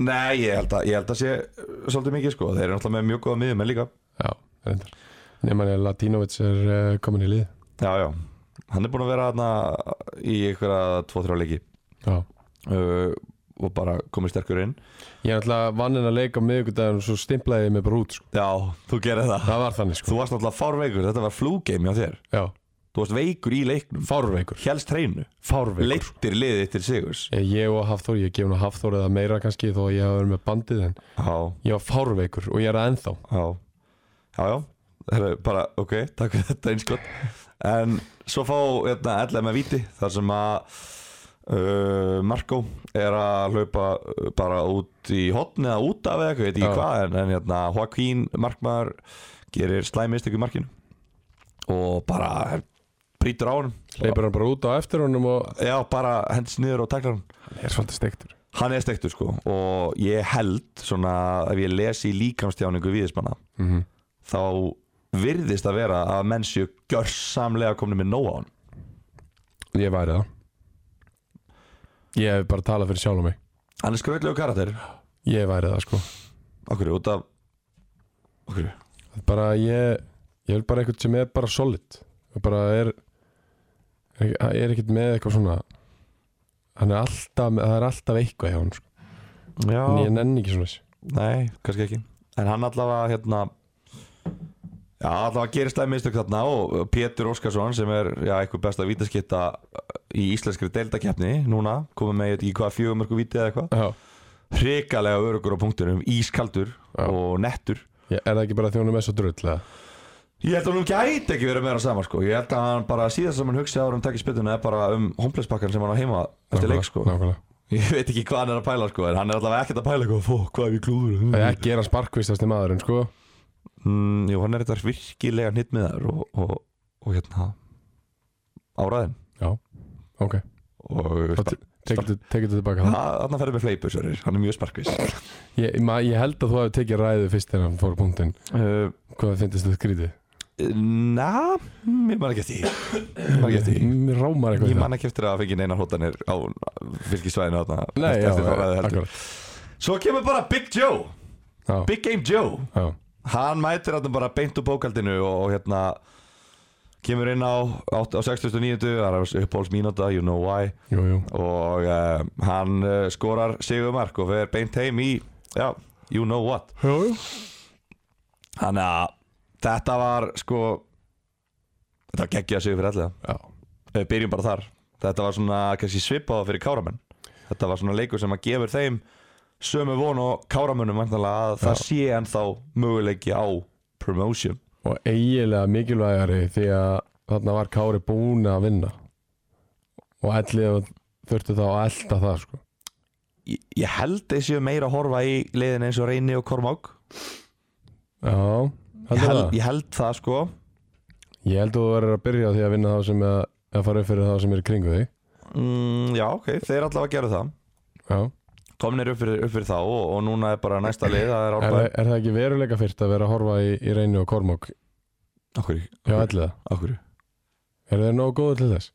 S2: Nei, ég held að, ég held að sé uh, svolítið mikið sko Þeir eru náttúrulega með mjög góða miðum en líka
S1: já, reyndar nema að Latinovits er uh, komin í lið
S2: Já, já, hann er búin að vera hana í einhverja 2-3 leiki
S1: já
S2: uh, og bara komið sterkur inn
S1: Ég er alltaf vannin að leika á miðvikudaginn og svo stimplaði ég mig bara út sko.
S2: Já, þú gerir það
S1: Það var þannig sko
S2: Þú varst náttúrulega fárveikur, þetta var flúgeimi á þér
S1: Já,
S2: Þú varst veikur í leiknum,
S1: fárveikur
S2: hélst hreinu
S1: Fárveikur Leik.
S2: Leittir liðið til sigurs
S1: Eh, Ég og Hafþór, ég gef hann Hafþór eða meira kannski þó að ég hafa verið með bandið en
S2: Já,
S1: ég var fárveikur og ég er það ennþá
S2: já, já, já Heru, bara, ok, takk fyrir þetta einskott En svo fá hérna, ellið með viti þar sem að uh, Marko er að hlaupa uh, bara út í hotn eða út af eða eitthvað, ég veit
S1: Já.
S2: ekki hvað en, en hérna, Joaquín Markmaður gerir slæmist ykkur markinu og bara brýtur á hann
S1: Leipur hann bara út á eftir honum og
S2: Já, bara hendis niður og taklar hann
S1: Ég er svolítið steiktur
S2: Hann er stektur sko og ég held svona ef ég lesi líkamstjáningu viðismanna
S1: Mhm.
S2: þá virðist að vera að menn séu gjörsamlega komni með nóg á hann
S1: Ég væri það Ég hef bara talað fyrir sjálf og mig
S2: Hann er skröðlegu karakter
S1: Ég væri það sko
S2: Okkur, út af Okkur,
S1: Bara ég Ég vil bara einhvern sem er bara solid og bara er er, er ekkert með eitthvað svona Hann er alltaf með- það er alltaf eitthvað hjá hann sko.
S2: já
S1: en ég nenni ekki svona þessu
S2: Nei, kannski ekki En hann allavega hérna Já, allavega gerist það mistök þarna og Pétur Óskarsson sem er já, eitthvað besta vítaskitta í íslenskri deildakeppni núna, komið með ég veit ekki hvað fjögumörku víti eða eitthvað
S1: Já,
S2: hrikalega örugur á punktunum, ískaldur
S1: Já.
S2: og nettur
S1: ég, er það ekki bara því hún er með svo drull eða?
S2: Ég held að hún gæti ekki verið meira saman sko Ég held að hann bara síðast sem hann hugsi ára um takk í spytuna er bara um homplespakkan sem hann á heima eftir leik sko
S1: Nákvæmlega
S2: Ég veit ekki hvað hann er að pæla sko en hann er allavega ekkert að pæla eitthvað Fó, hvað er við klúður
S1: Það er ekki er hann sparkvistast í maðurinn sko
S2: mm, Jú, hann er þetta virkilega hnitt með þær og, og, og hérna áraðin
S1: Já, ok
S2: og
S1: Þá te- Tekið þetta- tekið þetta tilbaka það
S2: Þannig að ferði með fleipur, Sörir, hann er mjög sparkvís
S1: ég, ma- ég held að þú hafi tekið ræðu fyrst þegar hann fór á punktinn
S2: uh,
S1: Hvað finnst þetta skrítið?
S2: Na, mm, ég man ekki eftir því. Ég man ekki eftir því
S1: Mér rámar eitthvað
S2: Ég
S1: í
S2: man ekki eftir að það fengi neina hótanir á fylgisvæðinu þarna
S1: það. Nei,
S2: eftir-
S1: já,
S2: eftir þá ræðu heldur.
S1: akkurat
S2: Svo kemur bara Big Joe
S1: Já,
S2: Big Game Joe
S1: já,
S2: Hann mætir þarna bara beint úr bókaldinu og, og hérna kemur inn á, á, á 69. Það er uppháls mínúta, you know why
S1: jú, jú
S2: og uh, hann uh, skorar sigumark og fer beint heim í já, you know what
S1: Jú, jú
S2: Þannig að þetta var sko þetta var geggja sigur fyrir allega
S1: Já,
S2: Ef við Eh, byrjum bara þar Þetta var svona kannski svipaða fyrir káramenn Þetta var svona leikur sem að gefur þeim sömu von og káramennum væntanlega að það sé ennþá möguleiki á promotion
S1: og eiginlega mikilvægari því að þarna var Kári búin að vinna og ellið þurfti þá að elda það sko
S2: Ég, ég held þessi meira að horfa í leiðin eins og Reyni og Kormák
S1: Já,
S2: ég
S1: heldur
S2: held,
S1: það
S2: ég held það sko
S1: Ég held að þú verður að byrja á því að vinna þá sem að, að fara upp fyrir þá sem er í kringu þig
S2: mm, Já, ok, þeir allavega gerðu það
S1: Já,
S2: Komnir upp fyrir, upp fyrir þá og, og núna er bara næsta leið Það er
S1: er,
S2: árbæð
S1: það- er það ekki veruleika fyrst að vera að horfa í, í reynu og kormók
S2: Akkur,
S1: hjá alliða?
S2: akkur
S1: Eru þeir nógu góðu til þess?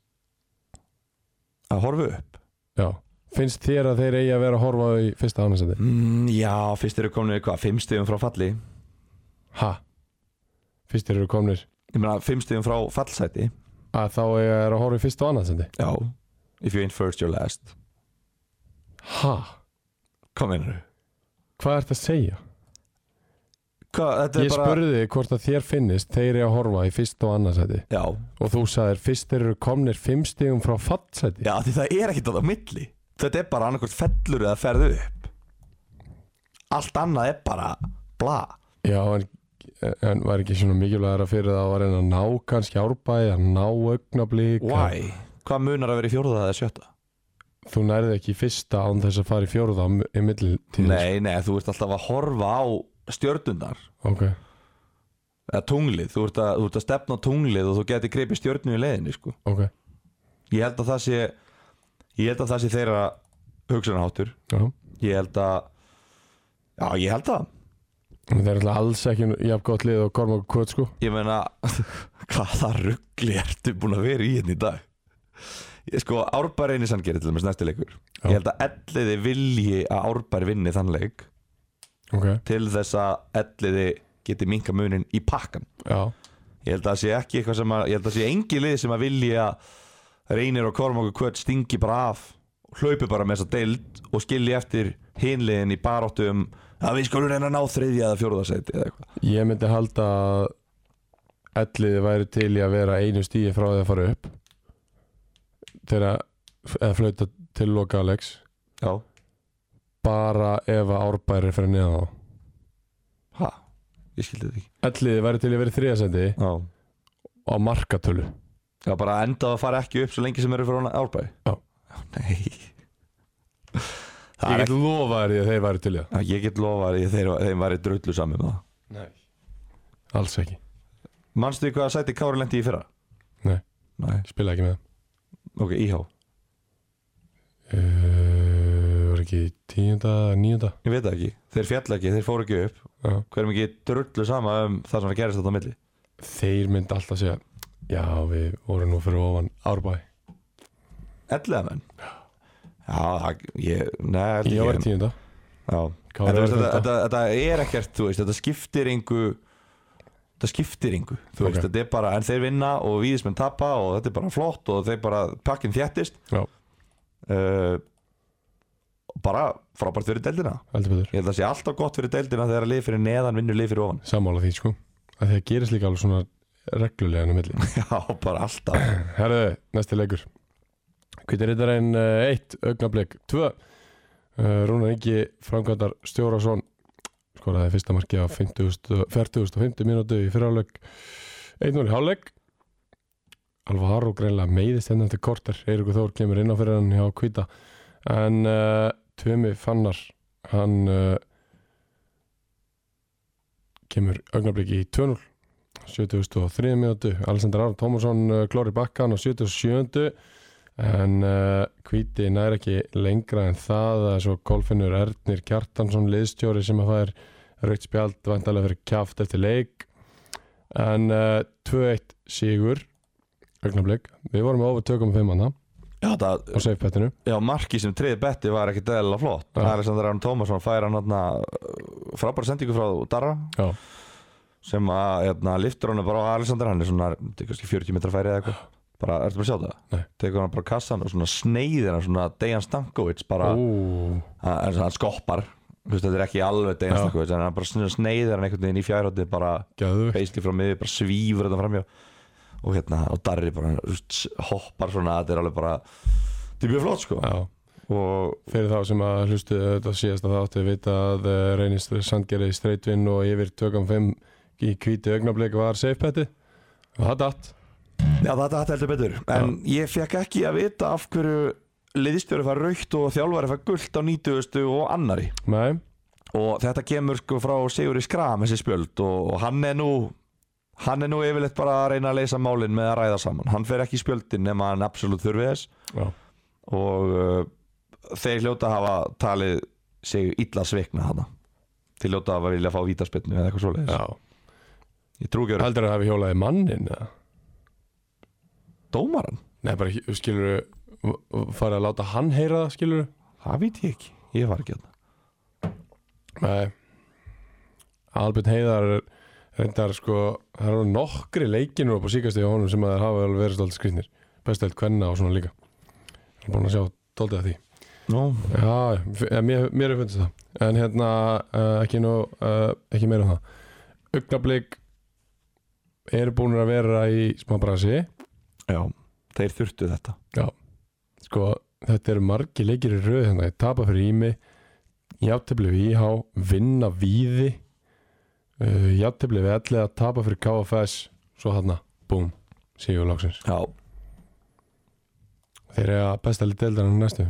S2: Að horfa upp
S1: Já, finnst þér að þeir eigi að vera að horfa í fyrsta ánæsandi?
S2: mm, Já, fyrst eru komnir hvað, fimm stíðum frá falli
S1: Ha? Fyrst þeir eru komnir
S2: Ég meina, fimm stíðum frá fallsæti
S1: að þá eiga þeir að horfa í fyrsta ánæsandi?
S2: Já If you ain't first, you're last
S1: Ha?
S2: Hvað meinar
S1: Hvað ert að segja?
S2: Hvað, þetta er
S1: Ég
S2: bara
S1: spurði þig hvort að þér finnist þeir eigi að horfa í fyrsta og annarsæti
S2: Já,
S1: og þú sagðir fyrst þeir eru komnir fimm stigum frá fattsæti
S2: já því það er ekkert að það á milli Þetta er bara annarkvort fellur eða ferðu upp Allt annað er bara bla
S1: Já, en, en var ekki svona mikilvægara fyrir það að var einn að ná kannski árbæði að ná augnablík að-
S2: Why? Hvað munar að vera í fjórða eða sjötta?
S1: Þú nærði ekki í fyrsta án þess að fara í fjórða á mi- í millitíð
S2: Nei, nei, þú ert alltaf að horfa á stjörnundar
S1: Ok,
S2: eða tunglið, þú ert, að, þú ert að stefna á tunglið og þú geti greipið stjörnu í leiðinni sko.
S1: ok,
S2: ég held að það sé ég held að það sé þeirra hugsanaháttur
S1: já
S2: ég held að já, ég held að
S1: Það er alltaf alls ekki jafn gott lið og Kormáku Kvöt sko
S2: ég meina, hvaða ruggli ertu búin að vera í hérna í dag ég, sko, Árbær einu sanngeri til þess næsti leikur
S1: Já.
S2: ég held að elliði vilji að Árbær vinni þann leik
S1: Ok,
S2: til þess að elliði geti minka munin í pakkan
S1: já,
S2: ég held að það sé ekki eitthvað sem að ég held að það sé engi lið sem að vilja reynir og korma okkur kvöld stingi bara af hlaupi bara með þessa deild og skilji eftir hinliðin í baróttu um að við skulum reyna að ná þriðja eða fjóruðarsæti eða eitthvað
S1: ég myndi halda að Elliði væri til í að vera einu stíi frá því að fara upp Þegar eða flauta til loka Alex
S2: já,
S1: Bara ef að árbæri fyrir neðan þá
S2: ha, ég skildi þetta ekki
S1: Elliði væri til í að vera þriðasendi
S2: já
S1: á markatölu
S2: Já, bara endað að fara ekki upp svo lengi sem eru fyrir hana árbæði
S1: Já.
S2: Nei
S1: Ég
S2: Það er
S1: get lofað þér því að þeir væri til í það
S2: ekki Ég get lofa að þeir, þeim væri drullu sami með það
S1: Nei Alls ekki,
S2: Manstu hvað sæti Kári lendi í fyrra?
S1: Nei.
S2: Nei,
S1: spila ekki með
S2: ok, íhá
S1: það uh, Var ekki tíunda, níunda
S2: Ég veit það ekki, þeir fjall ekki, þeir fóru ekki upp
S1: Já
S2: Hverjum ekki drullu sama um það sem gerist þetta á milli
S1: þeir myndi alltaf segja já við vorum nú fyrir ofan árbæ
S2: Ellega menn Já, það, ég, neða,
S1: ég var í tíunda
S2: Já,
S1: Kári
S2: þetta,
S1: var í
S2: veist, þetta,
S1: tíunda
S2: þetta, þetta er ekkert, þú veist, þetta skiptir engu þetta skiptir engu þú veist,
S1: Ok.
S2: þetta er bara, en þeir vinna og víðismenn tappa og þetta er bara flott og þeir bara pakkin þjættist
S1: Já.
S2: uh, bara frábært fyrir deildina
S1: heldur betur
S2: ég held að það sé alltaf gott fyrir deildina þegar að lið fyrir neðan vinnur lið fyrir ofan
S1: sammála því sko að því að gerist líka alveg svona reglulega ennum milli
S2: já, bara alltaf
S1: herðu næsti leikur hvitir rittarinn 1 augnablik 2 Rúnar Ingi framkvæmdar Stjórasson skoraði fyrsta marki á 50.000 40.50 mínútu í fyrirháleik 1-0 í háleik Alvaro greinlega meiðist henni eftir korter Eiríkur Þór kemur inn á fyrir hann hjá Kvita en uh, Tumi Fannar hann uh, kemur augnabliki í 2-0 73. mínútu Alessandr Aron Tómasson uh, klóri bakkan á 77. en uh, Kviti nær ekki lengra en það að svo golfinur Ernir Kjartansson liðstjóri sem að fær raukt spjald vantarlega fyrir kjaft eftir leik en uh, 2-1 sigur augnablik, við vorum ofur 2.5 manna
S2: já, það,
S1: á safebettinu
S2: já, marki sem treði betti var ekki deðilega flott
S1: Já.
S2: Alexander Arn Tómasson fær hann þarna, uh, frábæra sendingu frá Darra
S1: já,
S2: sem að hérna, liftur hann bara á Alexander hann er svona, þetta er kannski 40 metra færi eða eitthvað bara, ertu bara að sjá það?
S1: Nei.
S2: tekur hann bara á kassan og svona sneiðir hann svona Dejan Stankovic bara,
S1: Ó,
S2: hann, hann- hann skoppar Þú veist, þetta er ekki alveg Dejan
S1: Já.
S2: Stankovic en hann bara svona sneiðir hann einhvern veginn í fjárhótti bara
S1: gæðvögt
S2: basically frá miður, bara svífur þetta framjá og hérna, og Darri bara þú veist, hoppar svona, þetta er alveg bara þetta er mjög flott sko
S1: já,
S2: og
S1: fyrir þá sem að hlustu þetta síðast að þáttu vita að eh, reynist sandgerði í streitvinn og yfir 2.5 í hvíti augnablik var safebetti og það datt
S2: já, þetta þetta heldur betur en ég fekk ekki að vita af hverju liðstjóri fær raukt og þjálfari fær gullt á 90. og annari
S1: nei,
S2: og þetta kemur sko frá Sigurði Skram þessi spjöld og, og hann er nú hann er nú yfirleitt bara að reyna að leysa málin með að ræða saman, hann fer ekki í spjöldin nema hann absolutt þurfi þess
S1: já,
S2: og uh, þeir hljóta að hafa talið sig illa sveikna hana þeir hljóta að hafa vilja að fá vítaspilnu eða eitthvað svoleiðis,
S1: já.
S2: ég trú ekki að vera
S1: heldur að það hafi hjólaði mannin eða?
S2: dómaran,
S1: nei, bara skilur farið að láta hann heyra það skilur
S2: það veit ég ekki ég var ekki að
S1: Nei Albert Heiðar er- reyndar sko það eru nokkri leikinur upp á síkast í honum sem að þeir hafa alveg verið stoltið skrýtnir bestöld kvenna og svona líka Það er búin að sjá doldið af því
S2: no.
S1: Já, f- eh, mér, mér er fundið það En hérna, uh, ekki nú uh, ekki meira um það Ugnablík eru búin að vera í smá brasi
S2: já, þeir þurftu þetta
S1: sko, þetta eru margi leikir í röð hérna, ég tapa fyrir ími játtöfli við íhá, vinna víði uh, játtöfli við ellið að tapa fyrir KFS svo þarna, búm, sígur lóksins
S2: já,
S1: þeir eru að besta lið deildarinn næstu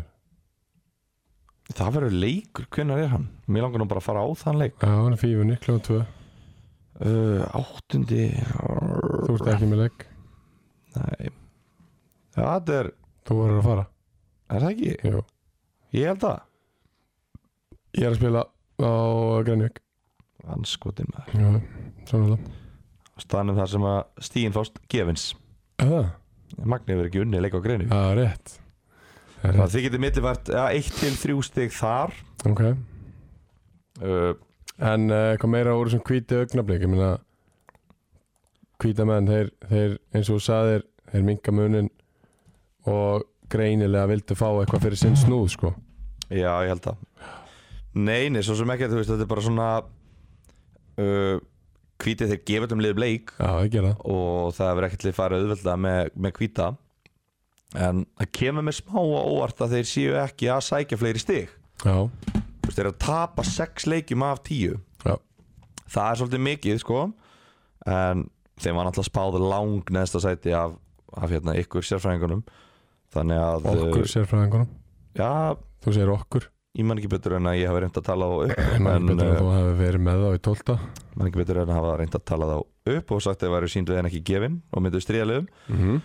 S2: það verður leikur, hvenær er hann? mér langar nú bara að fara á þann leik
S1: já, hann er fífunni, kljóðan 2
S2: uh, Áttundi
S1: Þú ert ekki með legg
S2: Nei Það er,
S1: Þú verður að fara
S2: er það ekki?
S1: Jú.
S2: Ég held það
S1: Ég er að spila á Grenjökk
S2: Anskotin maður
S1: Svona
S2: Stanum þar sem að stíin fást gefins
S1: það
S2: Magni hefur ekki unnið leik á greinu
S1: Það er Ah, rétt Það er
S2: Þannig
S1: rétt.
S2: að þið getið millifært ja, 1-3 stig þar
S1: Ok
S2: uh,
S1: En uh, hvað meira úr þessum hvíti augnablik Ég meina Hvíta menn þeir, þeir eins og þú sagðir Þeir minka munin Og greinilega vildu fá eitthvað fyrir sinn snúð sko
S2: Já, ég held það Nei, nei, svo sem ekki, þú veist, þetta er bara svona uh, Hvítið þeir gefa um liðum leik
S1: Já, það gera það
S2: og það hefur ekkert til farið auðvelda með, með hvíta en það kemur með smá og óvart að þeir séu ekki að sækja fleiri stig
S1: Já,
S2: Þú veist, þeir eru að tapa 6 leikjum af 10
S1: já,
S2: það er svolítið mikið sko en þeim var náttúrulega spáð lang neðsta sæti af, af hérna, ykkur sérfræðingunum þannig að eh,
S1: okkur sérfræðingunum
S2: já,
S1: Þú segir okkur
S2: ég man ekki betur en að ég hafa reynd að tala á upp
S1: Ég man ekki
S2: en,
S1: betur
S2: eh,
S1: að þú hefur verið með þá í tólta
S2: man ekki betur en að hafa reynd að tala þá upp og sagt að það væri síndu en ekki gefin og myndu stríðalegum
S1: mm -hmm.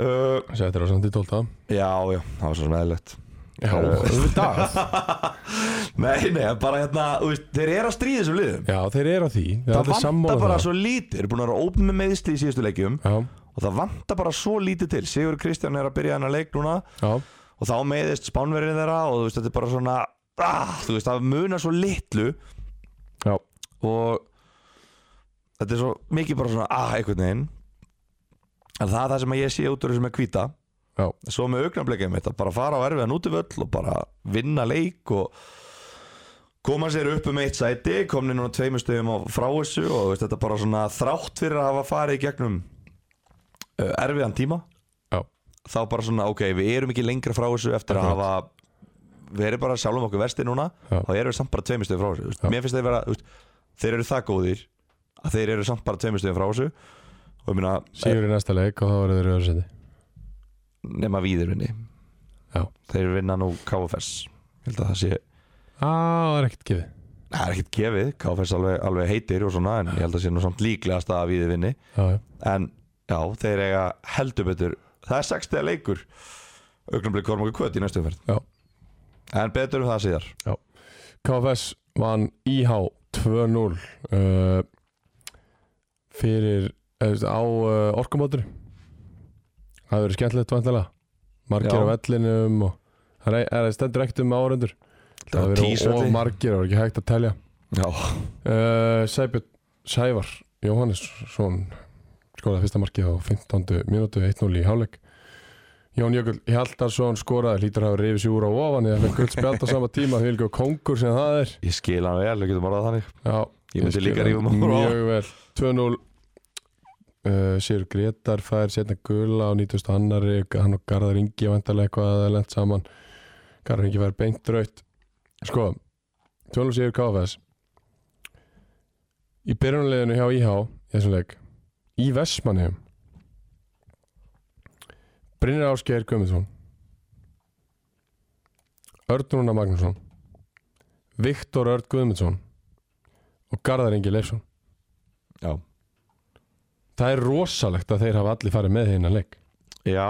S2: uh,
S1: Sættir á samt í tólta
S2: já, já, það var svo svona eðlilegt
S1: Já, auðvitað
S2: nei, nei, bara hérna þú veist, þeir eru að stríða þessum liðum
S1: Já, þeir eru á því Þeir eru
S2: það
S1: allir
S2: vantar
S1: sammála um
S2: bara
S1: það.
S2: svo lítið, þeir eru búin að vera ópin með meðsli í síðustu leikjum
S1: Já,
S2: og það vantar bara svo lítið til Sigur Kristján er að byrja hennar leik núna
S1: já,
S2: og þá meðist spánverðin þeirra og þú veist þetta er bara svona ah, þú veist það munar svo litlu
S1: já
S2: og þetta er svo mikið bara svona ah, einhvern veginn en það er það sem að ég sé út úr þessum að hvíta
S1: Já.
S2: svo með augnablikið mitt að bara fara á erfiðan útivöll og bara vinna leik og koma sér upp um eitt sæti komni núna tveimur stöðum á frá þessu og þú veist, þetta er bara svona þrátt fyrir að hafa farið í gegnum uh, erfiðan tíma
S1: Já.
S2: þá bara svona ok, við erum ekki lengra frá þessu eftir að
S1: Akkurat.
S2: hafa við erum bara sjálfum okkur versti núna
S1: Já.
S2: þá erum við samt bara tveimur stöðum frá þessu þú veist,
S1: Já.
S2: mér finnst þeir vera, þú veist, þeir eru það góðir að þeir eru samt bara tveimur stöðum frá þessu og ég meina, eh,
S1: Sigur í næsta leik og þá verður þeir í öðru seti
S2: nema víðir vinni
S1: Já.
S2: þeir vinna nú KFS ég held að það sé,
S1: Á, það er ekkert gefið
S2: það er ekkert gefið KFS alveg, alveg heitir og svona en ég held að sé nú samt líklegast að víðir vinni
S1: Já, já,
S2: en já, þeir eiga heldur betur það er sextega leikur augnumblið korma okkur kvöt í næstu umferð
S1: Já.
S2: en betur um það síðar
S1: KFS vann IH 2-0 uh, fyrir uh, á uh, orkumótur það hefur verið skemmtilegt vantilega margir
S2: Já.
S1: á vellinum og það er- er- stendur ekkert um áhörundur það hefur verið of
S2: Tísvelli.
S1: margir það er ekki hægt að telja
S2: já,
S1: uh, Sæbjörn Sævar Jóhannesson skoraði fyrsta markið á 15. mínútu 1-0 í hálfleik Jón Jökull Hjaldarsson skoraði hlýtur að hafa reyfið sér úr á ofan eða fengur spjált á sama tíma því ekki kongur sem það er
S2: ég skil hann vel, við getum orðað þannig
S1: Já,
S2: Ég myndi líka
S1: skil
S2: rífa mig
S1: það
S2: úr á.
S1: Mjög vel 2-0 uh, Sér Gretar fær setna gula á 90. annari Hann og Garðar Ingi vantarlega eitthvað að það er lent saman Garðar Ingi fær beint raut Sko 2-0 Sigur KFS Í byrjunarleginu hjá IH í þessum leik Í Vestmannheim Brynjar Ásgeir Guðmundsson Örn Rúnar Magnússon Viktor Örn Guðmundsson og Garðar Ingi Leifsson
S2: já,
S1: Það er rosalegt að þeir hafa allir farið með hérna leik
S2: já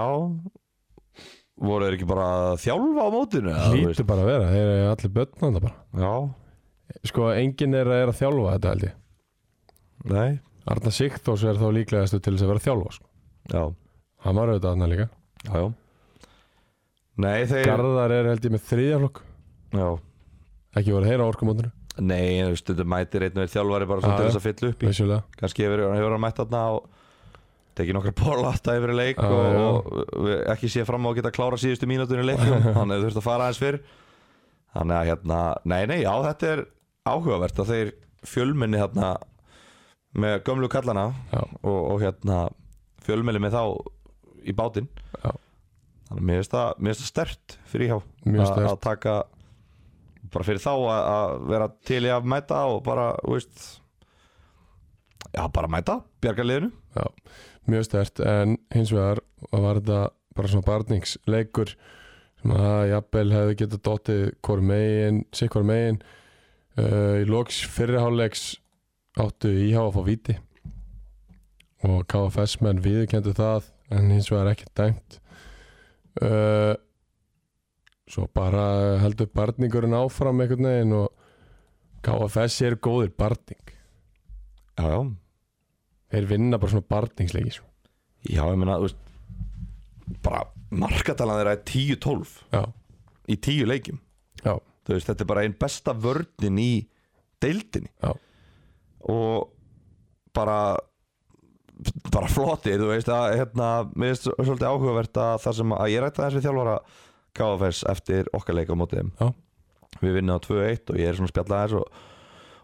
S2: voru þeir ekki bara að þjálfa á mótinu eða, þú veist?
S1: Lítur bara að vera, þeir eru allir börn þetta bara
S2: já,
S1: Sko, enginn er að, er að þjálfa þetta held ég
S2: nei,
S1: Arna Sigþós er þá líklegastu til þess að vera að þjálfa sko.
S2: já,
S1: Hann var auðvitað þarna líka
S2: já, já nei, þeir
S1: Garðar er held ég með þriðja flokk
S2: já,
S1: Ekki voru þeir á orkumóndinu,
S2: nei, þú veist, þetta mætir einn og einn þjálfari bara svona
S1: Já,
S2: til
S1: já.
S2: þess að fylla upp í
S1: vissulega
S2: kannski hefur hann hefur hann mætt þarna og tekið nokkra borlata yfir í leik
S1: Já,
S2: og,
S1: já.
S2: og við- ekki sé fram á að geta klára síðustu mínútur í leik hann hefur þurft að fara aðeins fyrr þannig að hérna, nei nei, já þetta er áhugavert að þeir fjölmenni þarna með gömlu kallana
S1: Já.
S2: og, og hérna fjölmenni með þá í bátinn
S1: Já.
S2: þannig að mér finnst það, mér finnst það stert fyrir hjá
S1: Mjög
S2: að-
S1: sterkt.
S2: að taka bara fyrir þá að, að vera til í að mæta og bara, þú veist já, bara mæta, bjarga liðinu
S1: Já, mjög stert en hins vegar var þetta bara svona barningsleikur sem að jafnvel hefði getað eh, dottið hvort megin, sitt hvort megin uh, í loks fyrirháleiks áttu íhá að fá víti og KFS menn viðurkendu það en hins vegar ekki dæmt uh, svo bara heldur barningurinn áfram einhvern veginn og KFS er góðir barning
S2: Já, já,
S1: þeir vinna bara svona barningsleiki sko.
S2: já, ég meina, þú veist bara markatalan þeirra er 10-12
S1: já,
S2: í 10 leikjum
S1: já,
S2: þú veist, þetta er bara einn besta vörnin í deildinni
S1: já,
S2: og bara bara flottir, þú veist að hérna, mér finnst svolítið áhugavert að það sem að ég rætti aðeins við þjálfara KFS eftir okkar leik á mótið þeim
S1: Já.
S2: við vinnum á 2-1 og ég er svona að spjalla aðeins og,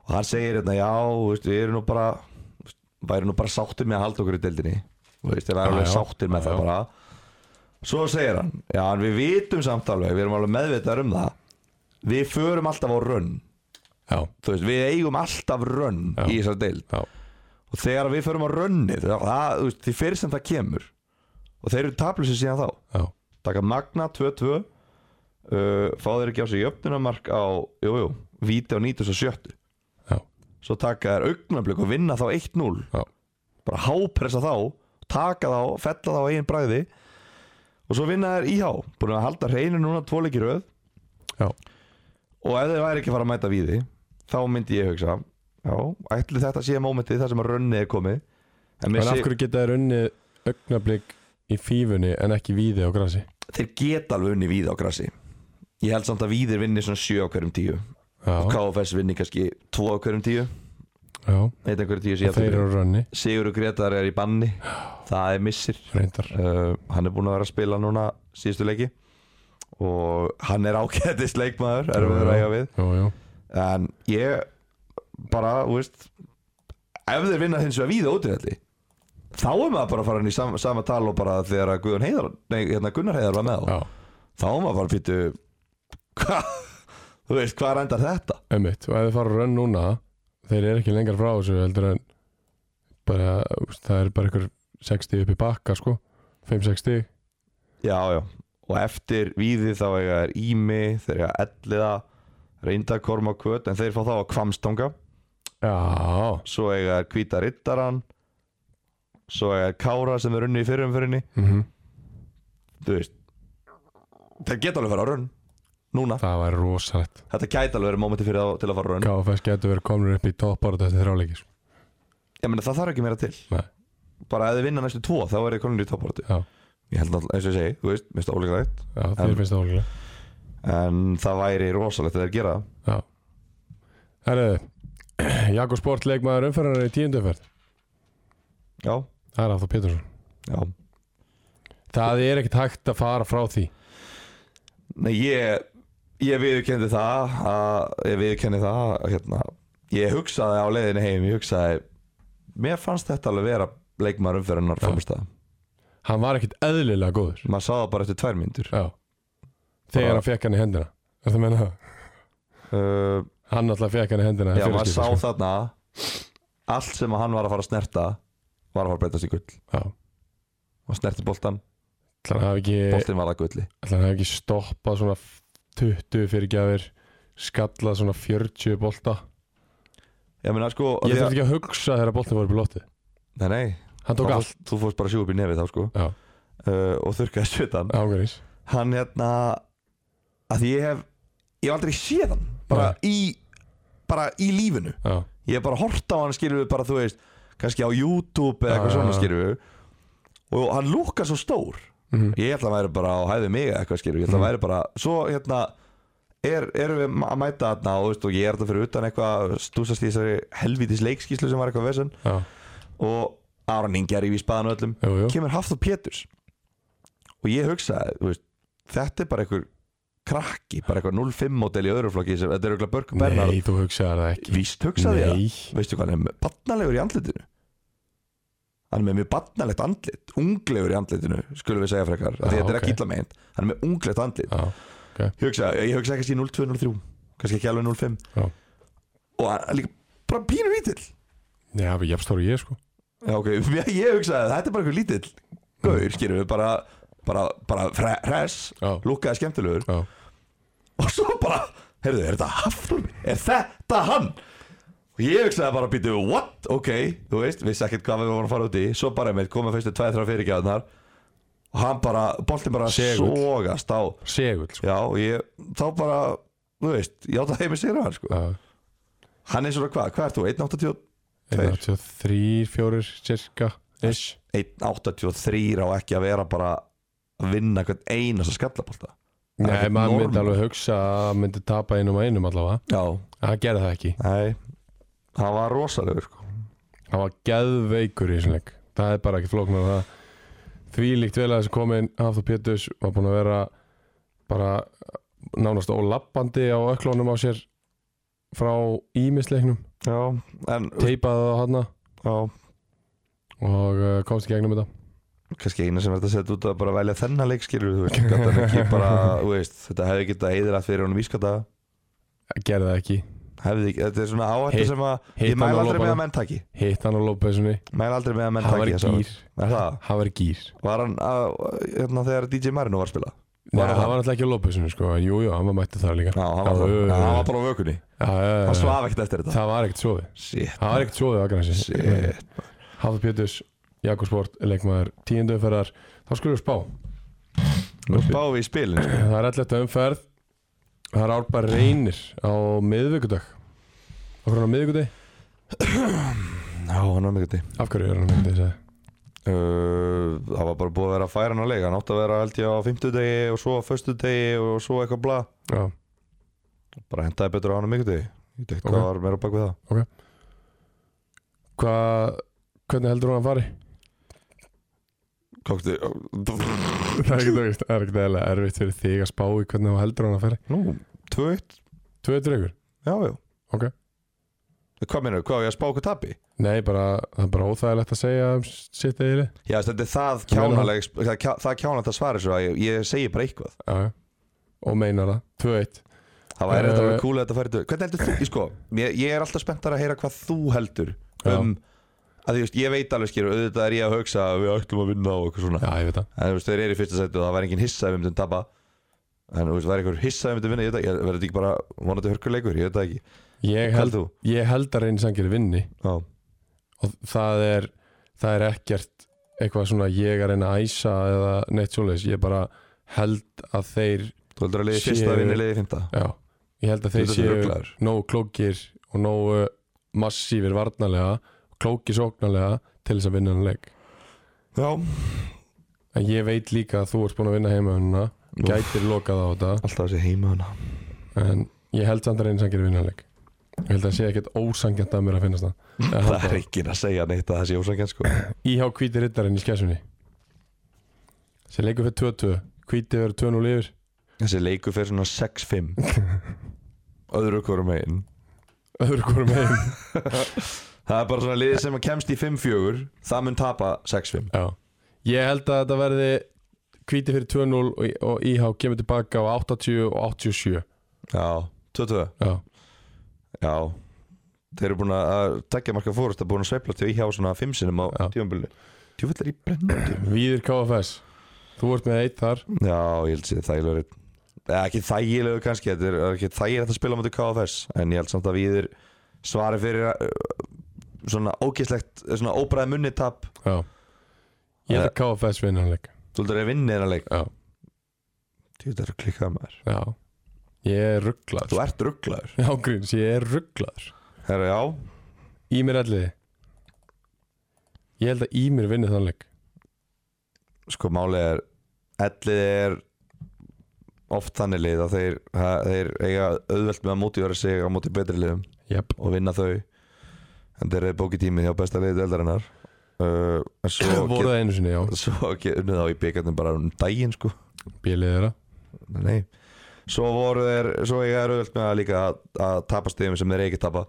S2: og hann segir hérna, já, þú veist, við erum nú bara þú veist, væri nú bara sáttir með að halda okkur í deildinni þú veist, þeir væri
S1: Já,
S2: alveg
S1: já.
S2: sáttir með
S1: Já,
S2: það
S1: já.
S2: bara svo segir hann, já, en við vitum samt alveg við erum alveg meðvitaðar um það við förum alltaf á rönn
S1: já,
S2: þú veist, við eigum alltaf rönn
S1: Já.
S2: í þessar deild
S1: já,
S2: og þegar við förum á rönnið það, það, þú veist, því fyrir sem það kemur og þeir eru tablusir síðan þá
S1: já.
S2: taka Magna 2-2 uh, fá þeir ekki á sig jöfnunamark á, jú, jú, víti á 97
S1: Já.
S2: svo taka þeir augnablík og vinna þá 1-0
S1: Já.
S2: bara hápressa þá taka þá, fella þá á eigin bræði og svo vinna þeir íhá búin að halda hreinu núna tvoleikir öð
S1: Já.
S2: og ef þeir væri ekki að fara að mæta víði þá myndi ég hugsa já, ætli þetta sé mómentið þar sem að rönnið er komið en
S1: en
S2: mér
S1: af
S2: sé,
S1: hverju geta þeir unnið augnablík í fífunni en ekki víði á grasi
S2: þeir geta alveg unni víð á grassi ég held samt að víðir vinni svona 7 á hverjum 10
S1: já,
S2: KFS vinni kannski 2 á hverjum 10
S1: já,
S2: eitt af hverjum 10
S1: og þeir
S2: síðan
S1: eru á rönni
S2: Sigur og Gretar er í banni það er missir
S1: reyndar,
S2: uh, hann er búinn að vera að spila núna síðustu leiki og hann er ágættis leikmaður erum við að eiga við
S1: jú, jú
S2: en ég bara, þú veist ef þeir vinna hins vegar víða útrétti þá er maður bara að fara inn í sama, sama tal og bara þegar að Guðjón Heiðar nei, hérna Gunnar Heiðar var með á
S1: já,
S2: þá er maður bara að býtu hvað, þú veist, hvað endar þetta
S1: einmitt, og ef þeir fara á rönn núna þeir eru ekki lengar frá þessu heldur en bara, úst, það er bara einhver 60 upp í bakka sko 5-60,
S2: já, já, og eftir víði þá eiga er Ími, þeir eiga Elliða Reyndakorm á kvöt en þeir fá þá að kvamstanga
S1: já
S2: svo eiga er Hvíta Rittaran svo eiga er Kára sem er unni í fyrirumfyrinni
S1: mm
S2: þú veist þeir geta alveg að fara á raun núna,
S1: það væri rosalegt
S2: þetta gæti alveg að vera mómenti fyrir þá til að fara á raun
S1: KFS getur verið komin upp í topparöð eftir þrjáleiki sko.
S2: ég meina það þarf ekki meira til
S1: Nei.
S2: bara ef þið vinna næstu tvo þá er þið konur í topportu
S1: já,
S2: ég held alltaf, eins og ég segi, þú veist, mista óleiklegt
S1: já þeir
S2: En-
S1: finnst það ólega
S2: en það væri rosalegt að þeir gera það.
S1: já Herðu, Jakob Sport leikmaður umferðanar í tíunduferð
S2: já,
S1: það er Aftur Pétursson
S2: já
S1: það er ekkert hægt að fara frá því
S2: Nei, ég, ég viðurkendi það að, ég viðurkendi það að, hérna, ég hugsaði á leiðinni heim ég hugsaði, mér fannst þetta alveg vera leikmaður umferðinnar
S1: Já.
S2: framstæða
S1: hann var ekkert eðlilega góður
S2: maður sá það bara eftir tvær myndur
S1: já. þegar
S2: Bara-
S1: hann fekk hann í hendina er það meina það?
S2: uh,
S1: Hann alltaf fekk hann í hendina í
S2: Já, maður
S1: fyrraskipti,
S2: sá
S1: sko.
S2: þarna Allt sem að hann var að fara að snerta Var að fara að breytast í gull
S1: Já.
S2: Og snerti boltan,
S1: Ætli sko. hann hafi ekki,
S2: boltin var að gulli
S1: ætli hann hafi ekki stoppað svona 20 fyrirgjafir skallað svona 40 bolta
S2: Ég meina sko
S1: Ég
S2: því
S1: þarf
S2: að-
S1: ekki að hugsa þegar boltin var upp í lofti
S2: Nei, nei,
S1: Hann tók
S2: þá
S1: allt
S2: fórst- þú fórst bara að sjú upp í nefið þá sko
S1: Já.
S2: uh, Og þurrkaði svitan
S1: ángurins
S2: Hann hérna Að ég hef, ég hef aldrei séð hann Bara í, bara í lífinu
S1: Já,
S2: Ég hef bara hort á hann skilur við bara þú veist Kannski á YouTube eða eitthvað
S1: Já, já,
S2: svona
S1: já.
S2: skilur við Og hann lúkar svo stór
S1: Mhm.
S2: Ég ætla að væri bara á hæði mig eða eitthvað skilur Ég ætla að
S1: Mhm.
S2: væri bara Svo hérna er, Erum við ma- að mæta þarna og, veist, og ég er þetta fyrir utan eitthvað Stúsast í þessari helvítis leikskíslu sem var eitthvað vesen
S1: já,
S2: Og Aron Ingi er í vísbaðan öllum
S1: jú, jú
S2: Kemur Hafþór Péturs Og ég hugsaði þú veist, Þetta er bara einhver krakki Bara eitthvað 05 mótel í öðru flokki sem, Þetta er eitthvað Börg Bernhard
S1: Nei, þú hugsaði það ekki
S2: Víst hugsaði ég
S1: Nei,
S2: það Veistu hvað hann er batnalegur í andlitinu Hann er með mjög batnalegt andlit Unglegur í andlitinu Skulum við segja frekar af Því
S1: Já,
S2: þetta er
S1: ok.
S2: ekki illa meint Hann er með unglegt andlit
S1: já,
S2: Ég hugsa, ég hugsa kannski 0203 Kannski ekki alveg 05
S1: Já.
S2: Og hann er líka bara pínur lítill
S1: já, við jafnstóru ég sko
S2: Já, ok, ég, ég hugsaði að þetta er bara einhver lítill Gaur, skýrum við, bara bara, bara fre- hress,
S1: Já.
S2: lúkkaði skemmtilegur
S1: Já,
S2: og svo bara, heyrðu, er þetta Hafþór? Er þetta hann? Og ég hugsaði bara að býta við, what? Ok, þú veist, vissi ekkert hvað við vorum að fara út í Svo bara með, komum fyrstu 2-3 fyrirgjáðunar Og hann bara, boltinn bara
S1: Segull.
S2: sogast á
S1: Segull sko.
S2: Já, og ég, þá bara, þú veist, játaði heimi sigra hann, sko
S1: Já,
S2: Hann er svona hvað, hvað ert þú, 1.82?
S1: 83, 4 cirka Ish
S2: 1.83 á ekki að vera bara að vinna hvern einasta skallabólta Það er
S1: Nei,
S2: ekkert
S1: maður
S2: normal.
S1: myndi alveg hugsa að hann myndi tapa einum að einum allavega
S2: Já,
S1: Það gerði það ekki
S2: nei, það var rosalegur, sko
S1: Hann var geðveikur í þessum leik Það er bara ekki flóknar það Því líkt vel að þessi komin Hafþór Péturs var búin að vera bara nánast ólappandi á öklónum á sér frá ímisleiknum
S2: Já, en,
S1: teipaði það á hana
S2: já,
S1: og uh, komst í gegnum þetta
S2: kannski eina sem er þetta að setja út að bara velja þennan leik skilur þú veist, gat hann ekki bara, þú veist þetta hefði getað heiðirætt fyrir honum ískata
S1: gerði það ekki
S2: hefði, ekki- þetta er svona áhættu
S1: Hitt-
S2: sem að
S1: hitt
S2: ég mæl
S1: hann á
S2: aldrei með
S1: lófanum.
S2: að menn taki
S1: hitt hann á lópesunni
S2: mæl aldrei með að menn
S1: hann var
S2: taki
S1: í
S2: þessa-
S1: gýr
S2: er það,
S1: hann var í gýr
S2: var hann að, hérna, þegar DJ Marino var að spila
S1: Nei,
S2: Var
S1: hann
S2: það?
S1: var alltaf ekki á lópesunni sko en jújú, jú, hann var mættið þar líka
S2: já, hann var,
S1: Já,
S2: já,
S1: já, já.
S2: hann var bara á vökunni
S1: Æ,
S2: hann svaf ekkert eftir þetta
S1: það var ekkert svoði
S2: shit,
S1: það var ekkert svoði á Akranesi
S2: shit
S1: Hafður Péturs, Jakob Sport, leikmaður tíundu umferðar, þá skulum við spá
S2: nú spáum við í spilin sko.
S1: það er alltaf umferð það er árbær reynir á miðvikudag okkur hann á miðvikudagi?
S2: já, hann var mikilvægt
S1: af hverju er hann á miðvikudagi? sagði?
S2: Uh, það var bara búið að vera að færa hann á leik hann átti að vera held ég á fimmtudegi og svo á föstudegi og svo eitthvað bla
S1: Já,
S2: bara hendaði betur á hann á mikultegi ég veit ekki
S1: Ok.
S2: hvað var meira á bak við það
S1: hvað hvernig heldur hún að fari?
S2: Kokti
S1: það er ekki dagist, það er ekki daglega erfitt fyrir þig að spá í hvernig hún heldur hún að fari
S2: Nú, 2-1
S1: Tvöðu dreigur?
S2: Já, já
S1: Ok.
S2: Hvað meina, hvað, á ég að spá okkur tapi?
S1: Nei, bara, það er bara óþægilegt að segja um sitt eigili
S2: Já, þetta er það
S1: Þú meinar
S2: kjánaleg Það kjá- það kjánalegt að svara þessu að ég, ég segi bara eitthvað
S1: Já, já. og meinar það, 2-1
S2: Það væri
S1: Eh.
S2: þetta alveg kúlega þetta færi Hvernig heldur þú, ég sko ég, ég er alltaf spenntar að heyra hvað þú heldur
S1: Já.
S2: um að því, veist, ég veit alveg skýr auðvitað er ég að hugsa að við ætlum að vinna og eitthvað svona
S1: Já, ég veit það
S2: En þú veist, þeir eru í fyrsta sæti og það væri engin hissa ef við myndum tapa En þú veist, væri einhver hissa ef við myndum vinna Ég veit það, ég verður þetta ekki bara vonandi hörkuleikur, ég veit það ekki
S1: Ég
S2: Hvað
S1: held,
S2: heldur þú?
S1: ég held að reynir sangir vinni
S2: Já,
S1: og það er það er ekkert eitthvað svona ég er að reyna að æsa eða neitt svoleiðis ég bara held að þeir
S2: þú heldur að liði
S1: Séu-
S2: fyrsta vinni liði fymta
S1: já, ég held að þeir
S2: Þú heldur þetta
S1: séu
S2: ruglaður?
S1: nógu klókir og nógu massífir varnarlega klókir sóknarlega til þess að vinna hann leik
S2: Já,
S1: en ég veit líka að þú ert búin að vinna heimahunna gætir lokað á þetta
S2: alltaf þessi heima hana
S1: en ég held samt að reynir sangir vinna hann leik ég held að það sé ekkert ósangjant að mér að finnast það Ég held
S2: Það er enginn að segja neitt að það sé ósangjarn sko
S1: Íhá hvíti riddarinn í skessunni sem leikur fyrir 2-2 hvíti verður 2-0 yfir
S2: Þessi leikur fyrir svona 6-5 Öðru okkur um einn
S1: öðru hvorum heim
S2: Það er bara svona liði sem að kemst í 5-4 Það mun tapa 6-5
S1: Já. ég held að þetta verði hvíti fyrir 2-0 og, og Íhá kemur tilbaka á 80 og 87
S2: Já, 2-2
S1: Já.
S2: Já Þeir eru búin að tekja marka fórust að búin að sveifla til íhjá svona 5 sinum
S1: Já.
S2: á tíumbulni Tjúfell er í brennandi
S1: Víður KFS þú ert með eitt þar
S2: Já, ég held sér þægilegur einn. Eða ekki þægilegu kannski, þetta er- er ekki þægilegt að spila á mútið KFS En ég held samt að við svari fyrir uh, svona ógislegt, svona óbræði munni tap
S1: Já. ég
S2: Eh.
S1: held að KFS vinna hann leik
S2: Þú heldur að vinni þennan leik
S1: Já.
S2: Þetta er klikkað maður
S1: Já. ég er rugglaður
S2: Þú ert rugglaður
S1: Já, gríns, ég er rugglaður
S2: Herra, já,
S1: í mér alliði ég held að í mér vinni þann leik
S2: sko málið er Ellið er oft þannig lið að þeir, að þeir eiga auðvelt með að mótiðvara sig á mótið betri liðum
S1: yep.
S2: og vinna þau En þeir eru bókið tímið hjá besta liðið eldarinnar uh, en svo
S1: voru það einu sinni, já
S2: Svo ekki unnið þá í byggarnum bara um daginn sko
S1: bílið þeirra
S2: Nei Svo voru þeir, svo eiga þeir auðvöld með að líka að, að tapa stegum sem þeir eiga ekki tapa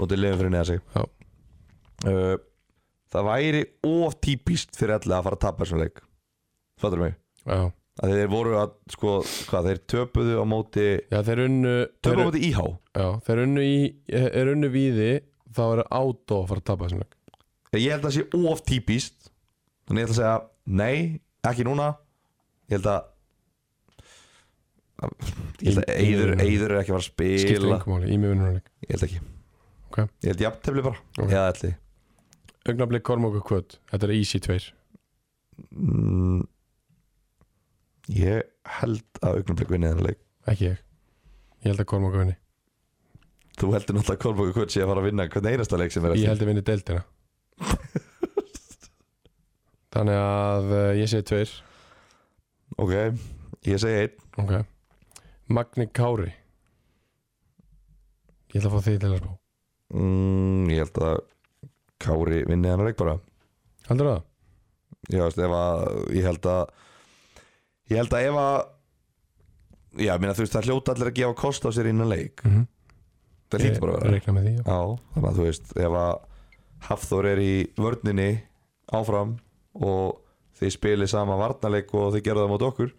S2: og þeir lifum fyrir neða sig
S1: Já.
S2: uh, Það væri of típist fyrir allir að fara að tapa þessum leik Fattur mig
S1: Já,
S2: að Þeir voru að, sko, hvað, þeir töpuðu á móti
S1: já þeir unnu þeir,
S2: Töpuðu á móti íhá
S1: já, þeir unnu í er unnu víði þá er átó að fara að tapa þessum leik
S2: Ég held að það sé of típist Þannig ég ætla að segja, nei, ekki núna Ég held að Ég held að Eyður, eyður er ekki að fara að
S1: skiptir
S2: spila
S1: yngum máli, í mig vinnur hann leik
S2: Ég held ekki
S1: Ok.
S2: Ég held jafntefli bara
S1: Ok.
S2: Eða ætli
S1: Augnablik Kormók og Kvöt Þetta er easy 2
S2: mm, Ég held að augnablik vinni þennan leik
S1: Ekki ég Ég held að Kormók vinni
S2: Þú heldur náttúrulega að Kolbóku Kvöld sé að fara að vinna hvern einasta leik sem er
S1: Ég held að vinni deildina Þannig að eh, ég segi 2
S2: Ok, ég segi einn
S1: Ok Magni Kári Ég ætla að fá því til að spá
S2: mm, Ég held að Kári vinni þennan leik bara
S1: Heldur það?
S2: Já, veist, ef að Ég held að Ég held að ef að Já, minna, þú veist, það hljóta allir að gefa kost á sér innan leik
S1: Mm -hmm.
S2: Það hlýtur bara að vera
S1: Reikna með því já.
S2: Já, þannig að þú veist ef að Hafþór er í vörninni áfram og þið spilið sama varnarleik og þið gerðu það mot okkur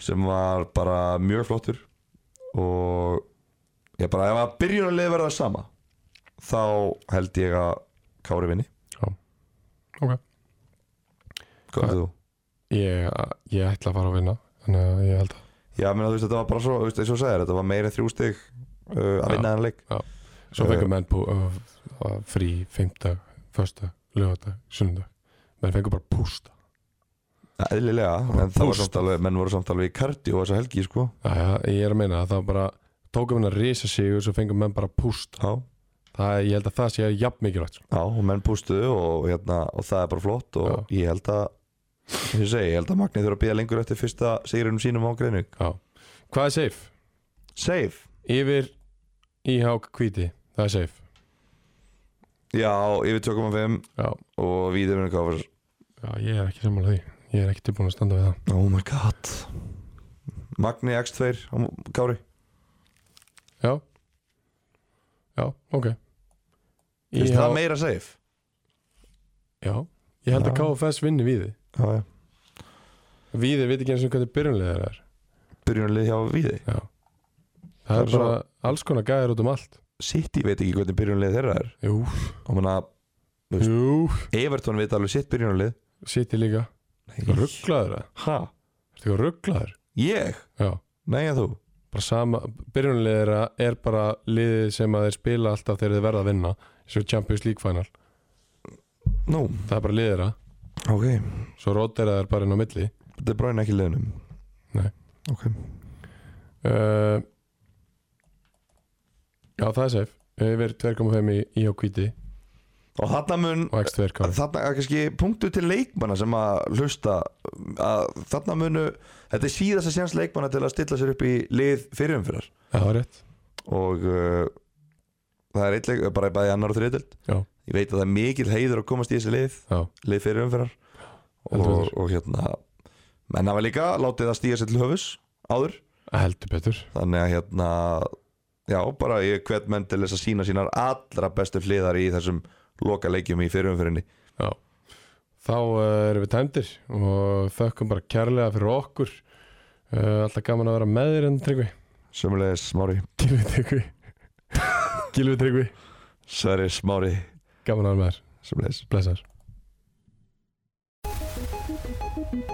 S2: sem var bara mjög flottur og ég bara ef að byrjunarlið verða það sama þá held ég að Kári vinni
S1: Ok
S2: Hvað heldur þú?
S1: ég, ég ætla að fara að vinna Þannig að ég held að
S2: Já, menn þú veist þetta var bara svo, þú veist, eins og þú sagðir þetta var meira en þrjú stig uh, að
S1: Já.
S2: vinna þennan leik
S1: Svo
S2: Eh,
S1: fengum menn bú, uh, uh, frí fimmtag, föstag, lögadag, sundag Menn fengum bara pústa
S2: Æðlilega, en það var samt alveg menn voru samt alveg í kardi og þess að helgi sko
S1: Æja, ég er að meina að það bara tókum henn að risa sig og svo fengum menn bara pústa
S2: Já
S1: það, Ég held að það sé jafn mikilvægt sko.
S2: Já, og menn pústuðu og, hérna, og það er bara flott og ég held að eins og ég segi, ég held að Magni þurfa að býða lengur eftir fyrsta sigurinnum sínum á Greinvík
S1: Já. Hvað er safe?
S2: Safe?
S1: Yfir íhák hvíti, það er safe
S2: Já, yfir 2.5
S1: Já,
S2: og við erum káfars
S1: já ég er ekki sammála því Ég er ekki tilbúin að standa við það
S2: Oh my god Magni X2 á Kári
S1: Já, já, ok
S2: Fyrst það
S1: IH
S2: meira safe?
S1: Já, ég held að
S2: Já.
S1: KFS vinni við þið
S2: Já, já
S1: Víðir veit ekki eins og hvernig byrjunlega það er
S2: Byrjunarlið hjá Víði
S1: Já. Það,
S2: Það
S1: er
S2: er
S1: bara alls konar gæðir út um allt
S2: City veit ekki hvernig byrjunarlið þeirra er
S1: Jú,
S2: og manna, Veist-
S1: jú
S2: Everton veit alveg sitt byrjunarlið
S1: City líka Rugglaður það
S2: Ha?
S1: Ertu eitthvað rugglaður?
S2: Ég?
S1: Já
S2: Nei en þú?
S1: Bara sama Byrjunlega er bara liðið sem að þeir spila alltaf þegar þeir verða að vinna eins og Champions League final
S2: Nú,
S1: Það er bara liðið það
S2: ok
S1: Svo rótir það er bara inn á milli
S2: Þetta er bráin ekki í liðnum
S1: Nei.
S2: Ok
S1: uh, Já, það er safe Yfir 2.5 í IH Kvíti
S2: Og þarna mun
S1: og X2 kári
S2: Þarna er kannski punktu til leikmanna sem að hlusta að þarna munu Þetta er síðast að séns leikmanna til að stilla sér upp í lið
S1: Já,
S2: fyrirumfyrir
S1: það er rétt
S2: Og uh, það er eitthvað bara bæði annar og þriðdelt
S1: Já.
S2: Ég veit að það er mikil heiður að komast í þessi lið
S1: Já,
S2: Lið fyrirumfyrir
S1: Heldur
S2: og,
S1: betur.
S2: og hérna Menn hafa líka látið að stíða sér til höfus áður
S1: heldur betur
S2: Þannig að hérna Já, bara ég hvet menn til þess að sína sínar allra bestu hliðar í þessum loka leikjum í fyrirumfyrinni
S1: Þá uh, erum við tæmdir og þökkum bara kærlega fyrir okkur uh, Alltaf gaman að vera með þér en tryggvi
S2: Sömulegis Smári
S1: Gilvi tryggvi Gilvi tryggvi
S2: Sverri Smári
S1: Gaman að vera með þér,
S2: Sömulegis
S1: blessar